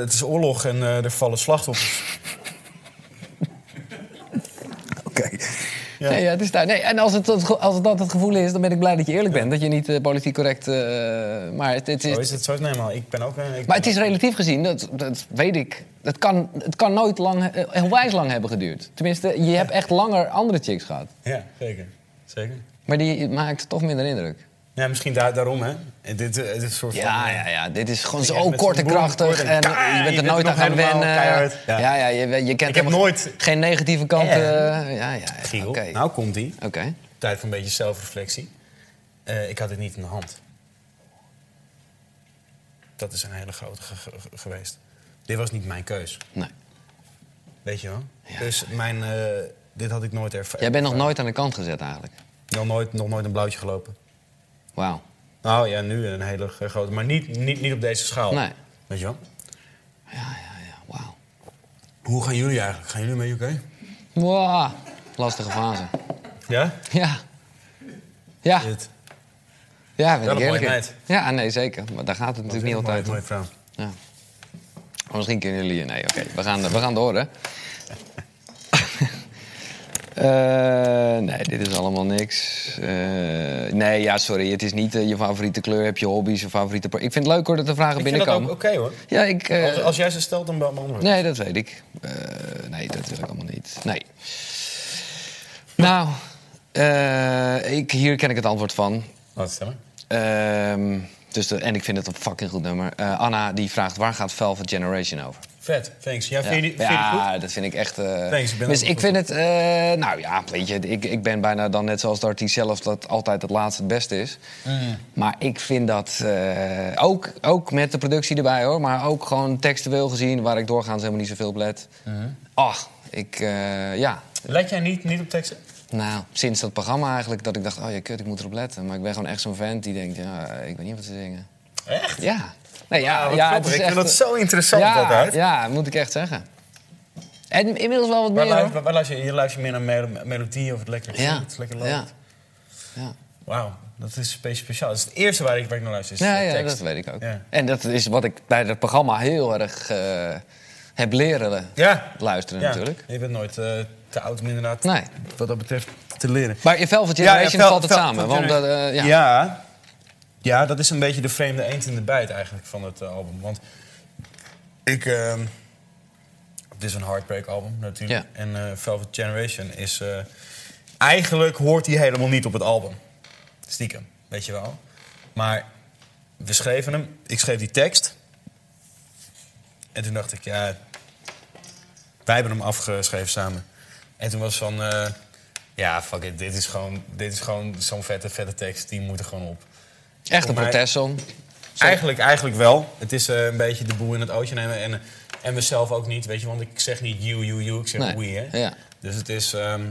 Speaker 2: het is oorlog en eh, er vallen
Speaker 3: (laughs)
Speaker 2: slachtoffers.
Speaker 3: Oké.
Speaker 2: Ja.
Speaker 3: Nee, ja, het is daar. Nee, en als het, dat ge- als het dat het gevoel is, dan ben ik blij dat je eerlijk bent. Dat je niet eh, politiek correct. eh, maar, het, het
Speaker 2: Zo is
Speaker 3: is,
Speaker 2: het zo. Nee, maar ik ben ook... eh, ik
Speaker 3: maar het is relatief gezien, dat, dat weet ik. Het kan, het kan nooit lang, eh, heel wijs lang hebben geduurd. Tenminste, je hebt echt langer andere chicks gehad.
Speaker 2: Ja, zeker. Zeker.
Speaker 3: Maar die maakt toch minder indruk.
Speaker 2: Ja, misschien daar, daarom, hè. En Dit, eh, dit soort van...
Speaker 3: Ja, ja, ja. Dit is gewoon
Speaker 2: Ja,
Speaker 3: zo
Speaker 2: met
Speaker 3: kort en
Speaker 2: zo'n boom,
Speaker 3: krachtig.
Speaker 2: kort en-
Speaker 3: En
Speaker 2: Ja, ja,
Speaker 3: je bent
Speaker 2: je
Speaker 3: er
Speaker 2: bent
Speaker 3: nooit
Speaker 2: nog
Speaker 3: aan gaan
Speaker 2: helemaal
Speaker 3: wennen.
Speaker 2: keihard.
Speaker 3: Ja,
Speaker 2: Ja.
Speaker 3: ja, je, je kent
Speaker 2: heb
Speaker 3: helemaal
Speaker 2: nooit-
Speaker 3: Geen negatieve kant.
Speaker 2: Ja.
Speaker 3: eh, ja, ja, ja. Oké.
Speaker 2: Giel, nou komt die.
Speaker 3: Oké.
Speaker 2: Tijd voor een beetje zelfreflectie. Eh, ik had het niet in de hand. Dat is een hele grote ge- ge- ge- geweest. Dit was niet mijn keus,
Speaker 3: Nee.
Speaker 2: weet je wel.
Speaker 3: Ja.
Speaker 2: Dus mijn, eh, dit had ik nooit ervaren.
Speaker 3: Jij bent nog nooit aan de kant gezet eigenlijk.
Speaker 2: Nog nooit, nog nooit een blauwtje gelopen.
Speaker 3: Wauw.
Speaker 2: Nou ja, nu een hele g- grote. Maar niet, niet, niet op deze schaal.
Speaker 3: Nee.
Speaker 2: Weet je wel?
Speaker 3: Ja, ja, ja. Wauw.
Speaker 2: Hoe gaan jullie eigenlijk? Gaan jullie mee, UK?
Speaker 3: Wow. Lastige fase.
Speaker 2: Ja?
Speaker 3: Ja. Ja,
Speaker 2: Dit.
Speaker 3: ja, ben
Speaker 2: Wel
Speaker 3: ik
Speaker 2: een mooie
Speaker 3: eerlijk in.
Speaker 2: meid.
Speaker 3: Ja, nee, zeker. Maar daar gaat het natuurlijk niet
Speaker 2: Mooie-
Speaker 3: altijd om.
Speaker 2: Mooie vrouw.
Speaker 3: Ja. Maar misschien kunnen jullie... Nee, oké. We, gaan, we gaan door, hè. (laughs) Eh, nee, dit is allemaal niks. Eh, nee, ja, sorry. Het is niet eh, je favoriete kleur. Heb je hobby's, je favoriete... pro- Ik vind het leuk hoor dat de vragen
Speaker 2: Ik vind dat ook
Speaker 3: binnenkomen.
Speaker 2: oké hoor.
Speaker 3: Ja, ik... eh,
Speaker 2: Als, als jij ze stelt, dan beantwoord ik.
Speaker 3: Nee, dat weet ik. Eh, nee, dat wil ik allemaal niet. Nee. Nou, eh, ik, hier ken ik het antwoord van.
Speaker 2: Laat het stemmen.
Speaker 3: Ehm, dus de- en ik vind het een fucking goed nummer. Eh, Anna die vraagt waar gaat Velvet Generation over?
Speaker 2: Vet, thanks. Ja,
Speaker 3: Ja,
Speaker 2: Vind, je, die- vind je die
Speaker 3: Ja,
Speaker 2: goed?
Speaker 3: dat vind ik echt. eh,
Speaker 2: Thanks, ik ben
Speaker 3: dus
Speaker 2: ook
Speaker 3: ik
Speaker 2: goed.
Speaker 3: vind het. eh, nou ja, weet je, ik, ik ben bijna dan net zoals de artiest zelf dat altijd het laatste het beste is.
Speaker 2: Mm.
Speaker 3: Maar ik vind dat eh, ook, ook met de productie erbij hoor, maar ook gewoon textueel gezien, waar ik doorgaans helemaal niet zoveel op let.
Speaker 2: Mm-hmm.
Speaker 3: Ach, ik. eh, ja.
Speaker 2: Let jij niet, niet op teksten?
Speaker 3: Nou, sinds dat programma eigenlijk dat ik dacht, oh ja, kut, ik moet erop letten. Maar ik ben gewoon echt zo'n vent die denkt, ja, ik weet niet wat ze zingen.
Speaker 2: Echt?
Speaker 3: Ja. Nee, ja,
Speaker 2: Ah, wat
Speaker 3: ja,
Speaker 2: grappig. ik vind dat zo interessant
Speaker 3: ja,
Speaker 2: altijd.
Speaker 3: Ja, moet ik echt zeggen. En inmiddels wel wat
Speaker 2: Waar,
Speaker 3: meer.
Speaker 2: luister,
Speaker 3: hoor.
Speaker 2: waar, luister je, je luistert meer naar mel- melodie of het lekker
Speaker 3: Ja.
Speaker 2: het lekker loopt.
Speaker 3: Ja. Ja.
Speaker 2: Wauw, dat is spe- speciaal. Dat is het eerste waar ik, waar ik naar luister, is
Speaker 3: Ja,
Speaker 2: de
Speaker 3: ja,
Speaker 2: tekst.
Speaker 3: dat weet ik ook.
Speaker 2: Ja.
Speaker 3: En dat is wat ik bij dat programma heel erg eh, heb leren
Speaker 2: Ja.
Speaker 3: luisteren
Speaker 2: Ja.
Speaker 3: natuurlijk.
Speaker 2: Je bent nooit eh, te oud om inderdaad
Speaker 3: Nee.
Speaker 2: wat dat betreft te leren.
Speaker 3: Maar in Velvet
Speaker 2: Ja, ja,
Speaker 3: Generation
Speaker 2: Vel-
Speaker 3: valt het
Speaker 2: Vel-
Speaker 3: samen.
Speaker 2: Vel-
Speaker 3: Want, dat, eh, ja.
Speaker 2: ja. Ja. dat is een beetje de vreemde eend in de bijt eigenlijk van het eh, album. Want ik... ehm, het is een heartbreak album natuurlijk.
Speaker 3: Ja.
Speaker 2: En eh, Velvet Generation is... eh, eigenlijk hoort hij helemaal niet op het album. Stiekem, weet je wel. Maar we schreven hem. Ik schreef die tekst. En toen dacht ik, ja... Wij hebben hem afgeschreven samen. En toen was van... eh, ja, fuck it. Dit is gewoon, dit is gewoon zo'n vette, vette tekst. Die moet er gewoon op.
Speaker 3: Echt een
Speaker 2: Voor mij-
Speaker 3: protestsong.
Speaker 2: Eigenlijk, eigenlijk wel. Het is eh, een beetje de boel in het ootje nemen. En, en mezelf ook niet, weet je. Want ik zeg niet you, you, you. Ik zeg
Speaker 3: Nee,
Speaker 2: we, hè.
Speaker 3: ja.
Speaker 2: Dus het is... ehm,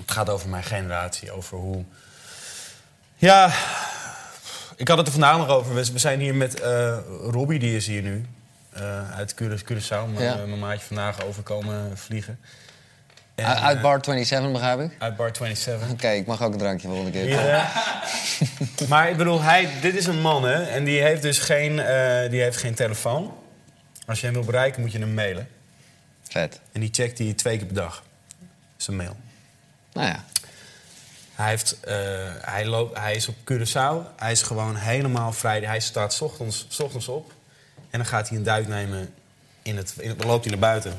Speaker 2: het gaat over mijn generatie. Over hoe... Ja... Ik had het er vandaag nog over. We we zijn hier met eh Robbie, die is hier nu. eh, uit Cura- Curaçao. Mijn,
Speaker 3: Ja.
Speaker 2: eh, mijn maatje vandaag overkomen vliegen. En,
Speaker 3: U- uit
Speaker 2: eh,
Speaker 3: Bar 27 begrijp ik?
Speaker 2: Uit Bar 27.
Speaker 3: Oké, ik mag ook een drankje volgende keer.
Speaker 2: Hier, eh. maar ik bedoel, hij, dit is een man, hè? En die heeft dus geen, eh, die heeft geen telefoon. Als je hem wil bereiken, moet je hem mailen.
Speaker 3: Vet.
Speaker 2: En die checkt hij twee keer per dag. Zijn mail.
Speaker 3: Nou ja.
Speaker 2: Hij, heeft, eh, hij, loopt, hij is op Curaçao. Hij is gewoon helemaal vrij. Hij staat 's ochtends, 's ochtends op. En dan gaat hij een duik nemen. In het, in het- dan loopt hij naar buiten.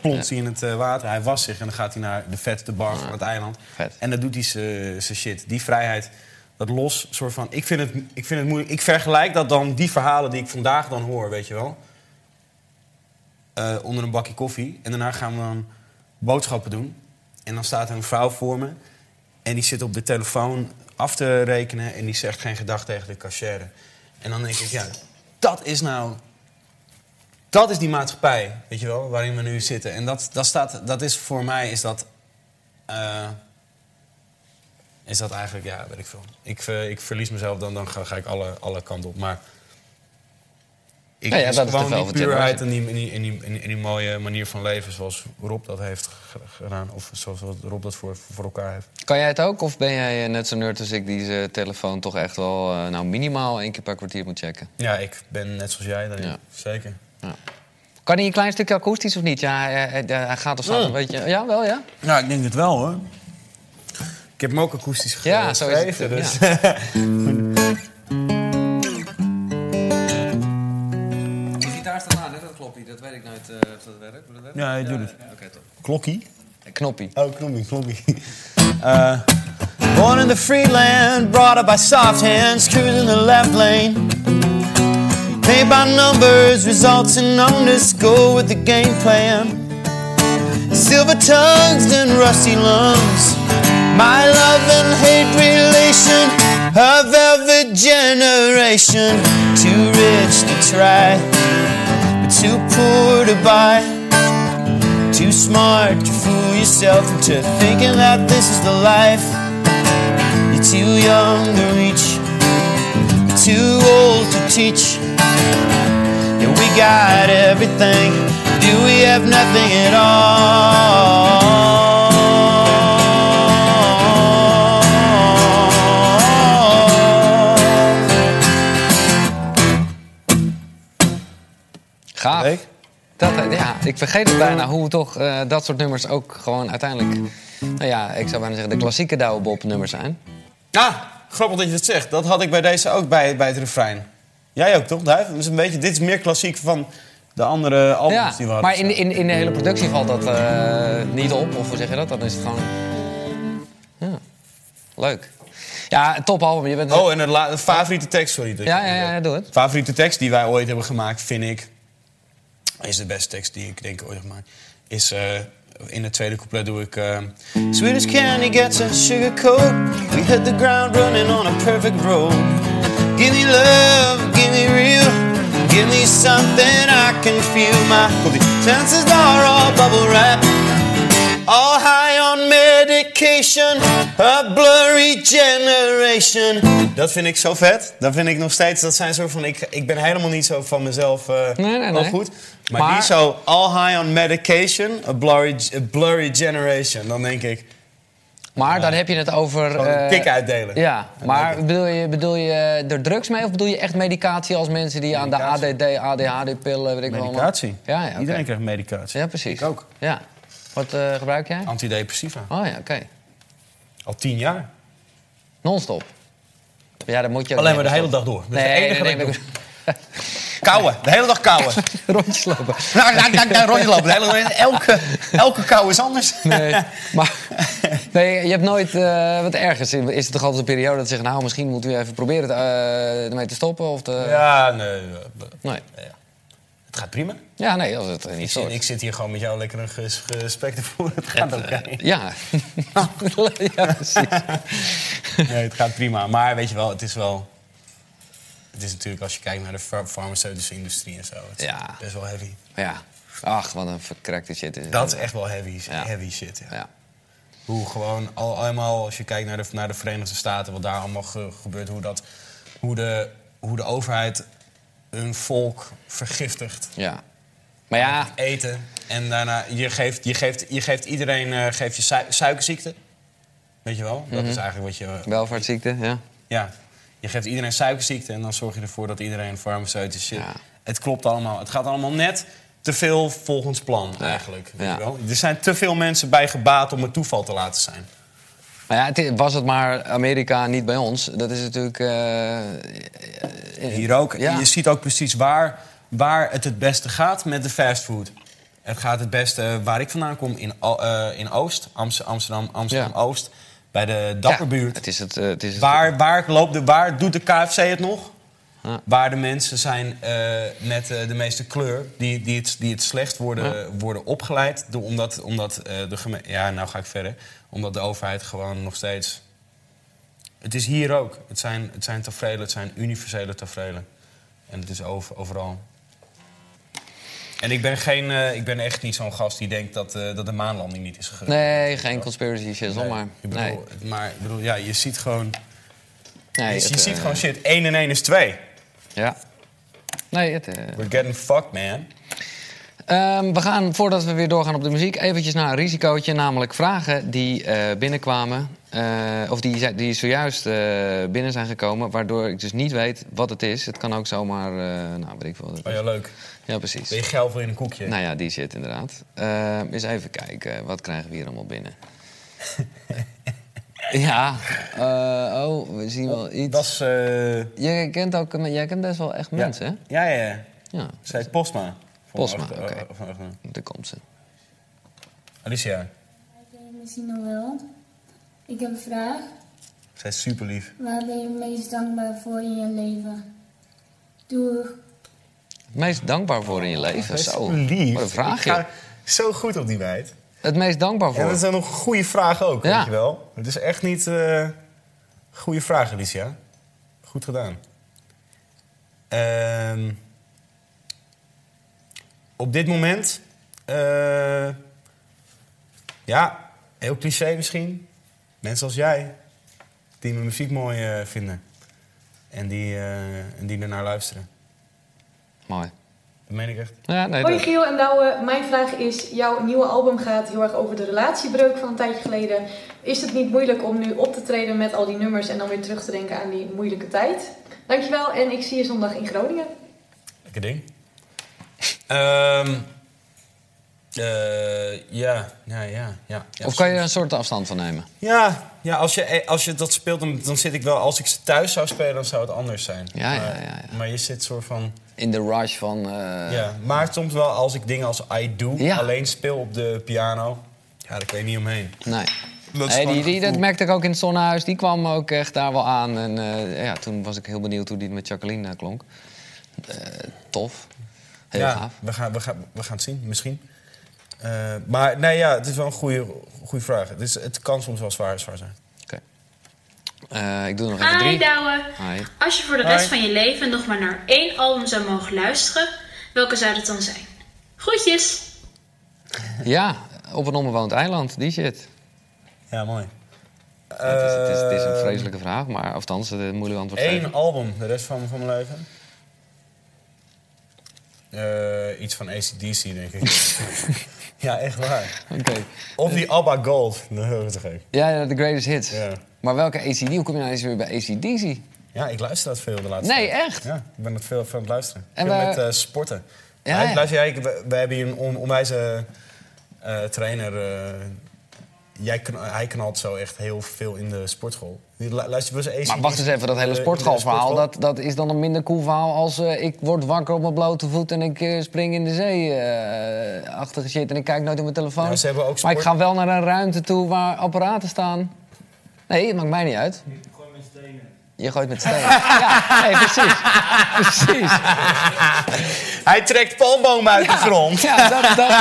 Speaker 2: Plont hij in het eh, water. Hij wast zich. En dan gaat hij naar de vetste bar van het eiland. En dan doet hij zijn shit. Die vrijheid. Dat los, soort van... Ik vind, het, ik vind het moeilijk. Ik vergelijk dat dan die verhalen die ik vandaag dan hoor, weet je wel. Eh, onder een bakje koffie. En daarna gaan we dan boodschappen doen. En dan staat er een vrouw voor me. En die zit op de telefoon af te rekenen en die zegt geen gedag tegen de cashier. En dan denk ik, ja, dat is nou. Dat is die maatschappij, weet je wel, waarin we nu zitten. En dat, dat, staat, dat is voor mij, is dat. eh, is dat eigenlijk, ja, weet ik veel. Ik, eh, ik verlies mezelf dan, dan ga, ga ik alle, alle kanten op. Maar. Ik
Speaker 3: Ja, ja,
Speaker 2: mis
Speaker 3: dat is te
Speaker 2: gewoon
Speaker 3: veel
Speaker 2: die
Speaker 3: voor Tim
Speaker 2: puurheid en
Speaker 3: Hortons.
Speaker 2: die, en, die, en, die, en die- en die mooie manier van leven zoals Rob dat heeft g- gedaan. Of zoals Rob dat voor, voor elkaar heeft.
Speaker 3: Kan jij het ook? Of ben jij eh, net zo nerd als ik die zijn telefoon toch echt wel eh, nou, minimaal één keer per kwartier moet checken?
Speaker 2: Ja, ik ben net zoals jij daarin.
Speaker 3: Ja.
Speaker 2: Zeker.
Speaker 3: Kan hij een klein stukje akoestisch of niet? Ja, hij, hij- hij gaat of
Speaker 2: Oh.
Speaker 3: staat een beetje... Ja, wel ja?
Speaker 2: Ja, ik denk het wel hoor. Ik heb hem ook akoestisch gegeven.
Speaker 3: Ja, zo is het,
Speaker 2: Dus.
Speaker 3: De gitaar staat aan, dat klopt niet. Dat weet ik nooit eh, of dat werkt.
Speaker 2: (laughs) Ja, hij doet het.
Speaker 3: Oké, top.
Speaker 2: Klokkie?
Speaker 3: Knoppie.
Speaker 2: Oh, knoppie, knoppie. Eh, born in the free land, brought up by soft hands, cruising the left lane.
Speaker 12: Pay by numbers, results in underscore with the game plan. Silver tongues and rusty lungs. My love and hate relation of every generation. Too rich to try, but too poor to buy. Too smart to fool yourself into thinking that this is the life. You're too young to reach, you're too old to teach. Yeah, we got everything. Do we have nothing at all?
Speaker 3: Gaaf. Dat, eh, ja, ik vergeet het bijna hoe toch eh, dat soort nummers ook gewoon uiteindelijk... Nou ja, ik zou bijna zeggen de klassieke Douwebop nummers zijn.
Speaker 2: Ah, grappig dat je dat zegt. Dat had ik bij deze ook bij, bij het refrein. Jij ook toch, Duif? Dat is een beetje, dit is meer klassiek van de andere albums
Speaker 3: Ja,
Speaker 2: Oh, die dus, we hadden.
Speaker 3: maar in, in, in de hele productie valt dat eh, niet op. Of hoe zeg je dat? Dan is het gewoon... Ja, leuk. Ja, topalbum. Je bent...
Speaker 2: Oh, en een, la- een favoriete tekst, sorry. dat ik
Speaker 3: Ja,
Speaker 2: dat
Speaker 3: ja,
Speaker 2: niet
Speaker 3: ja,
Speaker 2: weet.
Speaker 3: ja, doe het.
Speaker 2: Favoriete tekst die wij ooit hebben gemaakt, vind ik... is de beste tekst die ik denk ik ooit heb gemaakt. Is eh, in het tweede couplet doe ik... eh,
Speaker 12: Sweet as candy gets a sugar coat. We hit the ground running on a perfect road. Give me love, give me real, give me something I can feel. My senses are all bubble wrap, all high on medication, a blurry generation.
Speaker 2: dat vind ik zo vet. Dat vind ik nog steeds... Dat zijn soort van... Ik, ik ben helemaal niet zo van mezelf eh
Speaker 3: Nee, nee,
Speaker 2: al
Speaker 3: nee.
Speaker 2: goed. Maar,
Speaker 3: Maar-
Speaker 2: die zo... All high on medication, a blurry, a blurry generation. Dan denk ik...
Speaker 3: Maar dan heb je het over...
Speaker 2: Gewoon een
Speaker 3: eh,
Speaker 2: tik uitdelen.
Speaker 3: Ja, maar bedoel je, bedoel je er drugs mee of bedoel je echt medicatie als mensen die aan de ADD, ADHD-pillen, weet ik wel.
Speaker 2: Medicatie.
Speaker 3: Ja, ja, oké.
Speaker 2: Iedereen krijgt medicatie.
Speaker 3: Ja, precies. ook. Ja. Wat eh, gebruik jij?
Speaker 2: Antidepressiva.
Speaker 3: Oh ja, oké.
Speaker 2: Al tien jaar.
Speaker 3: Non-stop. Ja, dan moet je ook
Speaker 2: Alleen maar de
Speaker 3: niet
Speaker 2: hele dag
Speaker 3: non-stop.
Speaker 2: door. Dat is
Speaker 3: Nee,
Speaker 2: de enige
Speaker 3: nee,
Speaker 2: wat ik
Speaker 3: nee,
Speaker 2: Kouwen. De hele dag kouwen.
Speaker 3: Rondjes lopen.
Speaker 2: (laughs) Nou, nou, nou, nou, rondje lopen. De hele dag- elke, elke kou is
Speaker 3: (laughs)
Speaker 2: anders.
Speaker 3: Nee, maar
Speaker 2: (laughs)
Speaker 3: nee, je hebt nooit... eh wat ergens is het toch altijd een periode dat ze zeggen... nou, misschien moet u even proberen het, eh, ermee te stoppen of te...
Speaker 2: Ja, nee. eh,
Speaker 3: Nee.
Speaker 2: Het gaat prima.
Speaker 3: Ja, nee, als het eh,
Speaker 2: Ik
Speaker 3: niet zo
Speaker 2: zit, ik
Speaker 3: is.
Speaker 2: zit hier gewoon met jou lekker een ges- gesprek te voeren. Het gaat oké. (laughs)
Speaker 3: Ja. ja, precies.
Speaker 2: Nee, het gaat prima. Maar weet je wel, het is wel... Het is natuurlijk als je kijkt naar de fa- farmaceutische industrie en zo. Het is
Speaker 3: Ja.
Speaker 2: best wel heavy.
Speaker 3: Ja. Ach, wat een verkrekte shit is het.
Speaker 2: Dat is echt wel heavy, heavy shit. Ja. Hoe gewoon al, allemaal, als je kijkt naar de, naar de Verenigde Staten, wat daar allemaal ge- gebeurt, hoe, dat, hoe, de, hoe de overheid hun volk vergiftigt.
Speaker 3: Ja. Maar ja.
Speaker 2: Eten. En daarna, je geeft, je geeft, je geeft iedereen eh geeft je sui- suikerziekte. Weet je wel? Dat
Speaker 3: Mhm.
Speaker 2: is eigenlijk wat je... eh,
Speaker 3: Welvaartsziekte, ja.
Speaker 2: Ja. Je geeft iedereen suikerziekte en dan zorg je ervoor dat iedereen farmaceutisch zit. Het klopt allemaal. Het gaat allemaal net te veel volgens plan eigenlijk. Weet je wel? Er zijn te veel mensen bij gebaat om het toeval te laten zijn.
Speaker 3: Maar ja, het i- was het maar Amerika, niet bij ons. Dat is natuurlijk... eh,
Speaker 2: Hier ook.
Speaker 3: Ja.
Speaker 2: Je ziet ook precies waar, waar het het beste gaat met de fastfood. Het gaat het beste eh, waar ik vandaan kom, in, O- eh, in Oost, Amst- Amsterdam, Amsterdam-Oost. Bij de Dapperbuurt.
Speaker 3: het is het, eh, het is het-
Speaker 2: Waar, waar, loopt de, waar doet de KFC het nog? Waar de mensen zijn eh, met eh, de meeste kleur, die, die, het, die het slecht worden, eh,
Speaker 13: Ja.
Speaker 2: worden opgeleid. door- Omdat, omdat eh, de geme- Ja, nou ga ik verder. Omdat de overheid gewoon nog steeds. Het is hier ook. Het zijn, het zijn tafereelen, het zijn universele tafereelen. En het is over, overal. En ik ben, geen, eh, ik ben echt niet zo'n gast die denkt dat, eh, dat de maanlanding niet is gebeurd.
Speaker 3: Nee, geen conspiracy shit,
Speaker 2: Nee,
Speaker 3: maar.
Speaker 2: Ik bedoel,
Speaker 3: Nee.
Speaker 2: het- maar ik bedoel, ja, je ziet gewoon.
Speaker 3: Nee,
Speaker 2: Dus je
Speaker 3: het,
Speaker 2: je ziet
Speaker 3: eh,
Speaker 2: gewoon shit. 1 en 1 is 2.
Speaker 3: Ja. Nee, het... eh,
Speaker 2: We're getting fucked, man.
Speaker 3: Ehm, we gaan, voordat we weer doorgaan op de muziek, eventjes naar een risicootje. Namelijk vragen die eh, binnenkwamen. eh, of die, zijn- die zojuist eh, binnen zijn gekomen. Waardoor ik dus niet weet wat het is. Het kan ook zomaar, eh, nou weet ik veel. wat het
Speaker 2: Oh
Speaker 3: is.
Speaker 2: ja, leuk.
Speaker 3: Ja, precies.
Speaker 2: Ben je geil voor in een koekje?
Speaker 3: Nou ja, die zit inderdaad. Ehm, eens even kijken, wat krijgen we hier allemaal binnen? (laughs) ja, eh, oh, we zien wel iets. Dat
Speaker 2: is...
Speaker 3: Jij kent ook, jij kent best wel echt mensen, hè?
Speaker 2: eh, Ja, ja, ja.
Speaker 3: Ja.
Speaker 2: Zij heet Postma. Van
Speaker 3: Postma,
Speaker 2: achter-
Speaker 3: oké.
Speaker 2: eh, van achter-
Speaker 3: Daar komt ze.
Speaker 2: Alicia,
Speaker 10: Misschien nog wel. Ik heb een vraag.
Speaker 2: zij is super lief.
Speaker 10: Waar ben je het meest dankbaar voor in je leven? Doe.
Speaker 3: Het meest dankbaar voor in je leven.
Speaker 2: Zij is
Speaker 3: Zo,
Speaker 2: super lief.
Speaker 3: wat een
Speaker 2: Ik
Speaker 3: vraagje.
Speaker 2: ga Zo goed op die meid.
Speaker 3: Het meest dankbaar voor.
Speaker 2: En dat is een goede vraag ook,
Speaker 3: Ja.
Speaker 2: weet je wel. Het is echt niet... eh goede vraag, Alicia. Goed gedaan. Ehm, op dit moment... eh, ja, heel cliché misschien. Mensen als jij. Die mijn muziek mooi eh, vinden. En die, eh, en die ernaar luisteren.
Speaker 3: Mooi.
Speaker 2: Dat meen ik echt.
Speaker 3: Ja,
Speaker 14: Hoi Giel en Douwe, mijn vraag is, jouw nieuwe album gaat heel erg over de relatiebreuk van een tijdje geleden. Is het niet moeilijk om nu op te treden met al die nummers en dan weer terug te denken aan die moeilijke tijd? Dankjewel en ik zie je zondag in Groningen.
Speaker 2: Lekker ding. Ehm, eh, ja, ja, ja, ja. ja,
Speaker 3: Of kan je er een soort afstand van nemen?
Speaker 2: Ja, ja als, je, eh, als je dat speelt, dan, dan zit ik wel... Als ik ze thuis zou spelen, dan zou het anders zijn.
Speaker 3: Ja, ja,
Speaker 2: Maar-
Speaker 3: ja,
Speaker 2: Maar je zit soort van...
Speaker 3: In de rush van... eh,
Speaker 2: ja, maar soms wel als ik dingen als I Do alleen speel op de piano... Ja, daar kan je niet omheen.
Speaker 3: Nee.
Speaker 2: Dat is
Speaker 3: Hey,
Speaker 2: gewoon
Speaker 3: die,
Speaker 2: een
Speaker 3: die, dat
Speaker 2: gevoel.
Speaker 3: merkte ik ook in het zonnehuis. Die kwam ook echt daar wel aan. En eh, ja, toen was ik heel benieuwd hoe die met Jacqueline eh, klonk. Eh, tof. Heel
Speaker 2: ja,
Speaker 3: gaaf.
Speaker 2: We gaan, we, gaan, we gaan het zien, misschien. Eh, maar nee, ja, het is wel een goede, goede vraag. Het, is, het kan soms wel zwaar, zwaar zijn.
Speaker 3: Oké. Eh, ik doe er nog even
Speaker 15: Hi
Speaker 3: drie.
Speaker 15: Douwe.
Speaker 3: Hi.
Speaker 15: Als je voor de rest
Speaker 3: Hi.
Speaker 15: van je leven nog maar naar één album zou mogen luisteren, welke zou dat dan zijn? Groetjes!
Speaker 3: Ja, op een onbewoond eiland, die shit.
Speaker 2: Ja, mooi. Eh,
Speaker 3: het, is, het, is, het is een vreselijke vraag, maar althans, het moeilijk antwoord
Speaker 2: Eén
Speaker 3: geven.
Speaker 2: album, de rest van, van mijn leven. Eh, iets van ACDC,
Speaker 3: (laughs)
Speaker 2: denk ik. ja, echt waar.
Speaker 3: Oké.
Speaker 2: Of
Speaker 3: Eh.
Speaker 2: die ABBA Gold. Nee, dat is gek.
Speaker 3: Ja, ja, de greatest hits. Maar welke ACD? Hoe kom je nou eens weer bij ACDC?
Speaker 2: Ja, ik luister dat veel de laatste
Speaker 3: Nee,
Speaker 2: tijd.
Speaker 3: echt?
Speaker 2: Ja, ik ben dat veel van het luisteren.
Speaker 3: En
Speaker 2: En veel
Speaker 3: waar-
Speaker 2: met eh, sporten.
Speaker 3: Ja,
Speaker 2: Ja, ik
Speaker 3: ja.
Speaker 2: luister, ja, ik- we, we hebben hier een on, onwijze eh, trainer. eh, jij kn- hij knalt zo echt heel veel in de sportschool. Die lu- Luister, je wel eens
Speaker 3: Maar wacht eens even, dat hele
Speaker 2: Eh,
Speaker 3: sportgalverhaal, dat, dat is dan een minder cool verhaal als eh, ik word wakker op mijn blote voet en ik eh, spring in de zee eh achtige shit en ik kijk nooit op mijn telefoon.
Speaker 2: Ja, ze hebben ook
Speaker 3: Maar ik
Speaker 2: sport-
Speaker 3: ga wel naar een ruimte toe waar apparaten staan. Nee, het maakt mij niet uit. Je gooit met stenen. ja, nee, precies. Precies.
Speaker 2: Hij trekt palmbomen uit de grond.
Speaker 3: Ja, dat, dat,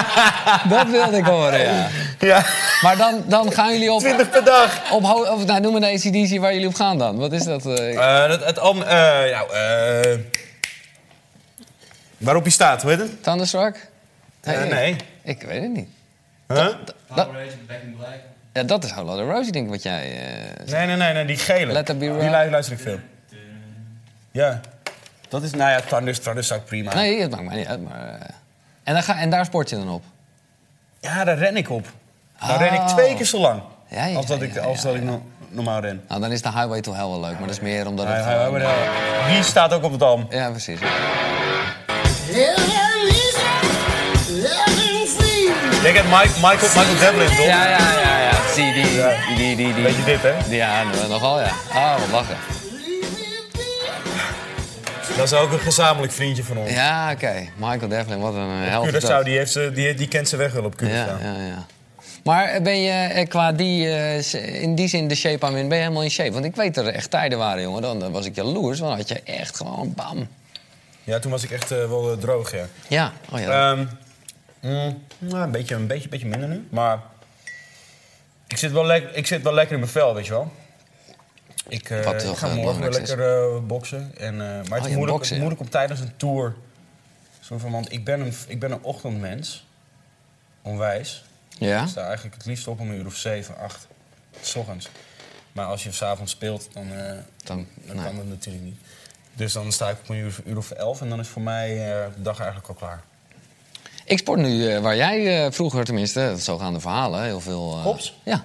Speaker 3: dat wilde ik horen, ja. (laughs) Maar dan, dan gaan jullie op... 20
Speaker 2: per dag.
Speaker 3: Op, ho- of, nou, noem maar de ACDC waar jullie op gaan dan. Wat is dat? eh?
Speaker 2: Eh, dat, het album, eh, nou, eh, waarop hij staat, hoe heet het?
Speaker 3: Thunderstruck?
Speaker 2: Eh,
Speaker 3: Nee.
Speaker 2: nee.
Speaker 3: Ik weet het niet.
Speaker 2: Huh?
Speaker 3: Back in Black. Ja, dat is Whole Lotta Rosie, denk ik, wat jij... eh
Speaker 2: Nee, nee, nee, nee, die gele.
Speaker 3: Let It Be
Speaker 2: die
Speaker 3: Right.
Speaker 2: lu- luister ik veel. Ja. Dat is, nou ja, Thunders, Thunders zou ik prima.
Speaker 3: Nee, dat maakt mij niet uit, maar... eh, En, dan ga, en daar sport je dan op?
Speaker 2: Ja, daar ren ik op. Daar ren
Speaker 3: Oh.
Speaker 2: ik twee keer zo lang. als dat ik, als dat ik no- normaal ren.
Speaker 3: Nou, dan is de Highway to Hell wel leuk, maar dat is meer omdat het...
Speaker 2: Ja, ja,
Speaker 3: gewoon-
Speaker 2: ja, Die staat ook op het album.
Speaker 3: Ja, precies.
Speaker 2: Jij kent Mike, Michael, Michael Devlin, toch?
Speaker 3: Ja, ja, ja, ja. Zie die, die, die, die, die.
Speaker 2: Beetje dit, hè?
Speaker 3: Ja, nogal ja. Ah, wat lachen.
Speaker 2: Dat is ook een gezamenlijk vriendje van ons.
Speaker 3: Ja, oké. Michael Devlin, wat een eh, held. is dat.
Speaker 2: Curaçao, die, heeft ze, die, die kent ze weg wel op Curaçao.
Speaker 3: Ja, ja, ja. Maar eh, ben je eh, qua die, eh, s- in die zin de shape aan in, ben je helemaal in shape? Want ik weet dat er echt tijden waren, jongen. Dan eh, was ik jaloers, want dan had je echt gewoon bam.
Speaker 2: Ja, toen was ik echt eh, wel eh, droog, ja.
Speaker 3: Ja, oh ja.
Speaker 2: Ehm, mm, nou, een beetje, een beetje, beetje minder nu. Maar ik zit, wel lek- ik zit wel lekker in mijn vel, weet je wel. Ik, eh,
Speaker 3: Wat
Speaker 2: ik
Speaker 3: toch, eh,
Speaker 2: ga morgen weer
Speaker 3: belangrijk is.
Speaker 2: lekker eh, boksen. En, eh, maar het
Speaker 3: ja,
Speaker 2: is moeilijk,
Speaker 3: boksen, ja.
Speaker 2: het moeilijk om tijdens een tour... Zo van, want ik ben een, ik ben een ochtendmens. Onwijs.
Speaker 3: Ja?
Speaker 2: Ik sta eigenlijk het liefst op om een uur of zeven, acht. 's ochtends. Maar als je s'avonds speelt, dan, eh,
Speaker 3: dan,
Speaker 2: kan dat natuurlijk niet. Dus dan sta ik op een uur, of- uur of elf en dan is voor mij eh, de dag eigenlijk al klaar.
Speaker 3: Ik sport nu eh, waar jij eh, vroeger tenminste, dat zo gaan de verhalen, heel veel... eh,
Speaker 2: Kops?
Speaker 3: Ja.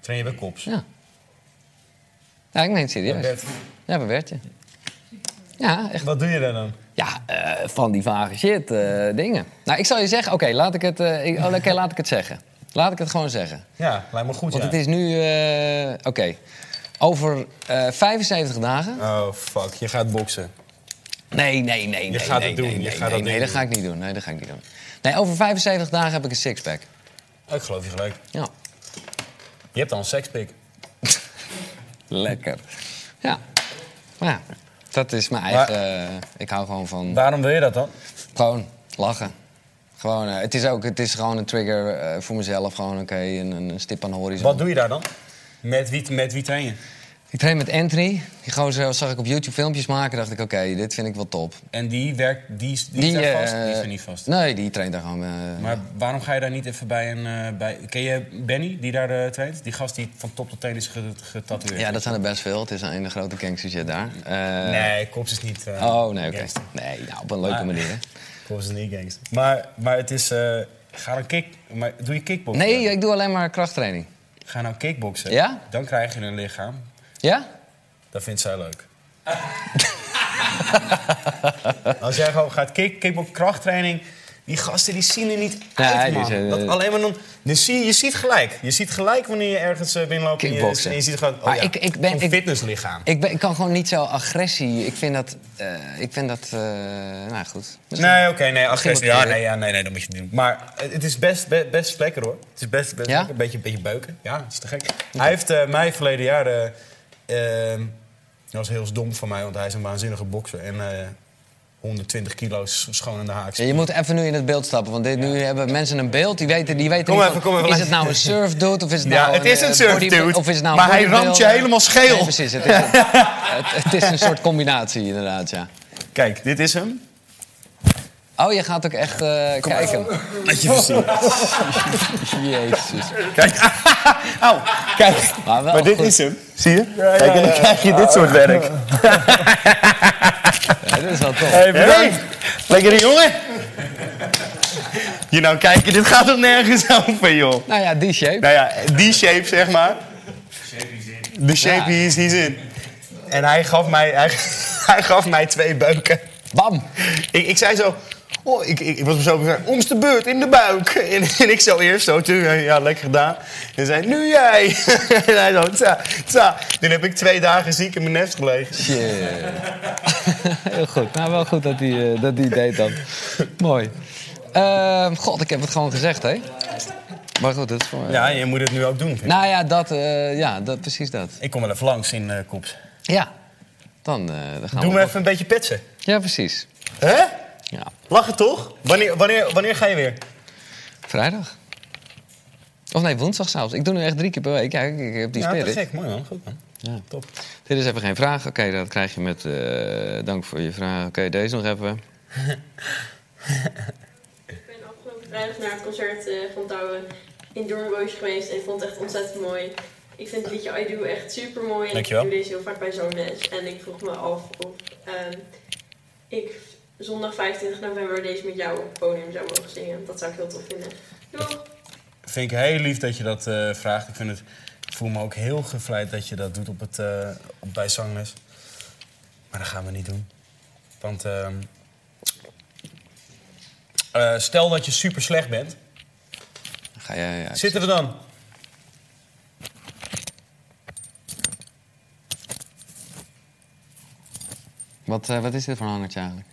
Speaker 2: Train je bij Kops?
Speaker 3: Ja. Ja, ik meen het serieus.
Speaker 2: Bert.
Speaker 3: Ja, bij Bertje. Ja, echt.
Speaker 2: Wat doe je daar dan?
Speaker 3: Ja, eh, van die vage shit, eh, dingen. Nou, ik zal je zeggen, oké, laat ik het, eh, ik- oh, oké, laat ik het zeggen. Laat ik het gewoon zeggen.
Speaker 2: Ja, lijkt me goed,
Speaker 3: Want
Speaker 2: ja.
Speaker 3: het is nu, eh, oké, over eh, 75 dagen.
Speaker 2: Oh, fuck. Je gaat boksen.
Speaker 3: Nee, nee, nee. Je nee,
Speaker 2: gaat
Speaker 3: nee,
Speaker 2: het doen.
Speaker 3: Nee,
Speaker 2: Je
Speaker 3: nee,
Speaker 2: gaat
Speaker 3: nee,
Speaker 2: dat
Speaker 3: nee,
Speaker 2: ding
Speaker 3: dat ga ik niet doen. Nee, dat ga ik niet doen. Nee, over 75 dagen heb ik een sixpack.
Speaker 2: Ik geloof je gelijk.
Speaker 3: Ja.
Speaker 2: Je hebt al een sekspik.
Speaker 3: Lekker. Ja. Maar ja, dat is mijn eigen... eh, ik hou gewoon van...
Speaker 2: Waarom wil je dat dan?
Speaker 3: Gewoon lachen. Gewoon, eh, het, is ook, het is gewoon een trigger eh, voor mezelf. Gewoon, oké, een, een een stip aan de horizon.
Speaker 2: Wat doe je daar dan? Met wie, met wie train je?
Speaker 3: Ik train met Anthony. Die gozer zag ik op YouTube filmpjes maken. dacht ik, oké, dit vind ik wel top.
Speaker 2: En die werkt, die, die, is daar
Speaker 3: eh,
Speaker 2: vast? Die is er niet vast.
Speaker 3: Nee, die traint daar gewoon... eh,
Speaker 2: Maar waarom ga je daar niet even bij een... eh, bij... Ken je Benny, die daar eh, traint? Die gast die van top tot teen is ge- getatoeëerd.
Speaker 3: ja, dat zijn er best veel. Het is een ene grote gangster shit daar. Eh,
Speaker 2: Nee, Kops is niet... eh,
Speaker 3: Oh, nee, oké.
Speaker 2: gangster.
Speaker 3: Nee, nou, op een leuke
Speaker 2: Maar-
Speaker 3: manier. hè.
Speaker 2: Kops is niet gangster. Maar, maar het is... eh, ga dan kick... Maar, doe je kickboksen?
Speaker 3: Nee, ik doe alleen maar krachttraining.
Speaker 2: Ga nou kickboksen.
Speaker 3: Ja?
Speaker 2: Dan krijg je een lichaam.
Speaker 3: Ja?
Speaker 2: Dat vindt zij leuk. (laughs) Als jij gewoon gaat kick, kickbox krachttraining... Die gasten die zien er niet uit,
Speaker 3: die
Speaker 2: man.
Speaker 3: zijn, eh,
Speaker 2: dat, alleen maar dan... dan zie, je ziet gelijk. Je ziet gelijk wanneer je ergens eh, binnenloopt... en je-
Speaker 3: Kickboksen.
Speaker 2: En je ziet gewoon... Oh,
Speaker 3: Maar
Speaker 2: ja,
Speaker 3: ik- ik ben-
Speaker 2: een
Speaker 3: ik-
Speaker 2: fitnesslichaam.
Speaker 3: Ik, ben, ik kan gewoon niet zo agressie. Ik vind dat... eh, ik vind dat... eh, nou, goed. Misschien-
Speaker 2: Nee, oké, nee, agressie.
Speaker 3: moet-
Speaker 2: Ja, nee, ja, nee, nee, dat moet je niet doen. Maar het het is best, be- best lekker hoor. Het is best, best
Speaker 3: Ja?
Speaker 2: lekker. Een beetje, een beetje beuken. Ja, dat is te gek. Hij heeft eh, mij verleden jaar. eh, ehm, dat was heel dom van mij, want hij is een waanzinnige bokser. En eh, 120 kilo s- schoon in de haak.
Speaker 3: Ja, je moet even nu in het beeld stappen, want dit, nu hebben mensen een beeld. Die weten, die weten
Speaker 2: Kom
Speaker 3: niet
Speaker 2: even, kom even.
Speaker 3: is het nou een surf dude of is het
Speaker 2: Ja,
Speaker 3: nou
Speaker 2: het is een
Speaker 3: eh,
Speaker 2: surf
Speaker 3: bodybuilder,
Speaker 2: dude,
Speaker 3: of is het nou
Speaker 2: maar hij
Speaker 3: bodybuilder?
Speaker 2: ramt je helemaal scheel.
Speaker 3: Nee, precies, het is,
Speaker 2: (laughs)
Speaker 3: een, het, het is een soort combinatie inderdaad, ja.
Speaker 2: Kijk, dit is hem.
Speaker 3: Oh, je gaat ook echt eh, kijken.
Speaker 2: Dat je hem ziet.
Speaker 3: Jezus.
Speaker 2: Kijk, au, Oh, kijk.
Speaker 3: Maar wel goed.
Speaker 2: hem. Zie je? Kijk, en dan krijg je dit soort werk.
Speaker 3: Ja, dit is wel tof.
Speaker 2: Hey, Lekkere jongen. Je nou kijken, dit gaat toch nergens over, joh.
Speaker 3: Nou ja, die shape.
Speaker 2: Nou ja, die shape, zeg maar. De shape
Speaker 3: Ja.
Speaker 2: hier is niet in. En hij gaf mij, hij, (laughs) hij gaf mij twee beuken.
Speaker 3: Bam.
Speaker 2: Ik, ik zei zo... Oh, ik, ik, ik was me zo bezig. Om de beurt, in de buik. (laughs) En, en ik zo eerst zo, toen, ja, lekker gedaan. En zei, nu jij. (laughs) en hij zo, tja, tja. Toen heb ik twee dagen ziek in mijn nest gelegen.
Speaker 3: Shit. (laughs) Heel goed. Nou, wel goed dat hij eh, dat hij deed dan. Mooi. Ehm, God, ik heb het gewoon gezegd, hè. Maar goed, dat is voor...
Speaker 2: (laughs) Ja, je moet het nu ook doen. vind ik.
Speaker 3: Nou ja, dat, eh, ja dat, precies dat.
Speaker 2: Ik kom wel even langs in eh Koeps.
Speaker 3: Ja. Dan, eh, dan gaan
Speaker 2: Doe
Speaker 3: we.
Speaker 2: me even een beetje petsen.
Speaker 3: Ja, precies.
Speaker 2: Hè?
Speaker 3: Ja.
Speaker 2: Lachen toch? Wanneer, wanneer, wanneer ga je weer?
Speaker 3: Vrijdag. Of nee, woensdag zelfs. Ik doe nu echt drie keer per week. Kijk, ik heb die
Speaker 2: te
Speaker 3: spirit.
Speaker 2: gek. Mooi man. Goed man.
Speaker 3: Ja.
Speaker 2: Top.
Speaker 3: Dit is even geen vraag. Oké, dat krijg je met eh, dank voor je vraag. Oké, deze nog even.
Speaker 14: Ik ben afgelopen vrijdag naar een concert eh, van Douwe in Doornboosje geweest en ik vond het echt ontzettend mooi. Ik vind het liedje I Do echt super mooi en
Speaker 2: Dankjewel.
Speaker 14: ik doe deze heel vaak bij zo'n les. En ik vroeg me af of ehm, ik zondag 25 november deze met jou op het podium zou mogen zingen. Dat zou ik heel tof vinden. Doeg!
Speaker 2: Vind ik heel lief dat je dat eh, vraagt. Ik, vind het, ik voel me ook heel gevleid dat je dat doet op het, eh, op, bij Zangles. Maar dat gaan we niet doen. Want ehm, eh, stel dat je super slecht bent.
Speaker 3: Ga jij uit.
Speaker 2: Zitten we dan?
Speaker 3: Wat, eh, wat is dit voor een hangertje eigenlijk?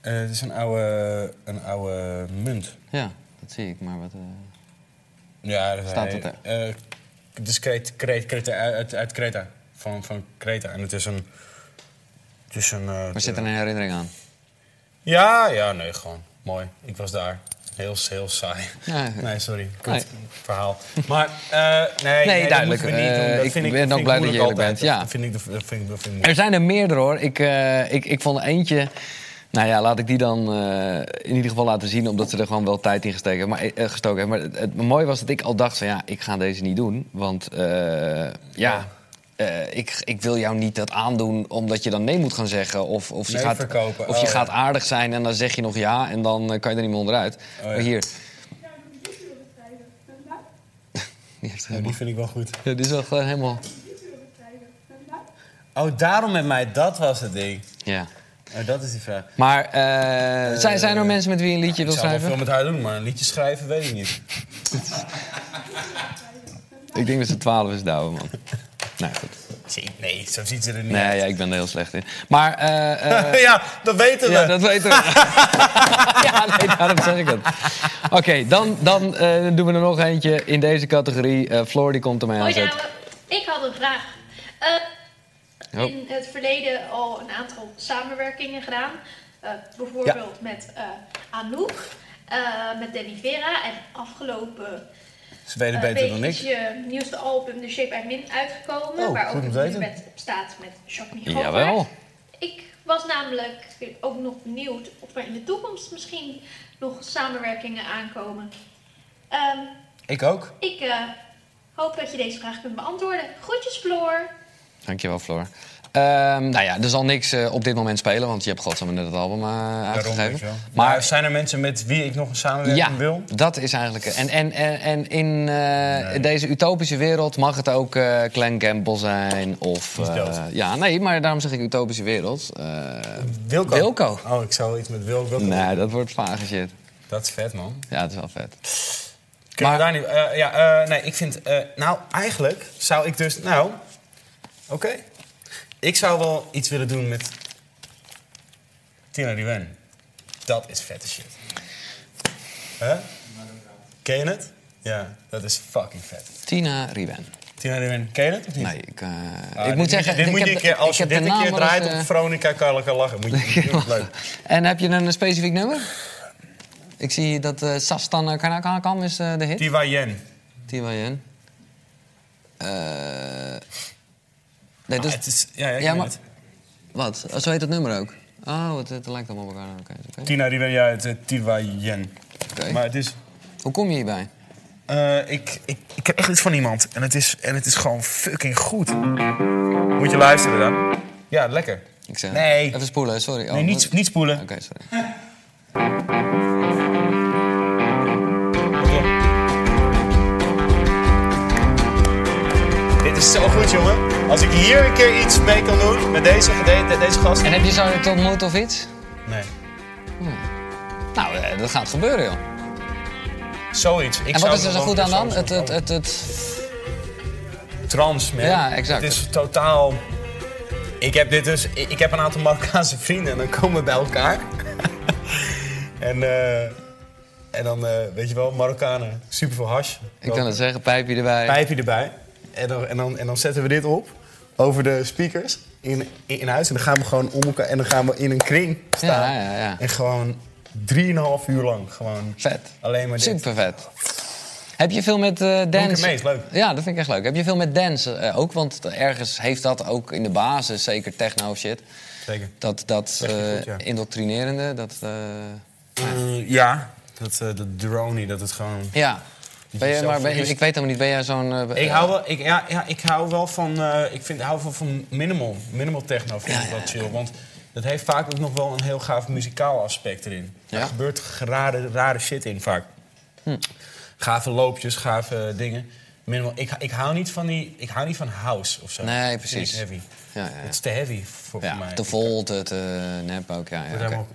Speaker 2: Eh, het is een oude, een oude munt.
Speaker 3: Ja, dat zie ik, maar wat... eh,
Speaker 2: Ja, dat
Speaker 3: Staat
Speaker 2: hij-
Speaker 3: dat
Speaker 2: eh, Het is Kret- Kret- Kreta- uit, uit Kreta. Van, van Kreta. En het is een... Het is een eh,
Speaker 3: maar zit er een herinnering aan?
Speaker 2: Ja, ja, nee, gewoon. Mooi. Ik was daar. Heel, heel saai.
Speaker 3: Ja.
Speaker 2: Nee, sorry. Kut
Speaker 3: Nee.
Speaker 2: verhaal. Maar, eh, nee,
Speaker 3: Nee,
Speaker 2: dat
Speaker 3: duidelijk.
Speaker 2: moeten we niet doen.
Speaker 3: Eh,
Speaker 2: Dat
Speaker 3: ik
Speaker 2: vind
Speaker 3: ben ook
Speaker 2: vind
Speaker 3: blij dat je
Speaker 2: moeilijk
Speaker 3: eerlijk
Speaker 2: altijd.
Speaker 3: bent, ja.
Speaker 2: Dat vind ik, dat vind ik, dat vind ik moeilijk.
Speaker 3: Er zijn er meerdere hoor. Ik, eh, ik, ik vond er eentje. Nou ja, laat ik die dan eh, in ieder geval laten zien, omdat ze er gewoon wel tijd in gesteken, maar, eh, gestoken hebben. Maar het, het mooie was dat ik al dacht van ja, ik ga deze niet doen. Want eh, ja, eh, ik, ik wil jou niet dat aandoen omdat je dan nee moet gaan zeggen. Of, of je,
Speaker 2: Nee
Speaker 3: gaat,
Speaker 2: verkopen.
Speaker 3: Of je
Speaker 2: Oh,
Speaker 3: gaat
Speaker 2: ja.
Speaker 3: aardig zijn en dan zeg je nog ja en dan eh, kan je er niet meer onderuit.
Speaker 2: Oh, ja.
Speaker 3: Maar hier, die, heeft
Speaker 2: Ja, die
Speaker 3: helemaal-
Speaker 2: vind ik wel goed.
Speaker 3: (laughs) Ja, die is wel gewoon helemaal...
Speaker 2: Oh, daarom met mij. Dat was het ding.
Speaker 3: Ja.
Speaker 2: Eh, dat is die vraag.
Speaker 3: Maar eh, zijn, zijn er mensen met wie je een liedje
Speaker 2: Ik
Speaker 3: wil
Speaker 2: zou wel
Speaker 3: schrijven?
Speaker 2: veel met haar doen, maar een liedje schrijven weet ik niet.
Speaker 3: Ik denk dat ze 12 is, Douwe, man. Nou goed.
Speaker 2: Zie, Nee, zo ziet ze er niet
Speaker 3: Nee,
Speaker 2: uit.
Speaker 3: ja, ik ben er heel slecht in. Maar, eh, eh,
Speaker 2: (laughs) ja, dat weten we.
Speaker 3: ja, dat weten (laughs) we. ja, nee, daarom zeg ik het. Oké, dan, dan eh, doen we er nog eentje in deze categorie. Eh, Floor, die komt er mij
Speaker 16: Hoi
Speaker 3: aanzetten.
Speaker 16: Douwe, ik had een vraag. Eh,
Speaker 3: Oh.
Speaker 16: In het verleden al een aantal samenwerkingen gedaan. Eh, bijvoorbeeld met eh Anouk, eh, met Danny Vera. En afgelopen
Speaker 2: Ze weten
Speaker 16: eh,
Speaker 2: beter dan
Speaker 16: week is
Speaker 2: ik.
Speaker 16: je nieuwste album The Shape I'm In uitgekomen.
Speaker 2: Oh,
Speaker 16: waar
Speaker 2: goed
Speaker 16: ook
Speaker 2: om
Speaker 16: een
Speaker 2: te
Speaker 16: nieuwe
Speaker 2: weten.
Speaker 16: band op staat met Jacques Mignon.
Speaker 3: Jawel.
Speaker 16: Ik was namelijk ook nog benieuwd of er in de toekomst misschien nog samenwerkingen aankomen. Ehm,
Speaker 2: Ik ook.
Speaker 16: ik eh, hoop dat je deze vraag kunt beantwoorden. Groetjes, Floor.
Speaker 3: Dankjewel, Floor. Ehm, nou ja, er zal niks eh, op dit moment spelen, want je hebt godsamme net het album eh,
Speaker 2: weet je
Speaker 3: uitgegeven.
Speaker 2: wel.
Speaker 3: Maar
Speaker 2: Maar zijn er mensen met wie ik nog een samenwerking
Speaker 3: Ja,
Speaker 2: wil?
Speaker 3: dat is eigenlijk. En, en, en, en in eh, deze utopische wereld mag het ook eh Clan Campbell zijn. Of,
Speaker 2: Die is
Speaker 3: eh,
Speaker 2: dood.
Speaker 3: ja, nee, maar daarom zeg ik utopische wereld. Eh,
Speaker 2: Wilco.
Speaker 3: Wilco.
Speaker 2: Oh, ik zou iets met Wil- Wilco.
Speaker 3: Nee, dat wordt vage shit.
Speaker 2: Dat is vet, man.
Speaker 3: Ja, dat is wel vet.
Speaker 2: Kunnen we daar niet... eh, ja, eh, nee, ik vind... eh, nou, eigenlijk zou ik dus... Nou, oké. Ik zou wel iets willen doen met... Tina Ruwen. Dat is vette shit. Hè? Ken je het? Ja, dat is fucking vet.
Speaker 3: Tina Riwen.
Speaker 2: Tina Ruwen, ken je het of niet?
Speaker 3: Nee, ik, eh,
Speaker 2: Hm. Ah,
Speaker 3: ik
Speaker 2: dit
Speaker 3: moet zeggen...
Speaker 2: dit
Speaker 3: ik
Speaker 2: moet je
Speaker 3: heb
Speaker 2: een
Speaker 3: de-
Speaker 2: keer, als
Speaker 3: ik
Speaker 2: je
Speaker 3: heb de
Speaker 2: dit een
Speaker 3: naam
Speaker 2: keer
Speaker 3: wel eens,
Speaker 2: draait
Speaker 3: eh,
Speaker 2: op Veronica, kan je kan lachen.
Speaker 3: (laughs)
Speaker 2: Moet (laughs) je, leuk.
Speaker 3: En heb je een specifiek nummer? Ik zie dat eh Sastan Kanakam is eh, de hit.
Speaker 2: Tiwa Yen.
Speaker 3: Tiwa Yen. Eh, nee,
Speaker 2: Ah,
Speaker 3: dus-
Speaker 2: het is- ja, ja, ik weet het.
Speaker 3: Wat? Oh, zo heet dat nummer ook? Oh, het, het lijkt allemaal op elkaar. Oké, is oké.
Speaker 2: Tina Ruwen, ja, het, eh, Tiwa Yen. Maar het is...
Speaker 3: Hoe kom je hierbij?
Speaker 2: Eh, ik, ik, ik heb echt iets van iemand. En het, is, en het is gewoon fucking goed. Moet je luisteren dan? Ja, lekker.
Speaker 3: Ik zeg,
Speaker 2: Nee.
Speaker 3: Even spoelen, sorry. Oh,
Speaker 2: Nee, niet- niet spoelen.
Speaker 3: Oké, sorry.
Speaker 2: Dit is zo goed, jongen. Als ik hier een keer iets mee kan doen met deze, de- deze gast.
Speaker 3: En heb je zo het ontmoet of iets? Hm.
Speaker 2: Nee.
Speaker 3: Nou, eh, dat gaat gebeuren, joh.
Speaker 2: Zoiets. Ik
Speaker 3: en
Speaker 2: zou
Speaker 3: wat is er zo
Speaker 2: gewoon
Speaker 3: goed aan dan?
Speaker 2: persoon-
Speaker 3: Het, het, het, het...
Speaker 2: Trans, man.
Speaker 3: Ja, exact.
Speaker 2: Het is totaal... Ik heb dit dus... Ik, ik heb een aantal Marokkaanse vrienden en dan komen we bij elkaar. (laughs) en, eh, en dan, eh, weet je wel, Marokkanen. Super veel hash.
Speaker 3: Ik kan het zeggen, pijpje erbij.
Speaker 2: pijpje erbij. En dan, en, dan, en dan zetten we dit op over de speakers in, in, in huis. En dan gaan we gewoon om elkaar. En dan gaan we in een kring staan.
Speaker 3: Ja, ja, ja.
Speaker 2: En gewoon 3,5 uur lang. Gewoon
Speaker 3: Vet.
Speaker 2: alleen Oh, maar dit.
Speaker 3: Super vet. Heb je veel met eh dance?
Speaker 2: mee, is leuk.
Speaker 3: Ja, dat vind ik echt leuk. Heb je veel met dance eh, ook? Want ergens heeft dat ook in de basis, zeker techno of shit.
Speaker 2: Zeker.
Speaker 3: Dat, dat
Speaker 2: Techno
Speaker 3: eh,
Speaker 2: goed, ja.
Speaker 3: indoctrinerende, dat... eh,
Speaker 2: Eh, ja, dat, eh dat drone, dat het gewoon...
Speaker 3: ja.
Speaker 2: je
Speaker 3: Ben je,
Speaker 2: jezelf
Speaker 3: maar, ben-
Speaker 2: verliest.
Speaker 3: ik weet helemaal niet, ben jij zo'n... eh,
Speaker 2: Ik
Speaker 3: eh,
Speaker 2: hou wel, ik, ja, ja, ik hou wel van, eh, ik vind, hou wel van minimal, minimal techno vind ik wel chill. Want Dat heeft vaak ook nog wel een heel gaaf muzikaal aspect erin. Er gebeurt rare, rare shit in vaak.
Speaker 3: Hm.
Speaker 2: Gave loopjes, gave dingen. Minimal, ik, ik, hou niet van die, ik hou niet van house of zo.
Speaker 3: Nee, precies.
Speaker 2: Niet heavy.
Speaker 3: Ja, ja.
Speaker 2: Het is te heavy voor
Speaker 3: Ja,
Speaker 2: mij.
Speaker 3: te vol, te, te eh, nep ook. Ja, ja,
Speaker 2: Ik word
Speaker 3: oké.
Speaker 2: helemaal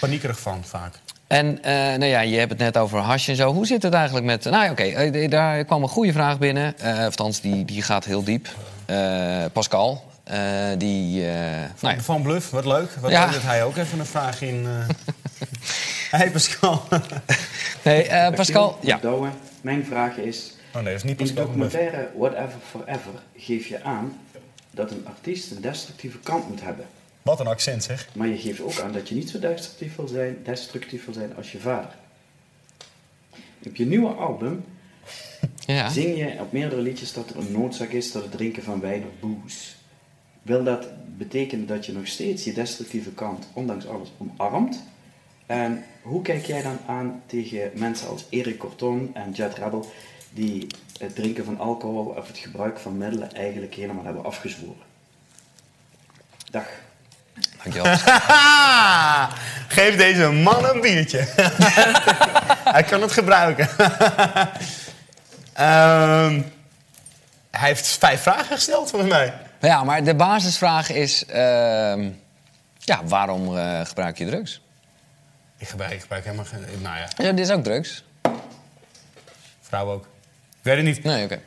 Speaker 2: paniekerig van vaak.
Speaker 3: En eh, nou ja, je hebt het net over hash en zo. Hoe zit het eigenlijk met... Nou ja, oké, eh, d- daar kwam een goede vraag binnen. Eh althans, die, die gaat heel diep. Eh, Pascal, eh, die... eh, nou (laughs) ja.
Speaker 2: Van Bluff, wat leuk. Wat
Speaker 3: Ja.
Speaker 2: leuk dat hij ook even een vraag in...
Speaker 3: (laughs)
Speaker 2: eh hey Pascal. Oh,
Speaker 3: Nee, eh, Pascal, ja.
Speaker 17: Douwe, mijn vraag is...
Speaker 2: Oh nee, dat is niet
Speaker 17: In de
Speaker 2: Pascal van Bluff.
Speaker 17: documentaire Whatever Forever geef je aan dat een artiest een destructieve kant moet hebben.
Speaker 2: Wat een accent (laughs) zeg.
Speaker 17: Maar je geeft ook aan dat je niet zo destructief wil zijn, destructief wil zijn als je vader. Op je nieuwe album
Speaker 3: Ja.
Speaker 17: zing je op meerdere liedjes dat er een noodzaak is tot het drinken van wijn of booze. Wil dat betekenen dat je nog steeds je destructieve kant, ondanks alles, omarmt? En hoe kijk jij dan aan tegen mensen als Erik Corton en Jet Rebel, die het drinken van alcohol of het gebruik van middelen eigenlijk helemaal hebben afgezworen? Dag.
Speaker 3: (laughs) Dankjewel.
Speaker 11: Geef deze man een biertje.
Speaker 2: (laughs)
Speaker 11: hij kan het gebruiken. Ehm, hij heeft vijf vragen gesteld, volgens mij.
Speaker 3: ja, maar de basisvraag is... ehm, ja, waarom eh, gebruik je drugs?
Speaker 2: Ik gebruik, ik gebruik helemaal geen... Nou ja,
Speaker 3: Ja, dit is ook drugs.
Speaker 2: vrouw ook. Ik weet het niet. Eh,
Speaker 3: Nee, oké.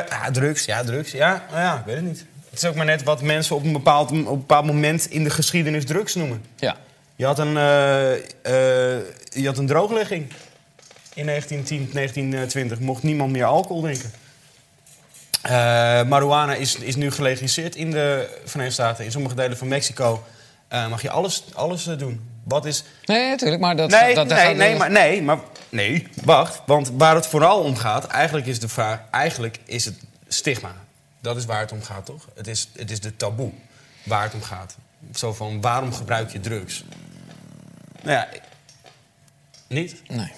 Speaker 2: ja, drugs, ja, drugs. Ja, nou ja, ik weet het niet. Het is ook maar net wat mensen op een bepaald, op een bepaald moment in de geschiedenis drugs noemen.
Speaker 3: Ja.
Speaker 2: Je had een, eh, eh, je had een drooglegging. In 1910, 1920 mocht niemand meer alcohol drinken. Eh marihuana is, is nu gelegaliseerd in de Verenigde Staten. In sommige delen van Mexico eh, mag je alles, alles eh, doen. Wat is...
Speaker 3: Nee, natuurlijk, maar dat...
Speaker 2: nee,
Speaker 3: dat, dat
Speaker 2: nee,
Speaker 3: gaat-
Speaker 2: nee, maar, nee, maar nee, wacht. Want waar het vooral om gaat, eigenlijk is de vraag, eigenlijk is het stigma. Dat is waar het om gaat, toch? Het is, het is de taboe waar het om gaat. Zo van, waarom gebruik je drugs? Nou ja, ik- niet?
Speaker 3: Nee.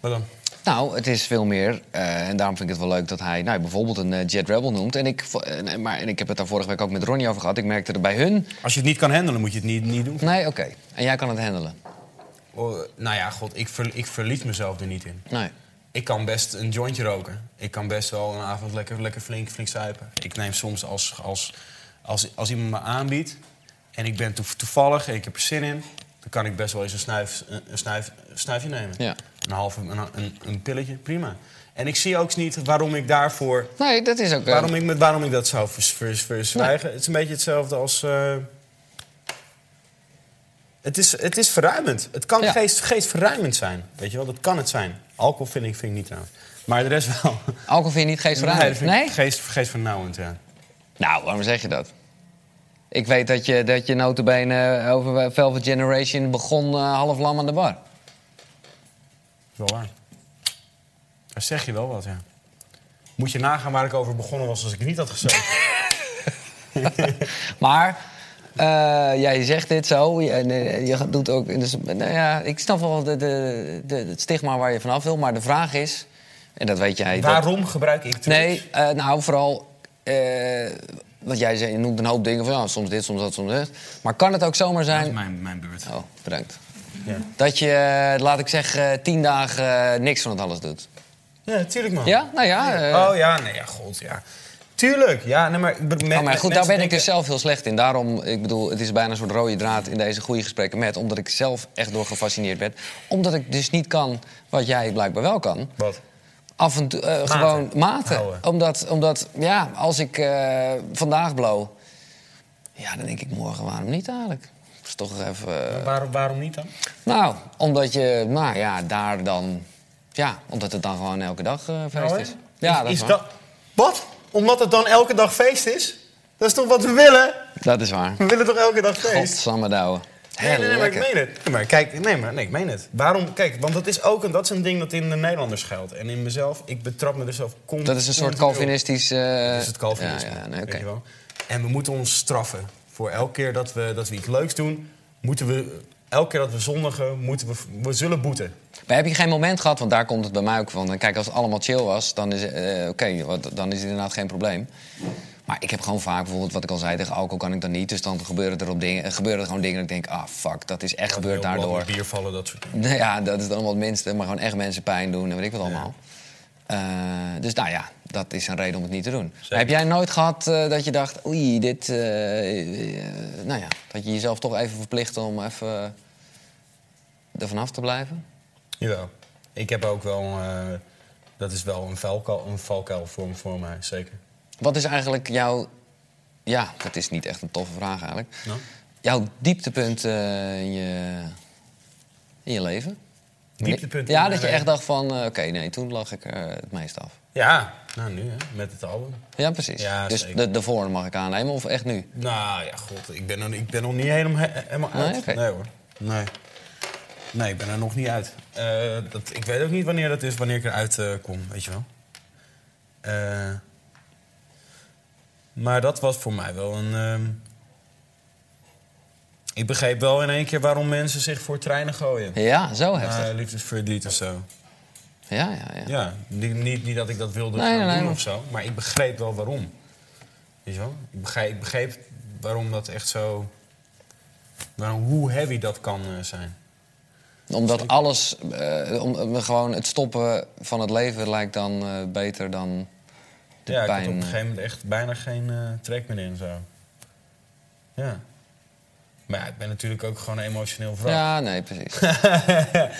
Speaker 2: Wat dan?
Speaker 3: Nou, het is veel meer. eh, en daarom vind ik het wel leuk dat hij nou, bijvoorbeeld een eh, Jet Rebel noemt. En ik, vo- en- en- maar, en ik heb het daar vorige week ook met Ronnie over gehad. Ik merkte er bij hun...
Speaker 2: Als je het niet kan handelen, moet je het niet, niet doen.
Speaker 3: Nee, oké. En jij kan het handelen.
Speaker 2: Oh, nou ja, god, ik, ver, ik verlies mezelf er niet in.
Speaker 3: Nee.
Speaker 2: Ik kan best een jointje roken. Ik kan best wel een avond lekker, lekker flink, flink zuipen. Ik neem soms als, als, als, als iemand me aanbiedt... en ik ben toe- toevallig en ik heb er zin in... dan kan ik best wel eens een, snuif, een, een snuif, een snuifje nemen.
Speaker 3: Ja.
Speaker 2: Een, half, een, een, een pilletje, prima. En ik zie ook niet waarom ik daarvoor...
Speaker 3: Nee, dat is ook... eh,
Speaker 2: Waarom ik, met- waarom ik dat zou vers, vers, verzwijgen. Het is een beetje hetzelfde als... eh, het, is, het is verruimend. Het kan geest, geestverruimend zijn. Weet je wel, dat kan het zijn. Alcohol vind ik, vind ik niet trouwens. Maar de rest wel.
Speaker 3: Alcohol vind je niet geestverruimend?
Speaker 2: Nee? dat vind
Speaker 3: Nee?
Speaker 2: ik Geest, geestvernauwend, ja.
Speaker 3: Nou, waarom zeg je dat? Ik weet dat je, dat je notabene over eh, Velvet Generation begon eh, half lam aan de bar.
Speaker 2: Is wel waar. Daar zeg je wel wat, ja. Moet je nagaan waar ik over begonnen was als ik het niet had gezegd.
Speaker 3: Maar eh, ja, je zegt dit zo. Je, en, eh, je doet ook. Dus, nou ja, ik snap wel de, de, de, het stigma waar je vanaf wil. Maar de vraag is, en dat weet jij. (laughs) dat-
Speaker 2: Waarom gebruik ik drugs?
Speaker 3: Nee, eh, nou vooral. eh, want jij zei, je noemt een hoop dingen van ja, soms dit, soms dat, soms dat. Maar kan het ook zomaar zijn.
Speaker 2: Mijn, mijn beurt.
Speaker 3: Oh, bedankt.
Speaker 2: Ja.
Speaker 3: Dat je, eh, laat ik zeggen, eh, tien dagen eh, niks van het alles doet.
Speaker 2: Ja, tuurlijk man.
Speaker 3: Ja? Nou ja. eh,
Speaker 2: Oh ja, nee, ja, god, ja. Tuurlijk, ja. Nee, maar, me-
Speaker 3: Oh, maar
Speaker 2: mensen
Speaker 3: goed, daar ben ik
Speaker 2: denken-
Speaker 3: dus zelf heel slecht in. Daarom, ik bedoel, het is bijna een soort rode draad in deze goede gesprekken met. Omdat ik zelf echt door gefascineerd ben. Omdat ik dus niet kan wat jij blijkbaar wel kan.
Speaker 2: Wat?
Speaker 3: Af en toe eh, gewoon maten. Omdat, omdat, ja, als ik eh, vandaag blow... Ja, dan denk ik morgen, waarom niet eigenlijk? Dat is toch even... eh,
Speaker 2: Waarom, waarom niet dan?
Speaker 3: Nou, omdat je, nou ja, daar dan... Ja, omdat het dan gewoon elke dag eh, feest
Speaker 2: Nou, hè?
Speaker 3: is. Ja, dat is, waar.
Speaker 2: Wat? Omdat het dan elke dag feest is? Dat is toch wat we willen?
Speaker 3: Dat is waar.
Speaker 2: We willen toch elke dag feest?
Speaker 3: Godsamme douwe.
Speaker 2: Nee, nee, nee, maar ik
Speaker 3: Heerlijk.
Speaker 2: meen het. Nee, maar kijk, nee, maar nee, ik meen het. Waarom? Kijk, want dat is ook een, dat is een ding dat in de Nederlanders geldt. En in mezelf, ik betrap me er zelf continu.
Speaker 3: Dat is een soort
Speaker 2: continu op.
Speaker 3: Calvinistisch. eh,
Speaker 2: Dat is het Calvinisme.
Speaker 3: Ja, ja, nee,
Speaker 2: weet
Speaker 3: oké.
Speaker 2: je wel. En we moeten ons straffen. Voor elke keer dat we, dat we iets leuks doen, moeten we. Elke keer dat we zondigen, moeten we, we zullen boeten.
Speaker 3: Maar heb je geen moment gehad, want daar eh, komt het bij mij ook van. Kijk, als het allemaal chill was, dan is, eh, oké, wat- dan is het inderdaad geen probleem. Maar ik heb gewoon vaak bijvoorbeeld wat ik al zei, tegen alcohol kan ik dan niet. Dus dan gebeuren er, op dingen, gebeuren er gewoon dingen dat ik denk, ah fuck, dat is echt gebeurd daardoor.
Speaker 11: Met bier vallen, dat soort dingen.
Speaker 3: Nou ja, dat is dan wel het minste. Maar gewoon echt mensen pijn doen en weet ik wat allemaal. Eh, dus nou ja, dat is een reden om het niet te doen. Maar Heb jij nooit gehad eh, dat je dacht, oei, dit... eh, eh, nou ja, dat je jezelf toch even verplicht om even er vanaf te blijven?
Speaker 2: Jawel. Ik heb ook wel... eh, dat is wel een valkuil, een valkuil voor, voor mij, zeker.
Speaker 3: Wat is eigenlijk jouw... Ja, dat is niet echt een toffe vraag eigenlijk. Jouw dieptepunt eh, in, je, in je leven?
Speaker 2: Dieptepunt in
Speaker 3: Ja,
Speaker 2: mijn
Speaker 3: dat je
Speaker 2: leven?
Speaker 3: echt dacht van, eh, oké, nee, toen lag ik er het meest af.
Speaker 2: Ja, nou nu hè, met het album.
Speaker 3: Ja, precies.
Speaker 2: Ja,
Speaker 3: dus
Speaker 2: zeker.
Speaker 3: de, de vorm mag ik aannemen of echt nu?
Speaker 2: Nou ja, god, ik ben, er, ik ben nog niet helemaal, he- helemaal
Speaker 3: Nee,
Speaker 2: uit.
Speaker 3: oké.
Speaker 2: Nee hoor. Nee. Nee, ik ben er nog niet uit. Eh, dat, ik weet ook niet wanneer dat is, wanneer ik eruit eh, kom, weet je wel. Eh, maar dat was voor mij wel een. ehm, ik begreep wel in één keer waarom mensen zich voor treinen gooien.
Speaker 3: Ja, zo heftig.
Speaker 2: Naar Eh, liefdesverdriet of zo.
Speaker 3: Ja, ja, ja.
Speaker 2: Ja, niet, niet, niet dat ik dat wilde
Speaker 3: Nee,
Speaker 2: gaan
Speaker 3: nee,
Speaker 2: doen
Speaker 3: nee.
Speaker 2: of zo, maar ik begreep wel waarom. Weet je wel? Ik begreep, ik begreep waarom dat echt zo. Waarom, hoe heavy dat kan eh, zijn.
Speaker 3: Omdat alles, eh, om, eh, gewoon het stoppen van het leven lijkt dan eh, beter dan de
Speaker 2: ja, ik
Speaker 3: pijn. eh.
Speaker 2: had op een gegeven moment echt bijna geen eh, trek meer in zo. Ja. Maar ja, ik ben natuurlijk ook gewoon een emotioneel vrouw.
Speaker 3: Ja, nee, precies. (laughs)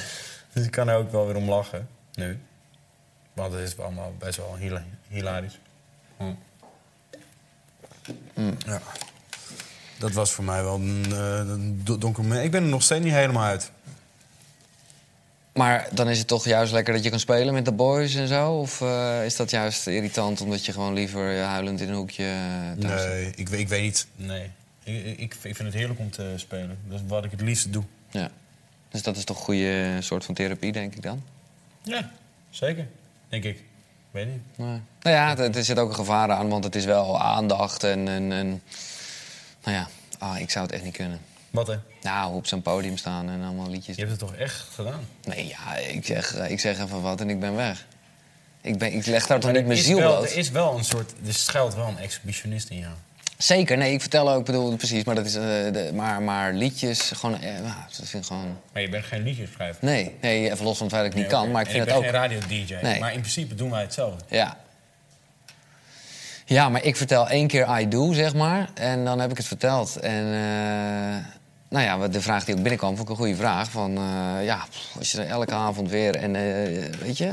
Speaker 2: (laughs) dus ik kan er ook wel weer om lachen, nu. Want het is allemaal best wel hila- hilarisch. Hm. Ja. Dat was voor mij wel een, eh, een do- donker moment. Ik ben er nog steeds niet helemaal uit.
Speaker 3: Maar dan is het toch juist lekker dat je kan spelen met de boys en zo? Of eh, is dat juist irritant omdat je gewoon liever eh, huilend in een hoekje eh, thuis zit?
Speaker 2: Nee, ik, we- ik weet niet. Nee. Ik, ik, ik vind het heerlijk om te spelen. Dat is wat ik het liefste doe.
Speaker 3: Ja. Dus dat is toch een goede soort van therapie, denk ik dan?
Speaker 2: Ja, zeker. Denk ik. Weet niet.
Speaker 3: Nee. Nou ja, het- er zit ook een gevaar aan, want het is wel aandacht en... en, en nou ja, ah, ik zou het echt niet kunnen.
Speaker 2: Wat hè?
Speaker 3: Nou, op zo'n podium staan en allemaal liedjes.
Speaker 2: Je hebt het toch echt gedaan?
Speaker 3: Nee, ja, ik zeg, eh, ik zeg even wat en ik ben weg. Ik, ben, ik leg daar toch
Speaker 2: Maar
Speaker 3: niet
Speaker 2: er
Speaker 3: mijn
Speaker 2: is
Speaker 3: ziel
Speaker 2: wel-
Speaker 3: bloot?
Speaker 2: Er is wel een soort... Er schuilt wel een exhibitionist in jou.
Speaker 3: Zeker, nee, ik vertel ook, bedoel, precies, maar, dat is, eh, de, maar, maar liedjes, gewoon, eh, nou, dat vind ik gewoon...
Speaker 2: Maar je bent geen liedjeschrijver.
Speaker 3: Nee, nee, even los van het feit dat ik niet kan, maar ik vind
Speaker 2: en
Speaker 3: dat ook...
Speaker 2: Ik ben geen radio-dj,
Speaker 3: Nee.
Speaker 2: maar in principe doen wij hetzelfde.
Speaker 3: Ja. Ja, maar ik vertel één keer I do, zeg maar. En dan heb ik het verteld. En eh, nou ja, wat de vraag die ook binnenkwam, vond ik een goede vraag. Van eh, ja, pff, als je er elke avond weer en eh, weet je...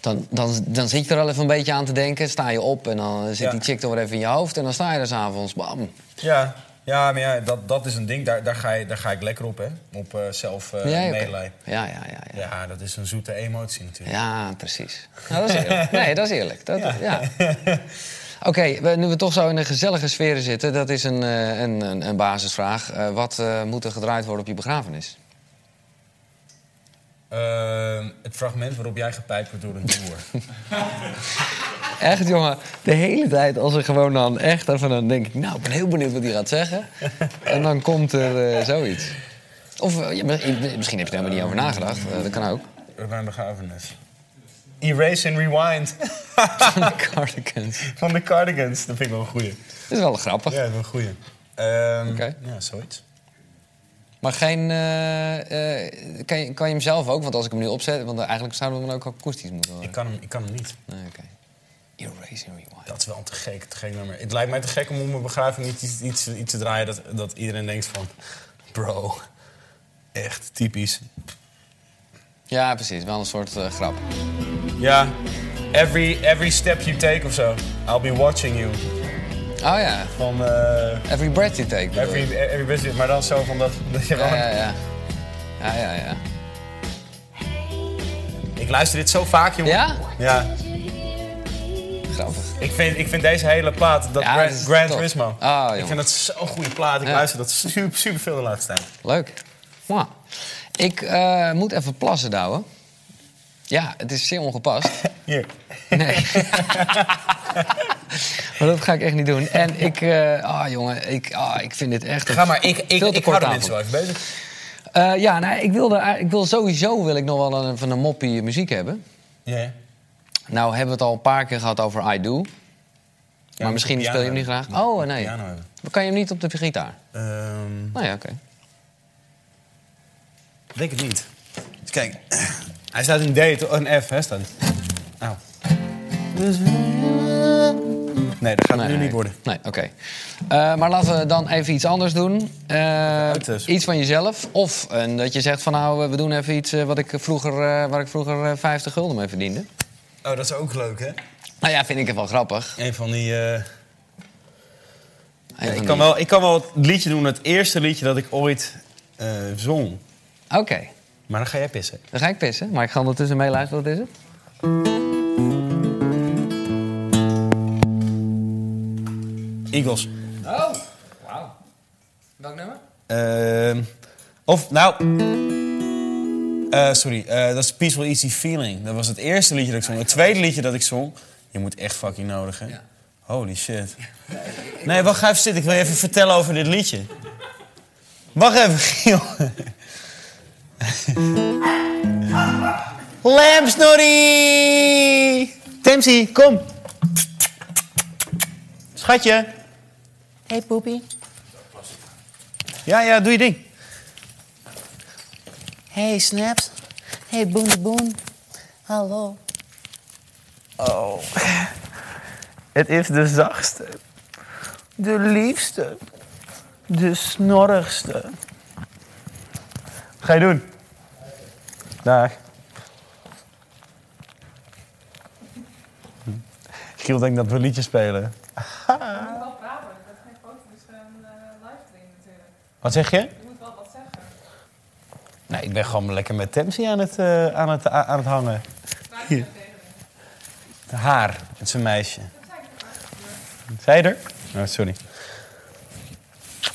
Speaker 3: Dan, dan, dan zit je er al even een beetje aan te denken. Sta je op en dan zit
Speaker 2: Ja. Eh,
Speaker 3: die chick er weer even in je hoofd. En dan sta je er s'avonds, bam.
Speaker 2: Ja, ja maar ja, dat, dat is een ding. Daar, daar, ga je, daar ga ik lekker op, hè. Op eh, zelf eh
Speaker 3: Ja, oké.
Speaker 2: medelijden.
Speaker 3: Ja, ja, ja,
Speaker 2: ja. dat is een zoete emotie natuurlijk.
Speaker 3: Ja, precies. Nou, dat is eerlijk. Nee, dat is eerlijk. Dat, ja. Oké, we- nu we toch zo in een gezellige sfeer zitten, dat is een, eh, een, een, een basisvraag. Eh, wat eh, moet er gedraaid worden op je begrafenis?
Speaker 2: (laughs) Ehm, het fragment waarop jij gepijpt wordt door een boer.
Speaker 3: (laughs) Echt, jongen, de hele tijd als er gewoon dan echt even dan denk ik, nou, ik ben heel benieuwd wat hij gaat zeggen. En dan komt er eh, zoiets. Of eh, ja, maar- eh, misschien heb je er helemaal niet over nagedacht. Eh, dat kan ook.
Speaker 2: Mijn begrafenis. Erase and Rewind.
Speaker 3: Van
Speaker 2: (laughs)
Speaker 3: de Cardigans.
Speaker 2: Van de Cardigans, dat vind ik wel een goeie.
Speaker 3: Dat is wel grappig.
Speaker 2: Ja, dat is een goeie. Ehm,
Speaker 3: Oké.
Speaker 2: Ja, zoiets.
Speaker 3: Maar geen. eh, eh, kan, je, kan je hem zelf ook? Want als ik hem nu opzet, want eigenlijk zouden we hem dan ook akoestisch moeten horen.
Speaker 2: Ik kan, hem, ik kan hem niet.
Speaker 3: Nee, oké. Erase and Rewind.
Speaker 2: Dat is wel een te gek, te gek nummer. Het lijkt mij te gek om op mijn begrafenis iets, iets, iets, iets te draaien dat, dat iedereen denkt van... Bro, echt typisch.
Speaker 3: Ja, precies. Wel een soort eh, grap.
Speaker 2: Ja, every, every step you take of zo. I'll be watching you.
Speaker 3: Oh ja.
Speaker 2: Van... eh,
Speaker 3: Every breath you take. bedoel
Speaker 2: every,
Speaker 3: je?
Speaker 2: every business, maar dan zo van dat... (laughs) dat je wel-
Speaker 3: Ja, ja, ja. Ja, ja, ja.
Speaker 2: Ik luister dit zo vaak, jongen.
Speaker 3: Ja?
Speaker 2: Ja.
Speaker 3: Grappig.
Speaker 2: Ik vind, ik vind deze hele plaat, dat
Speaker 3: Ja,
Speaker 2: Gran-
Speaker 3: dat is
Speaker 2: Gran
Speaker 3: top.
Speaker 2: Turismo.
Speaker 3: Ah,
Speaker 2: ik
Speaker 3: jongen.
Speaker 2: vind dat zo'n goede plaat. Ik
Speaker 3: Ja.
Speaker 2: luister dat super, super veel de laatste tijd.
Speaker 3: Leuk. Mwah. Ik eh, moet even plassen, douwen. Ja, het is zeer ongepast.
Speaker 2: (laughs) Hier.
Speaker 3: Nee. (laughs) maar dat ga ik echt niet doen. En ik... eh, Ah, jongen. Ik, ah, ik vind dit echt... een
Speaker 2: Ga maar, ik, ik,
Speaker 3: veel te
Speaker 2: ik hou
Speaker 3: kort
Speaker 2: de
Speaker 3: avond.
Speaker 2: mensen wel even bezig.
Speaker 3: Eh, ja, nou, ik, wilde, eigenlijk- ik wil sowieso wil ik nog wel een, van een moppie muziek hebben.
Speaker 2: Ja, ja.
Speaker 3: Nou hebben we het al een paar keer gehad over I Do. maar misschien speel je hem niet graag. Oh, nee. Maar Kan je hem niet op de gitaar?
Speaker 2: Ehm,
Speaker 3: Nou ja, oké.
Speaker 2: Ik denk het niet. Dus kijk, (clears throat) hij staat in D, toch? een F, hè? Staat. Nou. Nee, dat gaat het nu niet worden.
Speaker 3: Nee, oké. Eh, maar laten we dan even iets anders doen. Eh, iets van jezelf. Of eh, dat je zegt van nou, we doen even iets eh, wat ik vroeger, eh, waar ik vroeger eh, 50 gulden mee verdiende.
Speaker 2: Oh, dat is ook leuk, hè?
Speaker 3: Nou ja, vind ik het wel grappig.
Speaker 2: Een van die... eh,
Speaker 3: van
Speaker 2: ik,
Speaker 3: die-
Speaker 2: kan wel, ik kan wel het liedje doen, het eerste liedje dat ik ooit eh, zong.
Speaker 3: Oké.
Speaker 2: Maar dan ga jij pissen.
Speaker 3: Dan ga ik pissen, maar ik ga ondertussen meeluisteren. Wat is het?
Speaker 2: Eagles.
Speaker 3: Oh, wauw. Welk nummer?
Speaker 2: Ehm, of, nou... eh, sorry, eh, dat is Peaceful Easy Feeling. Dat was het eerste liedje dat ik zong. Het tweede liedje dat ik zong... Je moet echt fucking nodig, hè? Holy shit. Nee, wacht even zitten. Ik wil je even vertellen over dit liedje. Wacht even, (laughs) Giel. Lamp Snorri! Temsi, kom. Schatje. Hey, poepie. Ja, ja, doe je ding.
Speaker 12: Hey Snaps. Hey Boen de Boen. Hallo.
Speaker 2: Oh. Het is de zachtste,
Speaker 12: De liefste. De snorrigste.
Speaker 2: Ga je doen. Dag. Hm. Giel denkt dat we liedjes spelen.
Speaker 14: Je moet wel praten, dat is geen foto, dus een live ding natuurlijk.
Speaker 2: Wat zeg je?
Speaker 14: Je moet wel wat zeggen.
Speaker 2: Nee, ik ben gewoon lekker met Temsi aan het, eh, aan het, a- aan het hangen. Hier. Haar, het is een meisje. Zij er? Oh, sorry.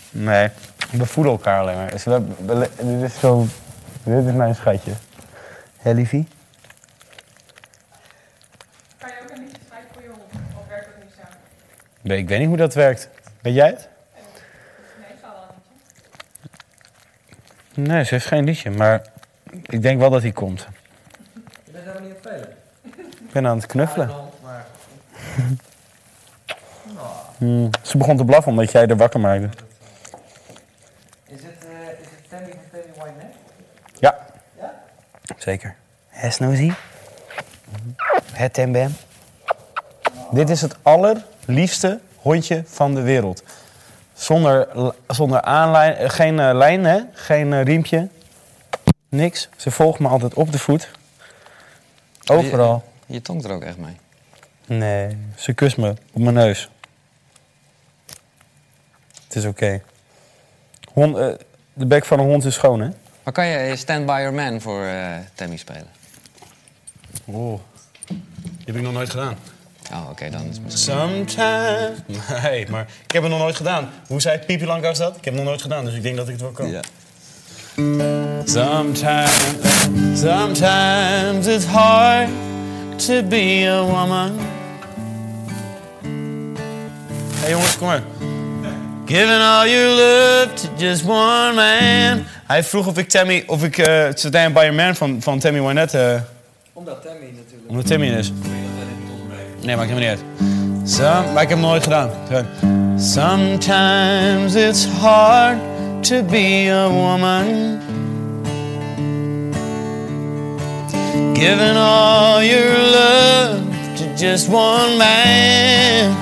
Speaker 2: Nee, we voeden elkaar alleen maar. Dus we- we- dit is zo... Dit is mijn schatje. Hé, liefie?
Speaker 14: Kan je ook een liedje schrijven voor je hond? Of werkt dat niet samen?
Speaker 2: Nee, ik weet niet hoe dat werkt. Weet jij het?
Speaker 14: Eh, Nee, ik zal wel niet.
Speaker 2: Nee, ze heeft geen liedje, maar ik denk wel dat hij komt.
Speaker 18: Je bent helemaal niet aan het
Speaker 2: Ik ben aan het knuffelen.
Speaker 18: maar...
Speaker 2: Hmm, Ze begon te blaffen omdat jij er wakker maakte.
Speaker 18: Is het, eh, is het Tammy van Tammy Wynette?
Speaker 2: Ja. Zeker. Hesnozie. Het tembem. Dit is het allerliefste hondje van de wereld. Zonder, l- zonder aanlijn, eh, geen eh, lijn, hè? geen eh, riempje. Niks. Ze volgt me altijd op de voet. Overal.
Speaker 3: Je, je tongt er ook echt mee.
Speaker 2: Nee, ze kust me op mijn neus. Het is oké. Hond- eh, de bek van een hond is schoon, hè?
Speaker 3: Maar kan je eh, Stand By Your Man voor eh, Tammy spelen?
Speaker 2: Oh. Die heb ik nog nooit gedaan.
Speaker 3: Oh, oké, dan is het misschien...
Speaker 2: Sometimes. (laughs) Nee, maar ik heb het nog nooit gedaan. Hoe zei Pipi Langhuis dat? Ik heb het nog nooit gedaan, dus ik denk dat ik het wel kan.
Speaker 19: Sometimes, sometimes it's hard to be a woman.
Speaker 2: Hé jongens, kom maar.
Speaker 19: Giving all your love to just one man.
Speaker 2: Hij vroeg of ik Tammy, of ik eh Stand By Your Man van, van Tammy Wynette, eh,
Speaker 18: Omdat Tammy natuurlijk...
Speaker 2: omdat Tammy er is. Nee, maakt helemaal niet uit. Some, maar ik heb het nooit gedaan.
Speaker 19: Sometimes it's hard to be a woman. Giving all your love to just one man.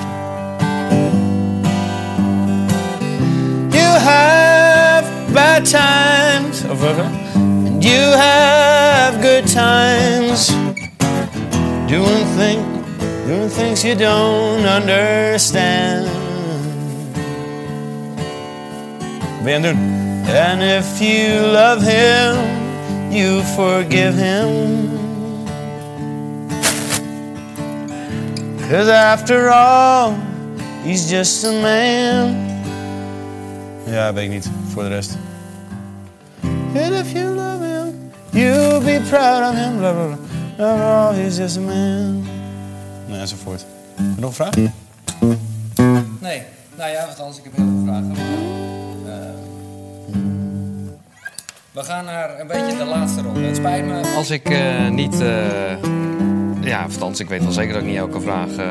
Speaker 19: You have bad times, Oh,
Speaker 2: Of wat?
Speaker 19: and you have good times. Doing things, doing things you don't understand.
Speaker 2: Ben je aan het doen?
Speaker 19: And if you love him, you forgive him. Cause after all, he's just a man.
Speaker 2: Ja, weet ik niet. Voor de rest.
Speaker 19: And if you love him, you'll be proud of him. Blah, blah, blah. After all, he's just a man.
Speaker 2: Nee, Nou, enzovoort. Nog een vraag?
Speaker 18: Nee, nou ja, want anders ik heb heel veel vragen. maar, eh, we gaan naar een beetje de laatste ronde. Het spijt me.
Speaker 3: Als ik eh, niet... eh, ja, of althans, ik weet wel zeker dat ik niet elke vraag eh,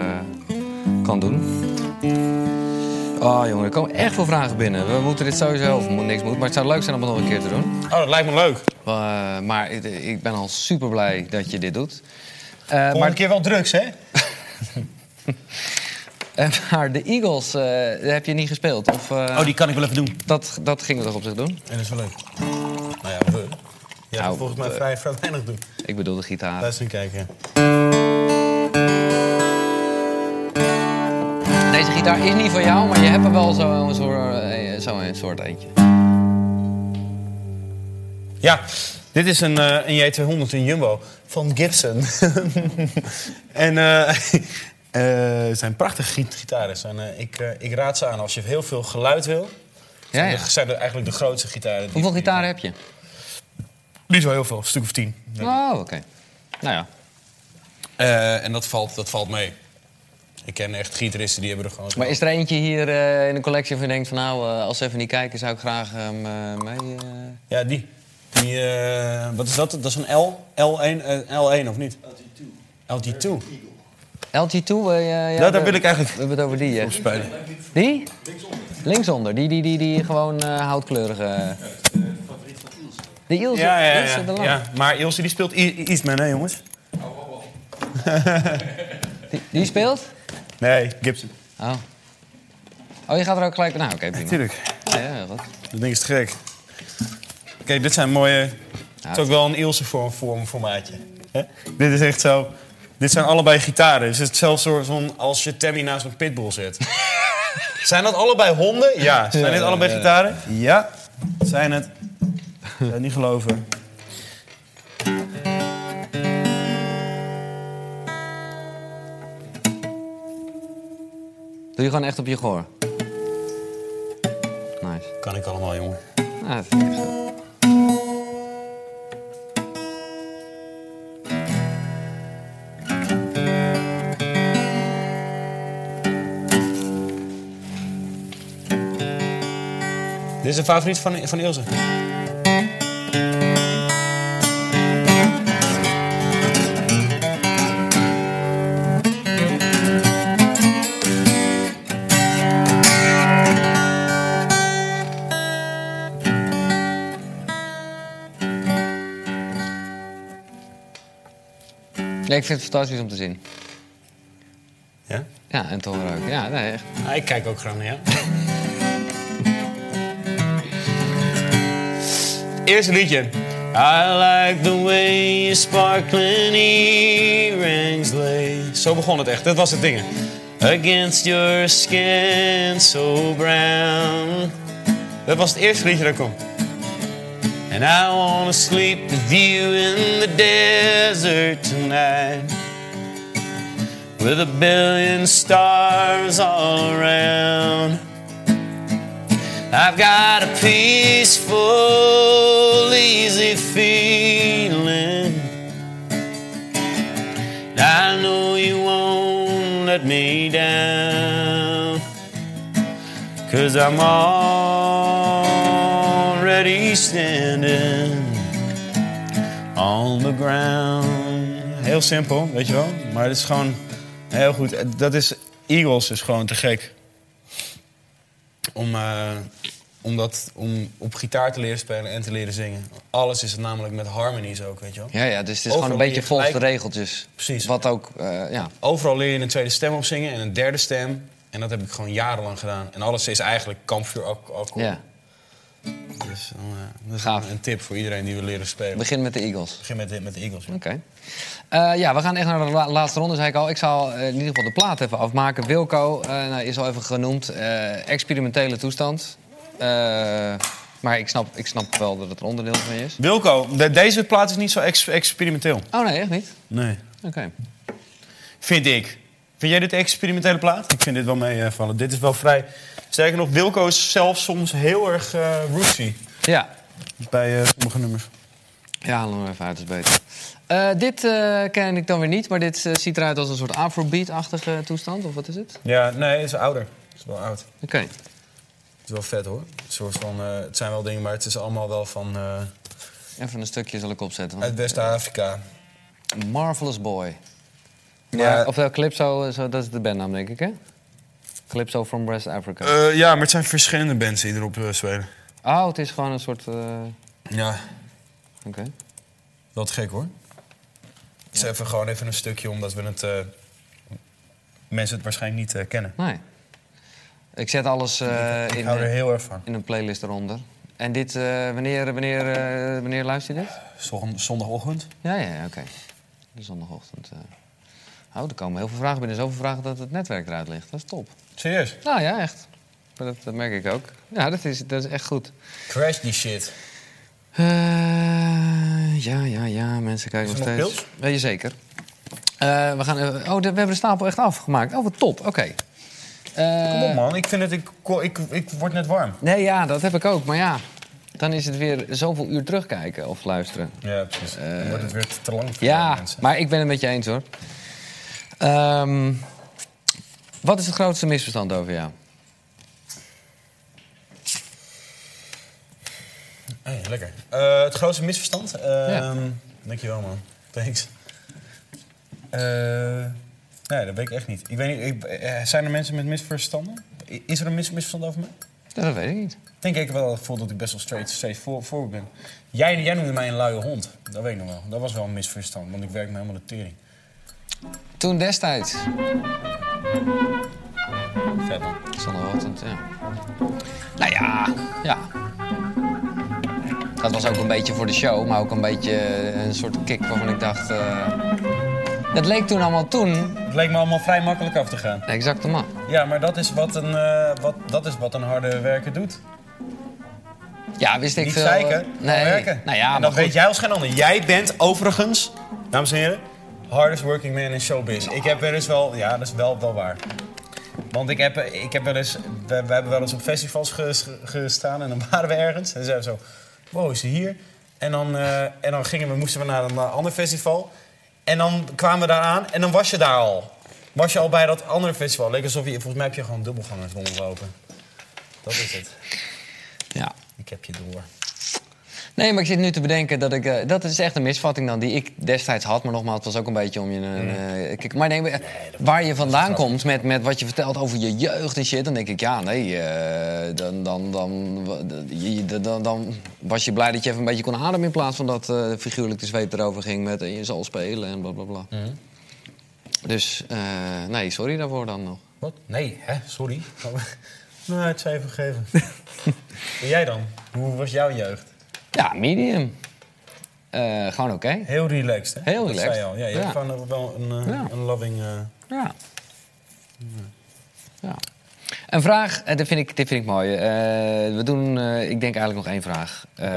Speaker 3: kan doen. Oh jongen, er komen echt veel vragen binnen. We moeten dit sowieso, of moet- niks moet, maar het zou leuk zijn om het nog een keer te doen.
Speaker 2: Oh, dat lijkt me leuk.
Speaker 3: Eh, maar ik, ik ben al super blij dat je dit doet. Eh,
Speaker 2: Volgende
Speaker 3: maar,
Speaker 2: keer wel drugs, hè?
Speaker 3: eh, maar de Eagles eh, heb je niet gespeeld? Of, oh,
Speaker 2: die kan ik wel even doen.
Speaker 3: Dat, dat gingen we toch op zich doen?
Speaker 2: En dat is wel leuk. Nou ja, we. Ja,
Speaker 3: Nou,
Speaker 2: volgens mij
Speaker 3: we.
Speaker 2: vrij, vrij weinig doen.
Speaker 3: Ik bedoel de gitaar.
Speaker 2: Luister en kijken.
Speaker 3: Deze gitaar is niet van jou, maar je hebt er wel zo'n zo, eh, zo een soort eentje.
Speaker 2: Ja, dit is een, eh, een J200, een Jumbo van Gibson. (laughs) en eh, (laughs) eh, het zijn prachtige giet- gitaren. Zijn, eh, ik, eh, ik raad ze aan als je heel veel geluid wil. Zijn,
Speaker 3: ja.
Speaker 2: De, zijn de- eigenlijk de grootste gitaren. Die,
Speaker 3: Hoeveel gitaren heb je?
Speaker 2: Niet zo heel veel, een stuk of tien.
Speaker 3: Oh, oké. Nou ja.
Speaker 2: Eh, en dat valt, dat valt mee. Ik ken echt gitaristen die hebben er gewoon...
Speaker 3: Maar is er eentje hier eh, in de collectie waarvan je denkt van nou, eh, als ze even niet kijken, zou ik graag hem eh, mee. eh,
Speaker 2: Ja, die. die eh, wat is dat? Dat is een L, L1, eh, L1 of niet? LT2. LT2.
Speaker 3: LT2, eh, ja, ja,
Speaker 2: Nou, daar
Speaker 3: we-
Speaker 2: wil ik eigenlijk
Speaker 3: We hebben het over die, hè?
Speaker 2: spelen.
Speaker 3: Die? Linksonder, die, die, die, die gewoon eh, houtkleurige. de Ilse.
Speaker 2: Ja, ja,
Speaker 3: Ilse eh, de
Speaker 2: ja,
Speaker 3: Lange.
Speaker 2: ja. Maar Ilse die speelt I- I- Eastman, hè jongens?
Speaker 3: Die, die speelt?
Speaker 2: Nee, Gibson.
Speaker 3: Oh. Oh, je gaat er ook gelijk. Nou, oké,
Speaker 2: (laughs)
Speaker 3: prima.
Speaker 2: Tuurlijk.
Speaker 3: Ja, ja, heel goed.
Speaker 2: Dat ding is te gek. Kijk, dit zijn mooie... het is ook wel een Ilse vorm, vorm formaatje. Hè? Dit is echt zo... Dit zijn allebei gitaren. Dus het is zelfs soort van als je Tammy naast een pitbull zet. (laughs) zijn dat allebei honden? Ja. Zijn
Speaker 20: Ja,
Speaker 2: dit
Speaker 20: ja,
Speaker 2: allebei
Speaker 20: ja.
Speaker 2: gitaren? Ja. Zijn het. Ik zou niet geloven.
Speaker 3: Doe je gewoon echt op je gehoor. Nice.
Speaker 2: Kan ik allemaal, jongen.
Speaker 3: Ah, dat vind ik echt goed.
Speaker 2: Dit is een favoriet van, van Ilse.
Speaker 3: Nee, ik vind het fantastisch om te zien.
Speaker 2: Ja?
Speaker 3: Ja, en te horen ook. Ja, nee, echt.
Speaker 2: Ah, ik kijk ook graag naar jou. Eerste liedje. I like the way you sparkling earrings lay. Zo begon het echt, dat was het ding. Against your skin so brown. Dat was het eerste liedje dat kwam. And I wanna sleep with you in the desert tonight. With a billion stars all around. I've got a peaceful, easy feeling. I know you won't let me down. Cause I'm already standing on the ground. Heel simpel, weet je wel. Maar het is gewoon heel goed. Dat is, Eagles is gewoon te gek. Om, eh, om, dat, om op gitaar te leren spelen en te leren zingen. Alles is namelijk met harmonies ook, weet je wel.
Speaker 3: Ja, ja, dus het is
Speaker 2: Overal
Speaker 3: gewoon een beetje
Speaker 2: hier
Speaker 3: volgens de
Speaker 2: gelijk-
Speaker 3: regeltjes.
Speaker 2: Precies.
Speaker 3: Wat ook, eh, ja.
Speaker 2: Overal leer je een tweede stem op zingen en een derde stem. En dat heb ik gewoon jarenlang gedaan. En alles is eigenlijk kampvuur ak- akkoord.
Speaker 3: ja.
Speaker 2: Dus dan, eh, dat is een tip voor iedereen die wil leren spelen.
Speaker 3: Begin met de Eagles.
Speaker 2: Begin met, de- met de Eagles. ja.
Speaker 3: Oké. Eh, ja, we gaan echt naar de la- laatste ronde, zei ik al. Ik zal eh, in ieder geval de plaat even afmaken. Wilco eh, nou, is al even genoemd. eh, experimentele toestand. Eh, maar ik snap, ik snap wel dat het een onderdeel van je is.
Speaker 2: Wilco, de- deze plaat is niet zo ex- experimenteel.
Speaker 3: Oh nee, echt niet?
Speaker 2: Nee.
Speaker 3: Oké.
Speaker 2: Vind ik. Vind jij dit een experimentele plaat? Ik vind dit wel meevallen. dit is wel vrij... Sterker nog, Wilco is zelf soms heel erg eh rootsy.
Speaker 3: Ja.
Speaker 2: Bij eh, sommige nummers.
Speaker 3: Ja, haal hem even uit, is beter. Eh, dit eh, ken ik dan weer niet, maar dit eh, ziet eruit als een soort afrobeat-achtige toestand. Of wat is het?
Speaker 2: Ja, nee, het is ouder. Het is wel oud.
Speaker 3: Oké.
Speaker 2: Het is wel vet hoor. Het, soort van, eh, het zijn wel dingen, maar het is allemaal wel van eh,
Speaker 3: Even een stukje zal ik opzetten.
Speaker 2: uit
Speaker 3: Want...
Speaker 2: West-Afrika.
Speaker 3: Marvelous Boy. eh,
Speaker 2: Ja.
Speaker 3: Maar, of dat clip zo, zo, dat is de bandnaam denk ik hè? Calypso from West Africa.
Speaker 2: Eh, ja, maar het zijn verschillende bands die erop eh, spelen.
Speaker 3: Oh, het is gewoon een soort... eh,
Speaker 2: Ja.
Speaker 3: Oké.
Speaker 2: Wel te gek hoor. Het is even, gewoon even een stukje omdat we het. eh, mensen het waarschijnlijk niet eh, kennen.
Speaker 3: Nee. Ik zet alles eh, in,
Speaker 2: hou er
Speaker 3: een-
Speaker 2: heel erg van.
Speaker 3: in een playlist eronder. En dit, eh, wanneer, wanneer, eh, wanneer luister je dit?
Speaker 2: zondagochtend.
Speaker 3: Ja, ja, ja, oké. De Zondagochtend. eh. Oh, er komen heel veel vragen binnen. Zoveel vragen dat het netwerk eruit ligt. Dat is top.
Speaker 2: Serieus?
Speaker 3: Nou ja, echt. Maar Dat, dat merk ik ook. Ja, dat is, dat is echt goed.
Speaker 2: Crash die shit.
Speaker 3: Eh, ja, ja, ja. Mensen kijken
Speaker 2: Is
Speaker 3: nog
Speaker 2: er
Speaker 3: steeds.
Speaker 2: nog
Speaker 3: Weet je zeker. Eh, we gaan, eh, oh, de- we hebben de stapel echt afgemaakt. Oh, wat top. Oké. Eh,
Speaker 2: Kom op man, ik vind het. Ik, ko- ik, ik word net warm.
Speaker 3: Nee, ja, dat heb ik ook. Maar ja, dan is het weer zoveel uur terugkijken of luisteren.
Speaker 2: Ja, precies. Dan wordt het weer te, te lang. voor
Speaker 3: Ja,
Speaker 2: mensen.
Speaker 3: maar ik ben het met je eens hoor. Ehm, wat is het grootste misverstand over jou?
Speaker 2: Hey, lekker. Eh, het grootste misverstand? Ehm Dankjewel, man. Thanks. Eh, nee, dat weet ik echt niet. Ik weet niet ik- eh, zijn er mensen met misverstanden? I- Is er een mis- misverstand over mij?
Speaker 3: dat weet ik niet.
Speaker 2: denk ik wel het gevoel dat ik best wel straight, straight voor, voorbeeld ben. Jij, jij noemde mij een luie hond. Dat weet ik nog wel. Dat was wel een misverstand, want ik werk me helemaal de tering.
Speaker 3: Toen destijds.
Speaker 2: Vet man.
Speaker 3: Zondagochtend, ja. Nou ja, ja. Dat was ook een beetje voor de show, maar ook een beetje een soort kick waarvan ik dacht... eh, dat leek toen allemaal toen.
Speaker 2: Het leek me allemaal vrij makkelijk af te gaan.
Speaker 3: Exact man.
Speaker 2: Ja, maar dat is wat een, eh, wat, dat is wat een harde werker doet.
Speaker 3: Ja, wist ik
Speaker 2: Niet
Speaker 3: veel.
Speaker 2: zeiken,
Speaker 3: eh,
Speaker 2: maar
Speaker 3: nee.
Speaker 2: werken.
Speaker 3: Nou ja,
Speaker 2: en
Speaker 3: maar
Speaker 2: dat
Speaker 3: goed.
Speaker 2: weet jij als geen ander. Jij bent overigens, dames en heren, hardest working man in showbiz. Ik heb wel eens wel, ja, dat is wel, wel waar. Want ik heb, ik heb wel eens, we, we hebben wel eens op festivals ges- gestaan en dan waren we ergens. En zeiden we zo, wow, is ze hier? En dan, eh, en dan gingen we, moesten we naar een eh, ander festival. En dan kwamen we daar aan en dan was je daar al. Was je al bij dat andere festival. Leek alsof je, volgens mij heb je gewoon dubbelgangers rondlopen. Dat is het.
Speaker 3: Ja.
Speaker 2: Ik heb je door.
Speaker 3: Nee, maar ik zit nu te bedenken dat ik... eh, dat is echt een misvatting dan die ik destijds had. Maar nogmaals, het was ook een beetje om je... een, eh, kijk, maar nee, maar, eh, waar je vandaan komt met, met wat je vertelt over je jeugd en shit... dan denk ik, ja, nee, eh, dan, dan, dan, wa- d- je- dan, dan, dan was je blij dat je even een beetje kon ademen... in plaats van dat eh, figuurlijk de zweep erover ging met eh, je zal spelen en blablabla. Bla, bla. Dus, eh, nee, sorry daarvoor dan nog.
Speaker 2: Wat? Nee, hè? Sorry. (laughs) nou, het zijn (laughs) vergeven. en jij dan? Hoe was jouw jeugd?
Speaker 3: Ja, medium. Eh, gewoon oké.
Speaker 2: Heel relaxed, hè?
Speaker 3: Heel
Speaker 2: Dat
Speaker 3: relaxed.
Speaker 2: zei je al. Ja, je hebt gewoon wel een, eh,
Speaker 3: Ja.
Speaker 2: een loving... eh,
Speaker 3: Ja. ja. Een vraag, eh, dit vind ik, dit vind ik mooi. Eh, we doen, eh, ik denk eigenlijk nog één vraag. Eh,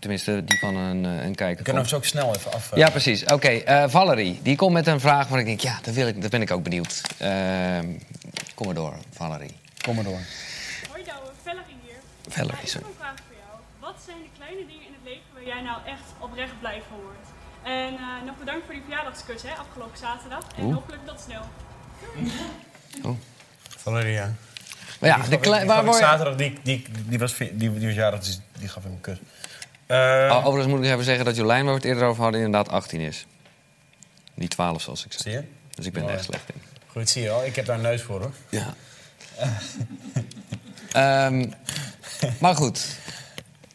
Speaker 3: Tenminste, die van een, eh, een kijker.
Speaker 2: We kunnen
Speaker 3: komt.
Speaker 2: hem zo ook snel even af... eh,
Speaker 3: Ja, precies. Oké, eh, Valerie, die komt met een vraag waar ik denk, ja, daar, wil ik, daar ben ik ook benieuwd. Eh, kom maar door, Valerie.
Speaker 2: Kom maar door.
Speaker 14: Hoi Douwe, Valerie hier.
Speaker 3: Valerie,
Speaker 14: Ja, ik heb
Speaker 3: sorry.
Speaker 14: een vraag voor jou. Wat zijn de kleine dingen in het leven waar jij nou echt oprecht blij van wordt? En eh, nog bedankt voor die verjaardagskus hè, afgelopen zaterdag. En
Speaker 3: Oeh.
Speaker 14: hopelijk tot snel.
Speaker 2: Valeria.
Speaker 3: Maar ja,
Speaker 2: Die
Speaker 3: de
Speaker 2: gaf ik-
Speaker 3: klei-
Speaker 2: die
Speaker 3: waar
Speaker 2: gaf ik
Speaker 3: word je-
Speaker 2: Zaterdag, die, die, die, was, ve- die, die was jarig, dus die gaf hem een kus. Eh,
Speaker 3: Oh, overigens moet ik even zeggen dat Jolijn, waar we het eerder over hadden, inderdaad 18 is. Niet 12, zoals ik zei.
Speaker 2: Zie je?
Speaker 3: Dus ik ben er
Speaker 2: Mooi.
Speaker 3: echt slecht in.
Speaker 2: Goed, zie je al. Ik heb daar een neus voor, hoor.
Speaker 3: Ja. Ehm, maar goed,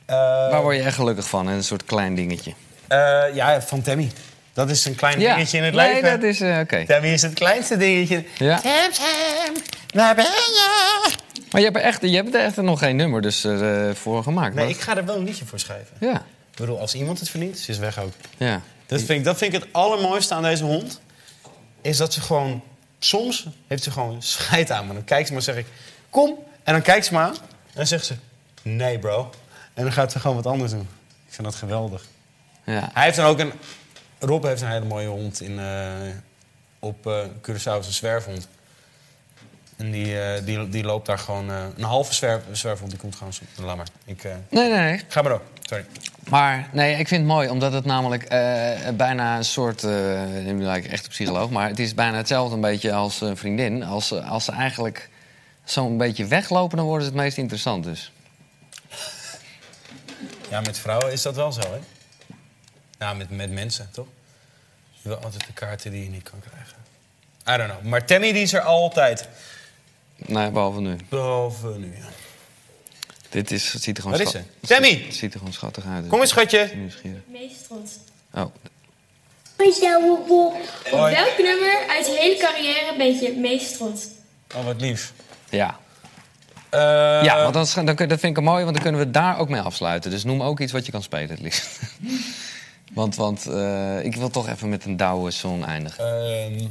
Speaker 3: waar word je echt gelukkig van? Een soort klein dingetje.
Speaker 2: Eh, ja, van Tammy. Dat is een klein dingetje in het
Speaker 3: nee,
Speaker 2: leven.
Speaker 3: dat is... eh, Oké.
Speaker 2: Tammy is het kleinste dingetje.
Speaker 3: Ja.
Speaker 2: Tam, Tam, waar ben je?
Speaker 3: Maar je hebt, er echt, je hebt er echt nog geen nummer dus, eh, voor gemaakt.
Speaker 2: Nee,
Speaker 3: maar-
Speaker 2: ik ga er wel een liedje voor schrijven.
Speaker 3: Ja.
Speaker 2: Ik bedoel, als iemand het verdient, ze is weg ook.
Speaker 3: Ja.
Speaker 2: Dat vind, ik, dat vind ik het allermooiste aan deze hond. Is dat ze gewoon... Soms heeft ze gewoon scheid aan me. Dan kijkt ze maar zeg ik... Kom. En dan kijkt ze me aan. En dan zegt ze... Nee, bro. En dan gaat ze gewoon wat anders doen. Ik vind dat geweldig.
Speaker 3: Ja.
Speaker 2: Hij heeft dan ook een... Rob heeft een hele mooie hond in, eh, op eh Curaçao. is een zwerfhond. En die, eh, die, die loopt daar gewoon... eh, een halve zwerf, zwerfhond. Die komt gewoon... zo- Laat maar. Ik, eh,
Speaker 3: Nee, nee, nee.
Speaker 2: Ga maar door. Sorry.
Speaker 3: Maar nee, ik vind het mooi, omdat het namelijk eh, echt een soort... eh, nu lijk ik echt een psycholoog, maar het is bijna hetzelfde een beetje als een vriendin. Als, ze- als ze eigenlijk zo'n beetje weglopen, dan worden ze het meest interessant dus.
Speaker 2: Ja, met vrouwen is dat wel zo, hè? Nou, met, met mensen, toch? Je wil altijd de kaarten die je niet kan krijgen. I don't know. Maar Tammy, die is er altijd.
Speaker 3: Nee, behalve nu.
Speaker 2: Behalve nu, ja.
Speaker 3: Dit is, het ziet er gewoon
Speaker 11: Waar is
Speaker 3: schat-
Speaker 11: ze? Sammy!
Speaker 3: Het ziet er gewoon schattig uit.
Speaker 11: Kom eens, schatje.
Speaker 3: Nieuwsgierig.
Speaker 21: Meestrond.
Speaker 3: Oh,
Speaker 21: Op welk nummer uit je hele carrière ben je het meest trots?
Speaker 2: Oh, wat lief.
Speaker 3: Ja.
Speaker 2: Ehm,
Speaker 11: Eh.
Speaker 3: ja, want dan, sch- dan, kun- dat vind ik een mooi, want dan kunnen we daar ook mee afsluiten. Dus noem ook iets wat je kan spelen, het liefst. (laughs) want want eh, ik wil toch even met een douwe song eindigen.
Speaker 2: Ehm.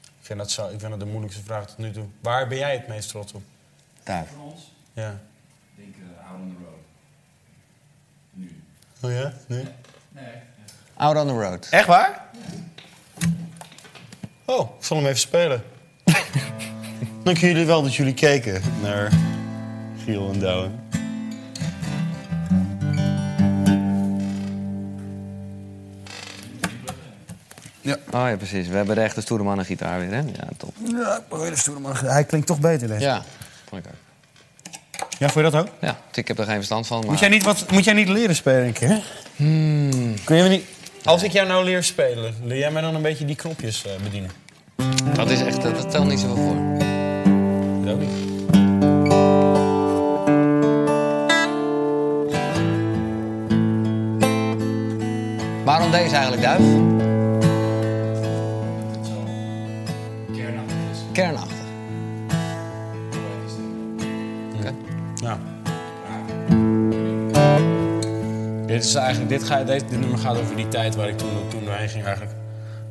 Speaker 2: ik, vind dat zo, ik vind dat de moeilijkste vraag tot nu toe. Waar ben jij het meest trots op?
Speaker 3: Daar.
Speaker 2: Van ons? Ja.
Speaker 22: Ik denk eh, Out on the Road. Nu.
Speaker 2: Oh ja? Nee?
Speaker 22: Nee.
Speaker 3: Out on the road.
Speaker 11: Echt waar?
Speaker 2: Oh, ik zal hem even spelen.
Speaker 11: (laughs) Dank jullie wel dat jullie keken naar Giel en Douwen.
Speaker 3: Ja. Oh ja, precies. We hebben de echte stoere mannen gitaar weer, hè? Ja, top.
Speaker 11: Ja, ik probeer de stoere man. Hij klinkt toch beter, hè?
Speaker 3: Ja, vond ik ook.
Speaker 11: Ja, vond je dat ook?
Speaker 3: Ja, dus ik heb er geen verstand van, maar...
Speaker 11: Moet, jij niet wat, moet jij niet leren spelen een keer? Kun je me niet...
Speaker 2: Hmm. Als ik jou nou leer spelen, leer jij mij dan een beetje die knopjes eh, bedienen?
Speaker 3: Dat is echt, dat, dat telt niet zoveel voor.
Speaker 2: Dat niet.
Speaker 3: Waarom deze eigenlijk, Duif?
Speaker 22: Kernachtig is.
Speaker 3: Kernachtig.
Speaker 2: Oké. Nou. Dit is eigenlijk, dit, ga, dit, dit nummer gaat over die tijd waar ik toen, toen doorheen ging eigenlijk.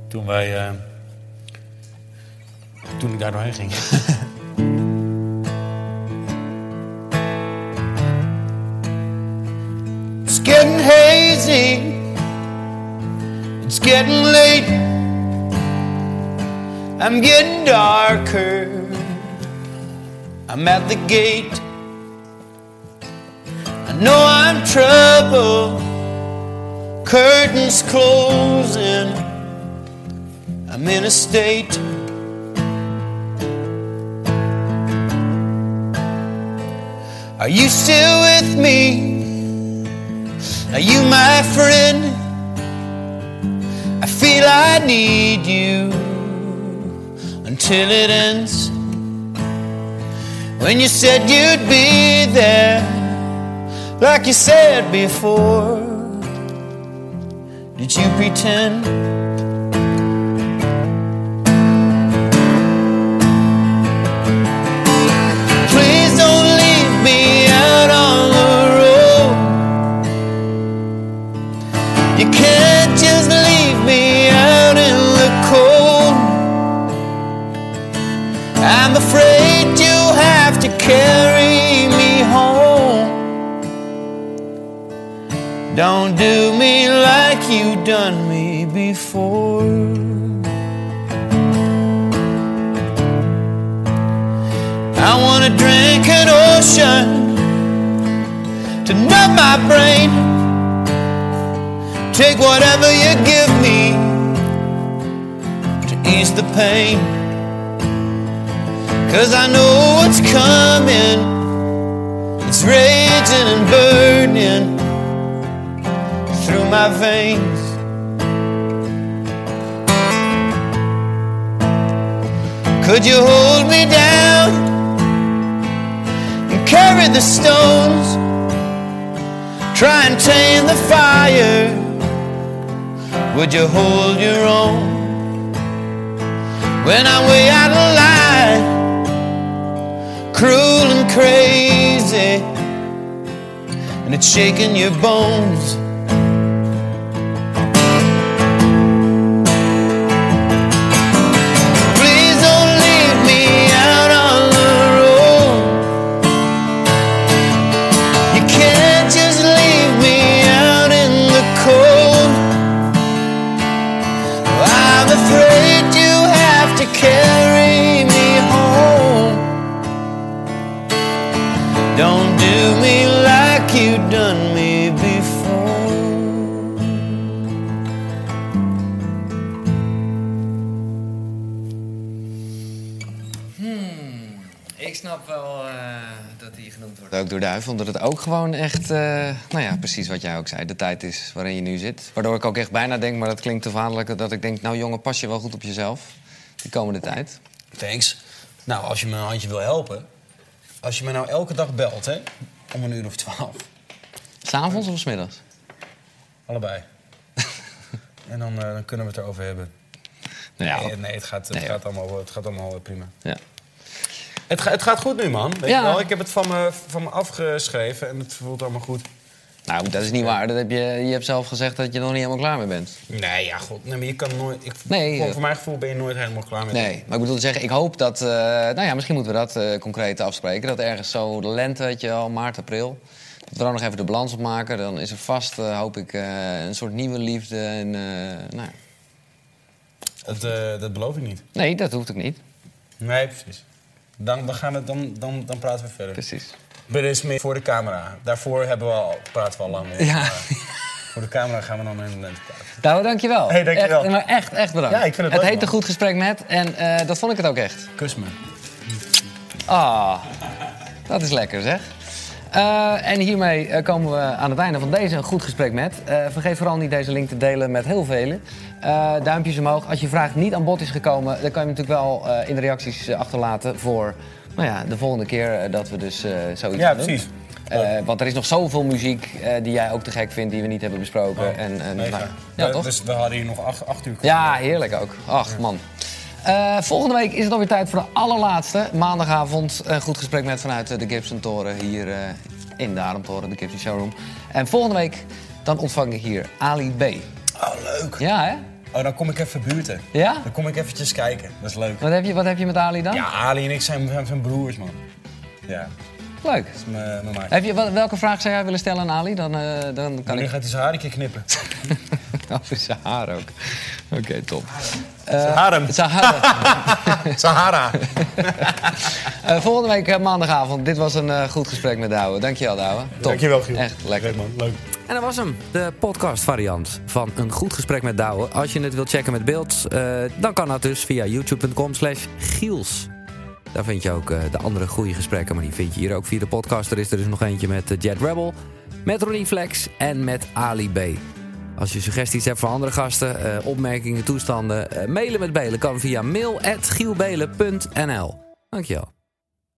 Speaker 2: Toen wij, eh, toen ik daar doorheen ging.
Speaker 12: (laughs) It's getting hazy. It's getting late. I'm getting darker. I'm at the gate. I know I'm trouble. Curtains closing. I'm in a state. Are you still with me? Are you my friend? I feel I need you until it ends. When you said you'd be there, like you said before, did you pretend? Please don't leave me out on the road. You can't just leave me out in the cold. I'm afraid you'll have to carry me home. Don't do me like you done me before. I wanna drink an ocean to numb my brain. Take whatever you give me to ease the pain. Cause I know what's coming. It's raging and burning through my veins. Could you hold me down and carry the stones? Try and tame the fire. Would you hold your own? When I'm way out of line, cruel and crazy, and it's shaking your bones. Please don't leave me out on the road. You can't just leave me out in the cold. I'm afraid you have to carry me home. Don't do me like you done me before.
Speaker 3: Ik snap wel eh, dat die genoemd wordt. Leuk door Duif, omdat het ook gewoon echt, eh, nou ja, precies wat jij ook zei, de tijd is waarin je nu zit. Waardoor ik ook echt bijna denk, maar dat klinkt te vaderlijk, dat ik denk, nou jongen, pas je wel goed op jezelf de komende tijd.
Speaker 2: Thanks. Nou, als je me een handje wil helpen. Als je me nou elke dag belt, hè? Om een uur of twaalf.
Speaker 3: S'avonds of smiddags?
Speaker 2: Allebei. (laughs) en dan, eh, dan kunnen we het erover hebben.
Speaker 3: Nou ja,
Speaker 2: nee, nee, het gaat, het
Speaker 3: nee,
Speaker 2: gaat, allemaal, het gaat allemaal eh, prima.
Speaker 3: Ja.
Speaker 2: Het, ga- het gaat goed nu, man. Weet
Speaker 3: Ja.
Speaker 2: je wel? Ik heb het van me, van me afgeschreven en het voelt allemaal goed.
Speaker 3: Nou, dat is niet waar. Dat heb je, je hebt zelf gezegd dat je er nog niet helemaal klaar mee bent.
Speaker 2: Nee, ja, god. Nee, maar je kan nooit... Ik,
Speaker 3: Nee,
Speaker 2: voor,
Speaker 3: eh.
Speaker 2: voor mijn gevoel ben je nooit helemaal klaar met
Speaker 3: Nee, maar ik bedoel te zeggen, ik hoop dat... eh, nou ja, misschien moeten we dat eh, concreet afspreken. Dat ergens zo de lente, weet je wel, maart, april... dat we dan nog even de balans op maken. Dan is er vast, eh, hoop ik, eh, een soort nieuwe liefde. En, eh, nou, ja.
Speaker 2: Dat, eh, dat beloof ik niet.
Speaker 3: nee, dat hoeft ook niet.
Speaker 2: Nee, precies. Dan, dan, gaan we, dan, dan, dan praten we verder.
Speaker 3: Precies.
Speaker 2: Maar dit is meer voor de camera. Daarvoor hebben we al, praten we al lang mee.
Speaker 3: Ja.
Speaker 2: Maar voor de camera gaan we dan in de lente praten.
Speaker 3: Nou, dankjewel.
Speaker 2: Hey, dankjewel.
Speaker 3: Echt, maar echt, echt bedankt.
Speaker 2: Ja, ik vind het leuk,
Speaker 3: Het heet
Speaker 2: man.
Speaker 3: een goed gesprek met en eh, dat vond ik het ook echt.
Speaker 2: Kus me.
Speaker 3: Ah, dat is lekker zeg. Eh, en hiermee eh, komen we aan het einde van deze Een Goed Gesprek Met. Eh, vergeet vooral niet deze link te delen met heel velen. Eh, duimpjes omhoog. Als je vraag niet aan bod is gekomen, dan kan je hem natuurlijk wel eh, in de reacties eh, achterlaten voor nou ja, de volgende keer eh, dat we dus eh, zoiets
Speaker 2: Ja,
Speaker 3: gaan doen.
Speaker 2: precies.
Speaker 3: Eh, want er is nog zoveel muziek eh, die jij ook te gek vindt, die we niet hebben besproken. en, en,
Speaker 2: Oh, Mega.
Speaker 3: nou, ja,
Speaker 2: We-
Speaker 3: toch?
Speaker 2: Dus we hadden hier nog acht, acht uur.
Speaker 3: Ja, heerlijk ook. Ach, man. Eh, volgende week is het alweer tijd voor de allerlaatste. Maandagavond een goed gesprek met vanuit eh, de Gibson Toren. Hier eh, in de Armtoren, de Gibson Showroom. En volgende week dan ontvang ik hier Ali B.
Speaker 2: Oh, leuk.
Speaker 3: Ja, hè?
Speaker 2: Oh, dan kom ik even buurten.
Speaker 3: Ja?
Speaker 2: Dan kom ik eventjes kijken. Dat is leuk.
Speaker 3: Wat heb je, wat heb je met Ali dan?
Speaker 2: Ja, Ali en ik zijn, zijn, zijn broers, man. Ja,
Speaker 3: Leuk.
Speaker 2: dat is mijn mijn maatje.
Speaker 3: Heb je, wel- welke vraag zou jij willen stellen aan Ali? Dan, eh, dan kan
Speaker 2: Wanneer
Speaker 3: ik...
Speaker 2: gaat hij zijn haar een keer
Speaker 3: (laughs)
Speaker 2: knippen?
Speaker 3: Over zijn haar ook. Oké, top.
Speaker 2: Zijn harem. Sahara.
Speaker 3: (laughs) Eh, volgende week eh, maandagavond. Dit was een eh, goed gesprek met Douwe. Dankjewel, Douwe. Top.
Speaker 2: Dankjewel, Giel.
Speaker 3: Echt lekker.
Speaker 2: man. Leuk.
Speaker 1: En dat was hem, de podcastvariant van Een Goed Gesprek met Douwe. Als je het wilt checken met beeld, eh, dan kan dat dus via youtube.com slash giels. Daar vind je ook eh, de andere goede gesprekken, maar die vind je hier ook via de podcast. Er is er dus nog eentje met eh, Jet Rebel, met Ronnie Flex en met Ali B. Als je suggesties hebt voor andere gasten, eh, opmerkingen, toestanden... eh, mailen met Belen kan via mail@gielbelen.nl. Dankjewel.